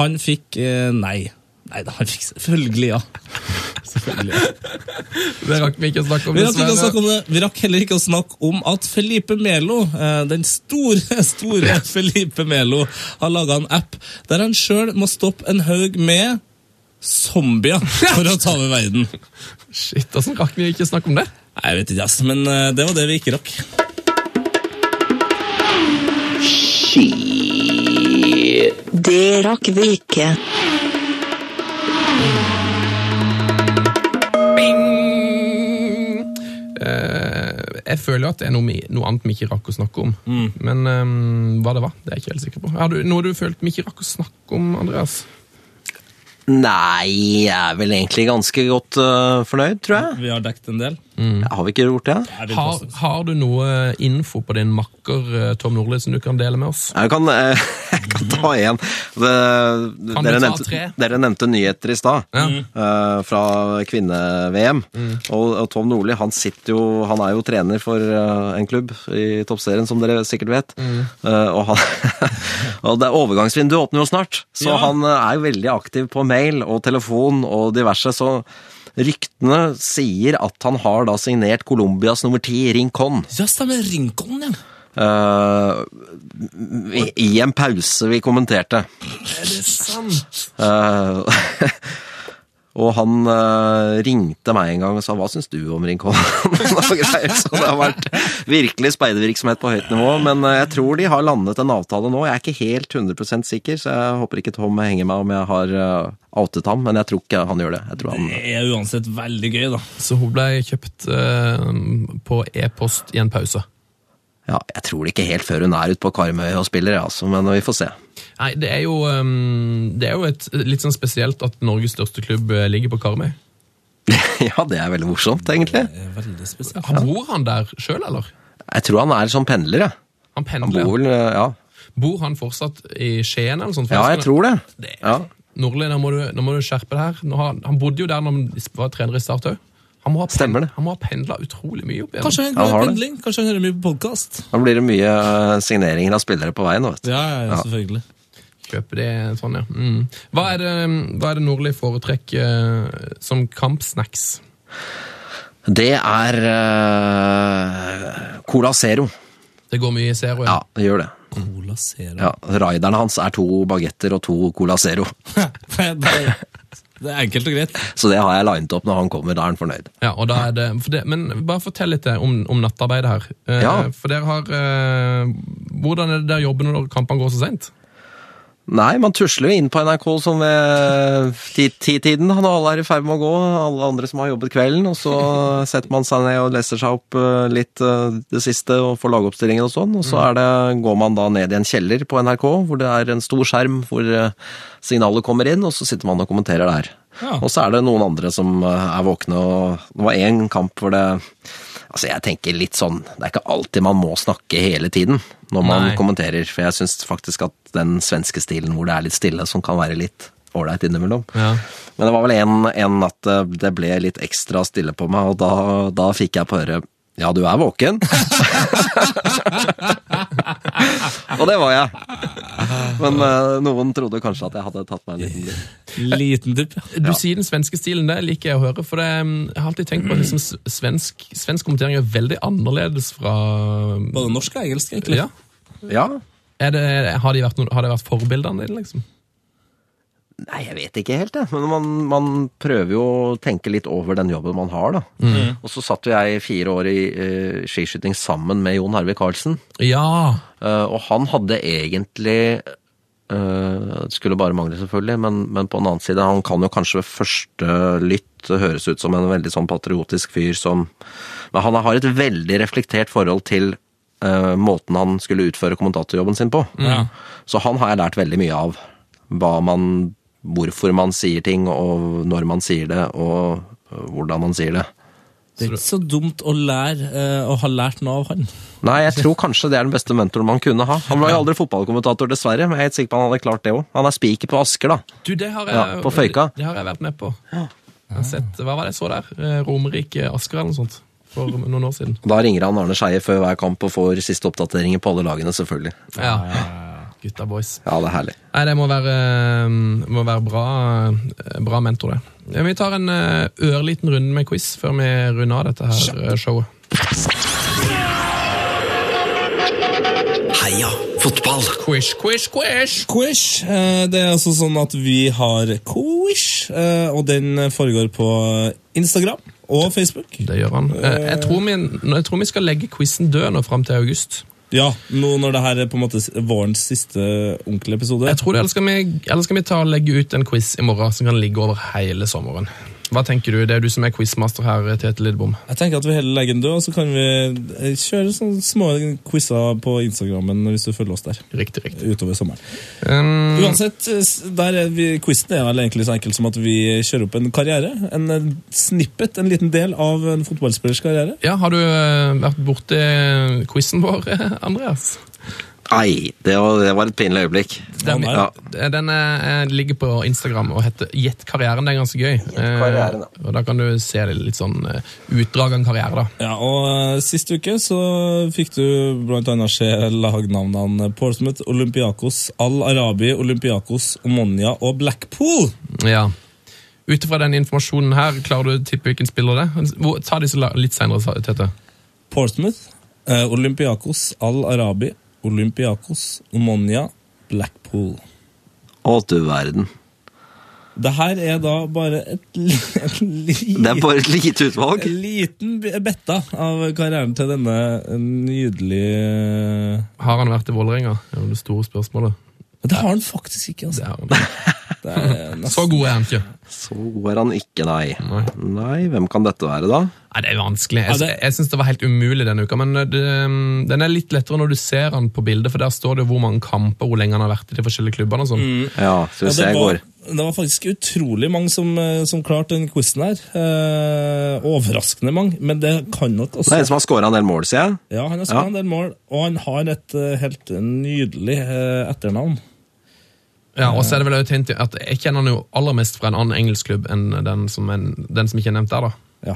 Han fikk eh, nei. Nei da, han fikk selvfølgelig ja. Selvfølgelig ja.
Det rakk vi ikke å snakke om.
Vi rakk, ikke å
dessverre.
snakke om det. vi rakk heller ikke å snakke om at Felipe Melo, eh, den store, store Felipe Melo, har laga en app der han sjøl må stoppe en haug med zombier for å ta over verden.
Shit, åssen rakk vi ikke å snakke om det?
Nei, Jeg vet ikke, ass, men eh, det var det vi ikke rakk.
Det rakk vi ikke.
Eh, jeg føler jo at det er noe, vi, noe annet vi ikke rakk å snakke om.
Mm.
Men eh, hva det var, det er jeg ikke helt sikker på. Har du, noe du følte vi ikke rakk å snakke om, Andreas?
Nei, jeg er vel egentlig ganske godt eh, fornøyd, tror jeg.
Vi har dekket en del.
Har vi ikke gjort det?
Jeg vil
Har,
påstå.
har du noe eh, info på din makker eh, Tom Nordli som du kan dele med oss?
Jeg kan, eh, jeg kan ta én.
Mhm. Kan
Dere,
du ta
nevnte-
tre?
dere nevnte nyheter i stad, eh, fra kvinne-VM. Og, og Tom Nordli han sitter jo Han er jo trener for eh, en klubb i toppserien, som dere sikkert vet. Eh, og han, og det overgangsvinduet åpner jo snart, så
Ja.
han eh, er jo veldig aktiv på mail og telefon og diverse. så Ryktene sier at han har da signert Colombias nummer ti, Rincon.
Ja, stemmer. Rincon, ja.
Eh, i, I en pause vi kommenterte. Eh, og han eh, ringte meg en gang og sa 'hva syns du om Rincon?' Og greier, så det har vært virkelig speidervirksomhet på høyt nivå. Men eh, jeg tror de har landet en avtale nå. Jeg er ikke helt 100 sikker, så jeg håper ikke Tom henger meg om jeg har eh, outet ham. Men jeg tror ikke han gjør det. Jeg tror han
Det er uansett veldig gøy, da.
Så hun ble kjøpt eh, på e-post i en pause.
Ja, jeg tror det ikke helt før hun er ute på Karmøy og spiller, jeg, altså, men vi får se.
Nei, det er jo, eh, det er jo et, litt sånn spesielt at Norges største klubb eh, ligger på Karmøy.
ja, det er veldig morsomt, egentlig.
Det er veldig spesielt.
Han Bor han der sjøl, eller?
Jeg tror han er sånn pendler, jeg.
Han
Han
pendler.
bor
Bor.
vel, eh, ja.
han fortsatt i Skien eller sånt?
ja, jeg tror det.
Det-
Ja.
Nordli, nå må du, nå må du skjerpe det her. Nå har, han bodde jo der når han var trener i Start òg. Han må ha pen-
Stemmer det.
Han må ha pendla utrolig mye opp igjen.
Kanskje han
Han
går
har
i
det.
pendling? Kanskje han hører mye på podkast?
Da blir det mye eh, signeringer av spillere på veien. Vet du.
Ja, ja, ja, selvfølgelig.
Kjøpe det sånn, ja. Mm. Hva er det, hva er det Nordli foretrekker eh, som kampsnacks?
Det er eh, Cola Zero.
Det går mye i Zero,
Ja, det gjør det.
Cola Zero.
Ja, Raiderne hans er to bagetter og to Cola Zero.
det, er, det er enkelt og greit.
Så det har jeg linet opp når han kommer. Da er han fornøyd.
Ja, og da er det, for det Men bare fortell litt eh, om, om nattarbeidet her. Eh,
Ja.
For dere har eh, Hvordan er det der jobben når kampene går så seint?
Nei, man tusler jo inn på NRK sånn ved ti- ti-tiden. Han og alle er i ferd med å gå, alle andre som har jobbet kvelden. Og så setter man seg ned og leser seg opp eh, litt eh, det siste og får lagoppstillingen og sånn. Og så er det, går man da ned i en kjeller på NRK, hvor det er en stor skjerm hvor eh, signalet kommer inn, og så sitter man og kommenterer der.
Ja.
Og så er det noen andre som eh, er våkne, og det var én kamp hvor det Altså, jeg tenker litt sånn Det er ikke alltid man må snakke hele tiden når man
Nei.
kommenterer, for jeg syns faktisk at den svenske stilen hvor det er litt stille, som kan være litt ålreit innimellom.
Ja.
Men det var vel en, en natt det- det ble litt ekstra stille på meg, og da, da fikk jeg på høre ja, du er våken. og det var jeg. Men eh, noen trodde kanskje at jeg hadde tatt meg en liten lur.
Liten dupp, ja.
Du sier den svenske stilen, det liker jeg å høre. For det, mm, jeg har alltid tenkt på at liksom, s- svensk, svensk kommentering er veldig annerledes fra
Både norsk og engelsk, egentlig.
ja.
Ja.
er det, har, de vært, noen- har det vært forbildene dine, liksom?
Nei, jeg vet ikke helt, jeg. Men man, man prøver jo å tenke litt over den jobben man har, da. Og så satt jo jeg fire år i eh, skiskyting sammen med Jon Arve Karlsen.
Ja!
Eh, og han hadde egentlig eh, det skulle bare mangle, selvfølgelig, men, men på den annen side, han kan jo kanskje ved første lytt høres ut som en veldig sånn patriotisk fyr som Men han har et veldig reflektert forhold til eh, måten han skulle utføre kommentatorjobben sin på. Så han har jeg lært veldig mye av. Hva man Hvorfor man sier ting, og når man sier det, og eh, hvordan man sier det.
Det er ikke så dumt å lære eh, å ha lært noe av han.
Nei, jeg tror kanskje det er den beste mentoren man kunne ha. Han var jo aldri fotballkommentator, dessverre, men jeg er helt sikker på han hadde klart det òg. Han er spiker på Asker, da.
Du, det har jeg,
Ja, på Føyka.
Det, det har jeg vært med på. Jeg har sett, hva var det jeg så der? Eh, Romerike Asker eller noe sånt? For noen år siden.
Da ringer han Arne Skeie før hver kamp og får siste oppdateringer på alle lagene, selvfølgelig.
Ja. Gutta boys.
Ja, det er herlig.
Nei, det må være, eh, må være bra, eh, bra mentor, det. Vi tar en eh, ørliten runde med quiz før vi runder av dette her eh, showet.
Heia fotball!
Quiz, quiz, quiz!
Quish. eh, Det er altså sånn at vi har Quish, eh, og den foregår på Instagram og Facebook.
Det gjør han. Eh, Jeg tror vi, jeg tror vi skal legge quizen død nå fram til august.
Ja, nå når det her er på en måte s- vårens siste ordentlige episode.
Jeg tror det, Eller skal vi, eller skal vi ta og legge ut en quiz i morgen som kan ligge over hele sommeren? Hva tenker du? Det er du som er quizmaster her, Tete Lidbom.
Jeg tenker at vi heller legger den død, og så kan vi eh, kjøre sånne små quizer på Instagrammen hvis du følger oss der.
Riktig, riktig.
Utover sommeren.
Um,
Uansett, eh, s- der er vi, quizen er vel egentlig så enkel som at vi kjører opp en karriere. En eh, snippet, en liten del av en fotballspillers karriere.
ja, har du eh, vært borti quizen vår, eh, Andreas?
Nei, det var, det var et pinlig øyeblikk.
Den,
nei.
ja. den eh, ligger på Instagram og heter Gjett karrieren. Det er ganske gøy.
karrieren,
Eh, og Da kan du se det litt sånn eh, utdrag av en karriere. da.
Ja, og eh, Sist uke så fikk du blant annet se lagnavnene Portsmouth, Olympiakos, Al Arabi, Olympiakos, Omonia og Blackpool.
Ja. Ut ifra den informasjonen her, klarer du å tippe hvilken spiller det er? Hvor- Ta disse la- litt seinere, Tete.
Portsmouth, eh, Olympiakos, Al Arabi, Olympiakos, Omonia, Blackpool.
Å, du verden.
Det her er da bare et, li- et li-
Det er bare et lite utvalg.
en liten bi- betta av karrieren til denne nydelige
Har han vært i Vålerenga? Det er jo det store spørsmålet.
Men det har han faktisk ikke, altså.
Det har han.
Det er nesten.
Så god er han ikke.
Så er han ikke, nei. Nei, hvem kan dette være, da?
Nei, Det er vanskelig. Jeg,
Ja, det-
jeg syns det var helt umulig denne uka. Men eh, det, mm, den er litt lettere når du ser han på bildet, for der står det jo hvor mange kamper hvor lenge han har vært i de forskjellige klubbene. og sånn.
Ja, skal vi
Ja,
se,
det,
jeg går.
var, det var faktisk utrolig mange som, eh, som klarte den quizen her. Eh, overraskende mange, men det kan nok
Det er en
også
som har scora en del mål, sier jeg.
Ja, Han har skåret
Ja.
en del mål, og han har et eh, helt nydelig eh, etternavn.
Ja, og så er det vel også et hint i at Jeg kjenner han jo aller mest fra en annen engelsk klubb enn den som, en, den som ikke er nevnt der. da.
Ja.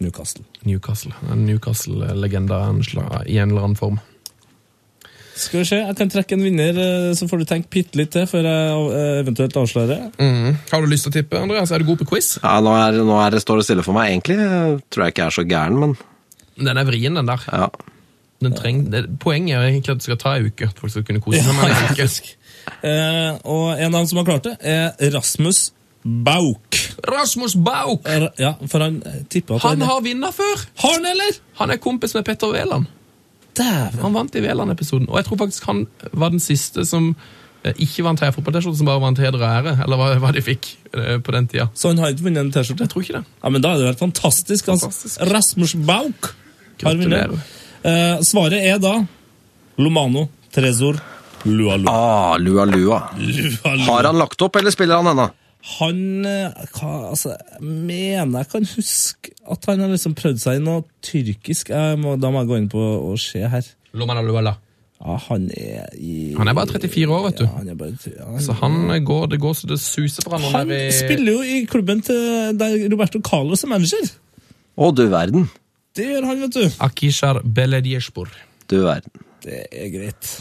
Newcastle.
Newcastle. En Newcastle-legende av en slag- i en eller annen form.
Skal vi se, jeg kan trekke en vinner, eh, så får du tenke bitte litt til før jeg eh, eventuelt avslører.
Mm. Har du lyst til å tippe, Andreas? Er du god på quiz?
Ja, nå, er, nå er det, står det stille for meg. Egentlig eh, tror jeg ikke jeg er så gæren, men
Den er vrien, den der.
ja.
Den treng, det, poenget er egentlig at det skal ta ei uke. at folk skal kunne kose seg med den i en uke.
Eh, og en av dem som har klart det, er Rasmus Bauk.
Rasmus Bauk!
Er, ja, for han eh, tipper at
Han har vunnet før!
Har han, eller?!
Han er kompis med Petter Wæland.
Dæven!
Han vant i Wæland-episoden. Og jeg tror faktisk han var den siste som eh, ikke vant her fotball-T-skjorte, som bare vant heder og ære, eller hva, hva de fikk eh, på den tida.
Så han har ikke vunnet en T-skjorte?
Jeg tror ikke det.
Ja, men Da er det helt fantastisk. Altså.
Fantastisk.
Rasmus Bauk har vunnet.
Gratulerer.
Eh, svaret er da Lomano, Trezor, Lualu.
Ah, lua lua. Har han lagt opp, eller spiller han ennå?
Han eh, hva, altså, jeg mener jeg kan huske at han har liksom prøvd seg i noe tyrkisk. Jeg må, da må jeg gå inn på og se her.
Lomana Luella.
Ja, han er i
Han er bare 34 år, vet du.
Ja, han er bare, ja, han,
Så han eh, går, det går så det suser for han. når
han
det er i-
spiller jo i klubben til der Roberto Carlos er manager.
Å, du verden.
Det gjør han, vet du.
Akishar Beledjespor.
Du verden.
Det er greit.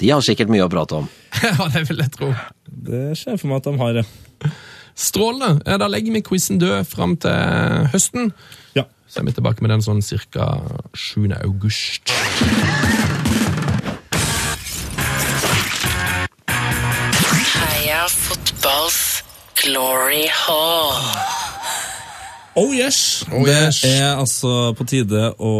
De har sikkert mye å prate om.
ja, det vil jeg tro.
Det ser jeg for meg at de har. ja.
Strålende. Eh, Da legger vi quizen død fram til høsten.
Ja.
Så er vi tilbake med den sånn ca. 7. august.
Heia fotballs glory hall.
Oh yes!
Oh, yes.
Det er altså på tide å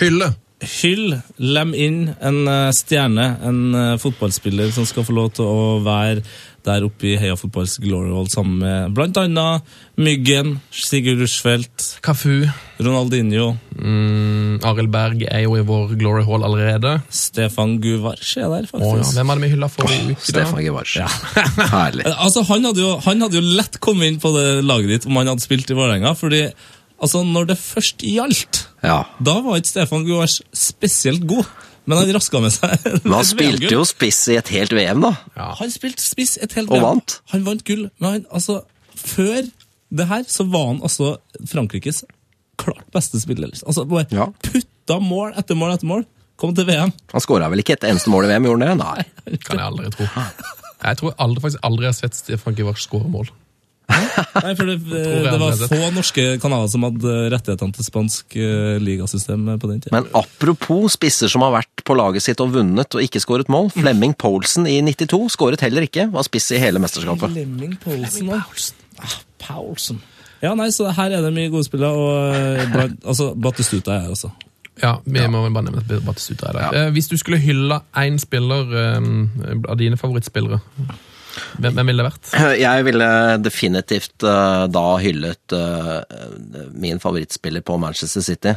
Hylle.
hylle, lem inn en eh, stjerne, en eh, fotballspiller som skal få lov til å være der oppe i Heia Fotballs Glory Hall sammen med blant annet Myggen, Sigurd Rushfeldt,
Kafu.
Ronaldinho,
Mm, Arild Berg er jo i vår Glory Hall allerede.
Stefan Guvarch er der,
Å, ja.
faktisk.
Hvem hadde vi hylla forrige uke? da?
Stefan Givarsen. Herlig.
Eh, Altså, han hadde, jo, han hadde jo lett kommet inn på det laget ditt om han hadde spilt i Vålerenga, fordi altså, når det først gjaldt
Ja.
Da var ikke Stefan Guars spesielt god, men han raska med seg.
Men han spilte jo spiss i et helt VM, da.
Ja.
Han spilte spiss et helt
Og
VM.
vant.
Han vant gull, men han, altså, før det her så var han altså Frankrikes klart beste spiller. Liksom. Altså, bare
Ja.
putta mål etter mål etter mål. Kom til VM.
Han skåra vel ikke et eneste mål i VM, gjorde han det? Nei.
Kan jeg aldri tro. Jeg tror aldri, faktisk aldri jeg har sett Stefan Givars skåre mål.
Nei, for det, eh,
jeg
det var
allerede.
få norske kanaler som hadde rettighetene til spansk eh, ligasystem på den tida.
Men apropos spisser som har vært på laget sitt og vunnet og ikke skåret mål. Flemming Poulsen i 92 skåret heller ikke, var spiss i hele mesterskapet.
Lemming Poulsen da. Ah, Poulsen. Ja, nei, så her er det mye gode spillere, og eh, blant, altså, Batistuta er jeg også.
Ja, vi må vel bare nevne at Batis Utre er der. Eh, Hvis du skulle hylle én spiller eh, av dine ehm, favorittspillere, Hvem, hvem ville det vært?
Jeg ville definitivt eh, da hyllet eh, min favorittspiller på Manchester City.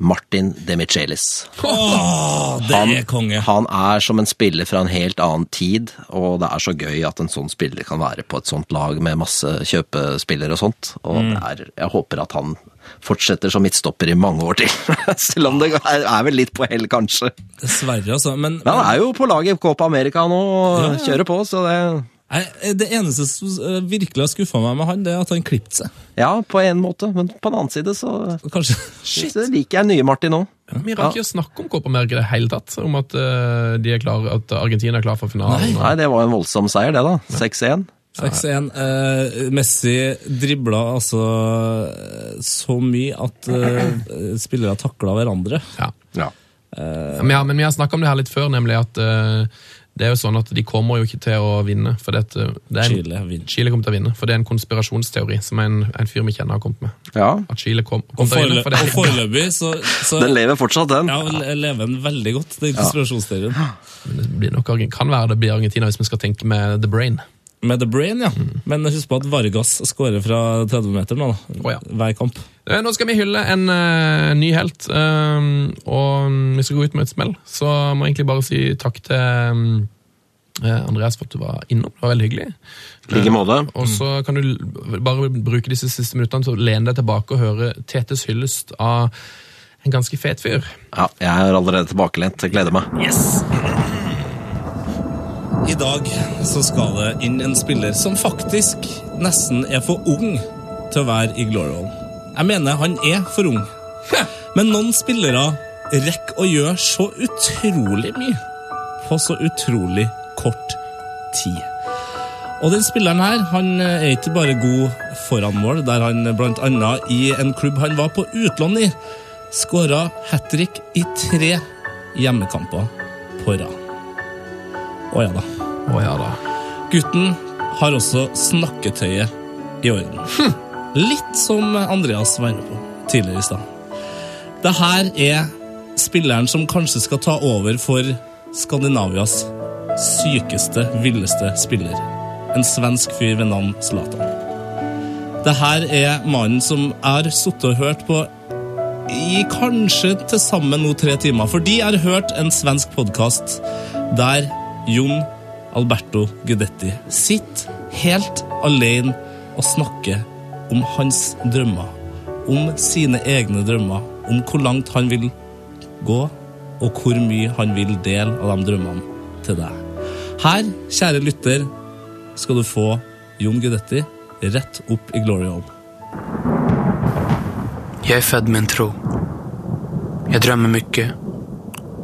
Martin Demichelis.
Åh, det er konge!
Han er som en spiller fra en helt annen tid, og det er så gøy at en sånn spiller kan være på et sånt lag med masse kjøpespillere og sånt. Og det er, jeg håper at han fortsetter som midtstopper i mange år til. Selv om det er, er vel litt på hell, kanskje.
Dessverre, altså. Men,
Men han er jo på laget i Copa America nå og kjører på, så det
Nei, det eneste som eh, virkelig har skuffa meg med han, det er at han klippet seg.
Ja, på en måte, men på den annen side så,
Kanskje.
så liker jeg nye Martin òg.
Vi rakk ikke å snakke om Copa America i det hele tatt. Om at, eh, de er klar, at Argentina er klar for finalen.
Nei, det var en voldsom seier, det, da. 6-1.
6-1. Eh, Messi dribla altså eh, så mye at eh, spillere takla hverandre.
Ja. Eh, Men, ja, men vi har snakka om det her litt før, nemlig at eh, det er jo sånn at de kommer jo ikke til å vinne. For det, at, eh, det er en,
Chile vinner.
Chile kommer til å vinne, for det er en konspirasjonsteori som en, en fyr vi kjenner har kommet med.
Ja.
At Chile kom,
Og
kom til å vinne,
forelø-
for det
og
er
foreløpig så, så
Den lever fortsatt, den.
ja, le- lever den veldig godt, den konspirasjonsserien.
det blir nok, Argen- kan være det blir Argentina, hvis vi skal tenke med the brain.
Med The Brain, ja.
Mm.
Men husk på at Vargas skårer fra 30 meter nå, da.
Å, ja.
hver kamp.
Eh, Nå skal vi hylle en eh, ny helt, eh, og mm, vi skal gå ut med et smell. Så må jeg egentlig bare si takk til mm, eh, Andreas for at du var innom. Det var veldig hyggelig.
I like måte.
Og så kan du l- bare bruke disse siste minuttene til å lene deg tilbake og høre Tetes hyllest av en ganske fet fyr.
Ja, jeg er allerede tilbakelent. Jeg gleder meg.
I dag så skal det inn en spiller som faktisk nesten er for ung til å være i Glorial. Jeg mener han er for ung. Men noen spillere rekker å gjøre så utrolig mye på så utrolig kort tid. Og den spilleren her, han er ikke bare god foran mål, der han blant annet i en klubb han var på utlån i, skåra hat trick i tre hjemmekamper på rad. Å ja da.
Å ja da.
Gutten har også snakketøyet i orden. Litt som Andreas var inne på tidligere i stad. Det her er spilleren som kanskje skal ta over for Skandinavias sykeste, villeste spiller. En svensk fyr ved navn Zlatan. Det her er mannen som jeg har sittet og hørt på i kanskje til sammen nå tre timer, fordi jeg har hørt en svensk podkast der Jon Alberto Gudetti sitter helt alene og snakker om hans drømmer, om sine egne drømmer, om hvor langt han vil gå, og hvor mye han vil dele av de drømmene til deg. Her, kjære lytter, skal du få Jon Gudetti rett opp i Glory Hall.
Jag är född med en tro. Jag drömmer mycket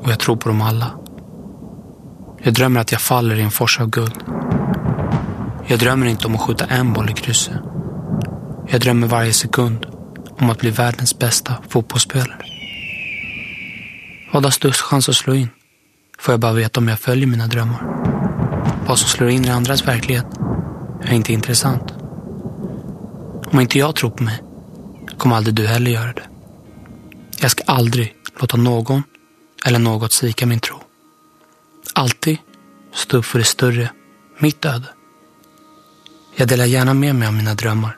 och jag tror på dem alla. Jag drömmer att jag faller i en fors av guld. Jag drömmer inte om att skjuta en boll i krysset. Jag drömmer varje sekund om att bli världens bästa fotbollsspelare. Vad har störst chans att slå in? Får jag bara veta om jag följer mina drömmar. Vad som slår in i andras verklighet är inte intressant. Om inte jag tror på mig kommer aldrig du heller göra det. Jag ska aldrig låta någon eller något svika min tro. Alltid stå upp för det större, mitt öde. Jag delar gärna med mig av mina drömmar.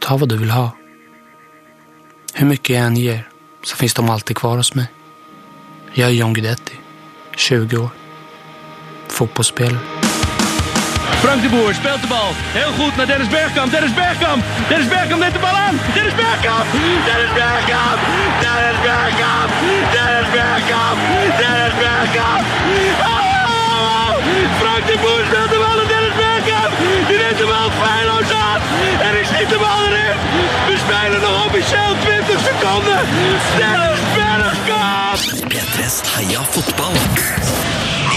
Ta vad du vill ha. Hur mycket jag än ger så finns de alltid kvar hos mig. Jag är John Guidetti, 20 år. Fotbollsspelare.
Frank de Boer speelt de bal. Heel goed naar Dennis Bergkamp. Dennis Bergkamp. Dennis Bergkamp neemt de bal aan. Dennis Bergkamp. Dennis Bergkamp. Dennis Bergkamp. Dennis Bergkamp. Dennis Bergkamp. Oh! Frank de Boer speelt de bal aan Dennis Bergkamp. Die neemt de bal feilloos aan. En ik schiet de bal erin. We spelen nog officieel 20 seconden. Dennis Bergkamp.
P3s Heia fotball. Ny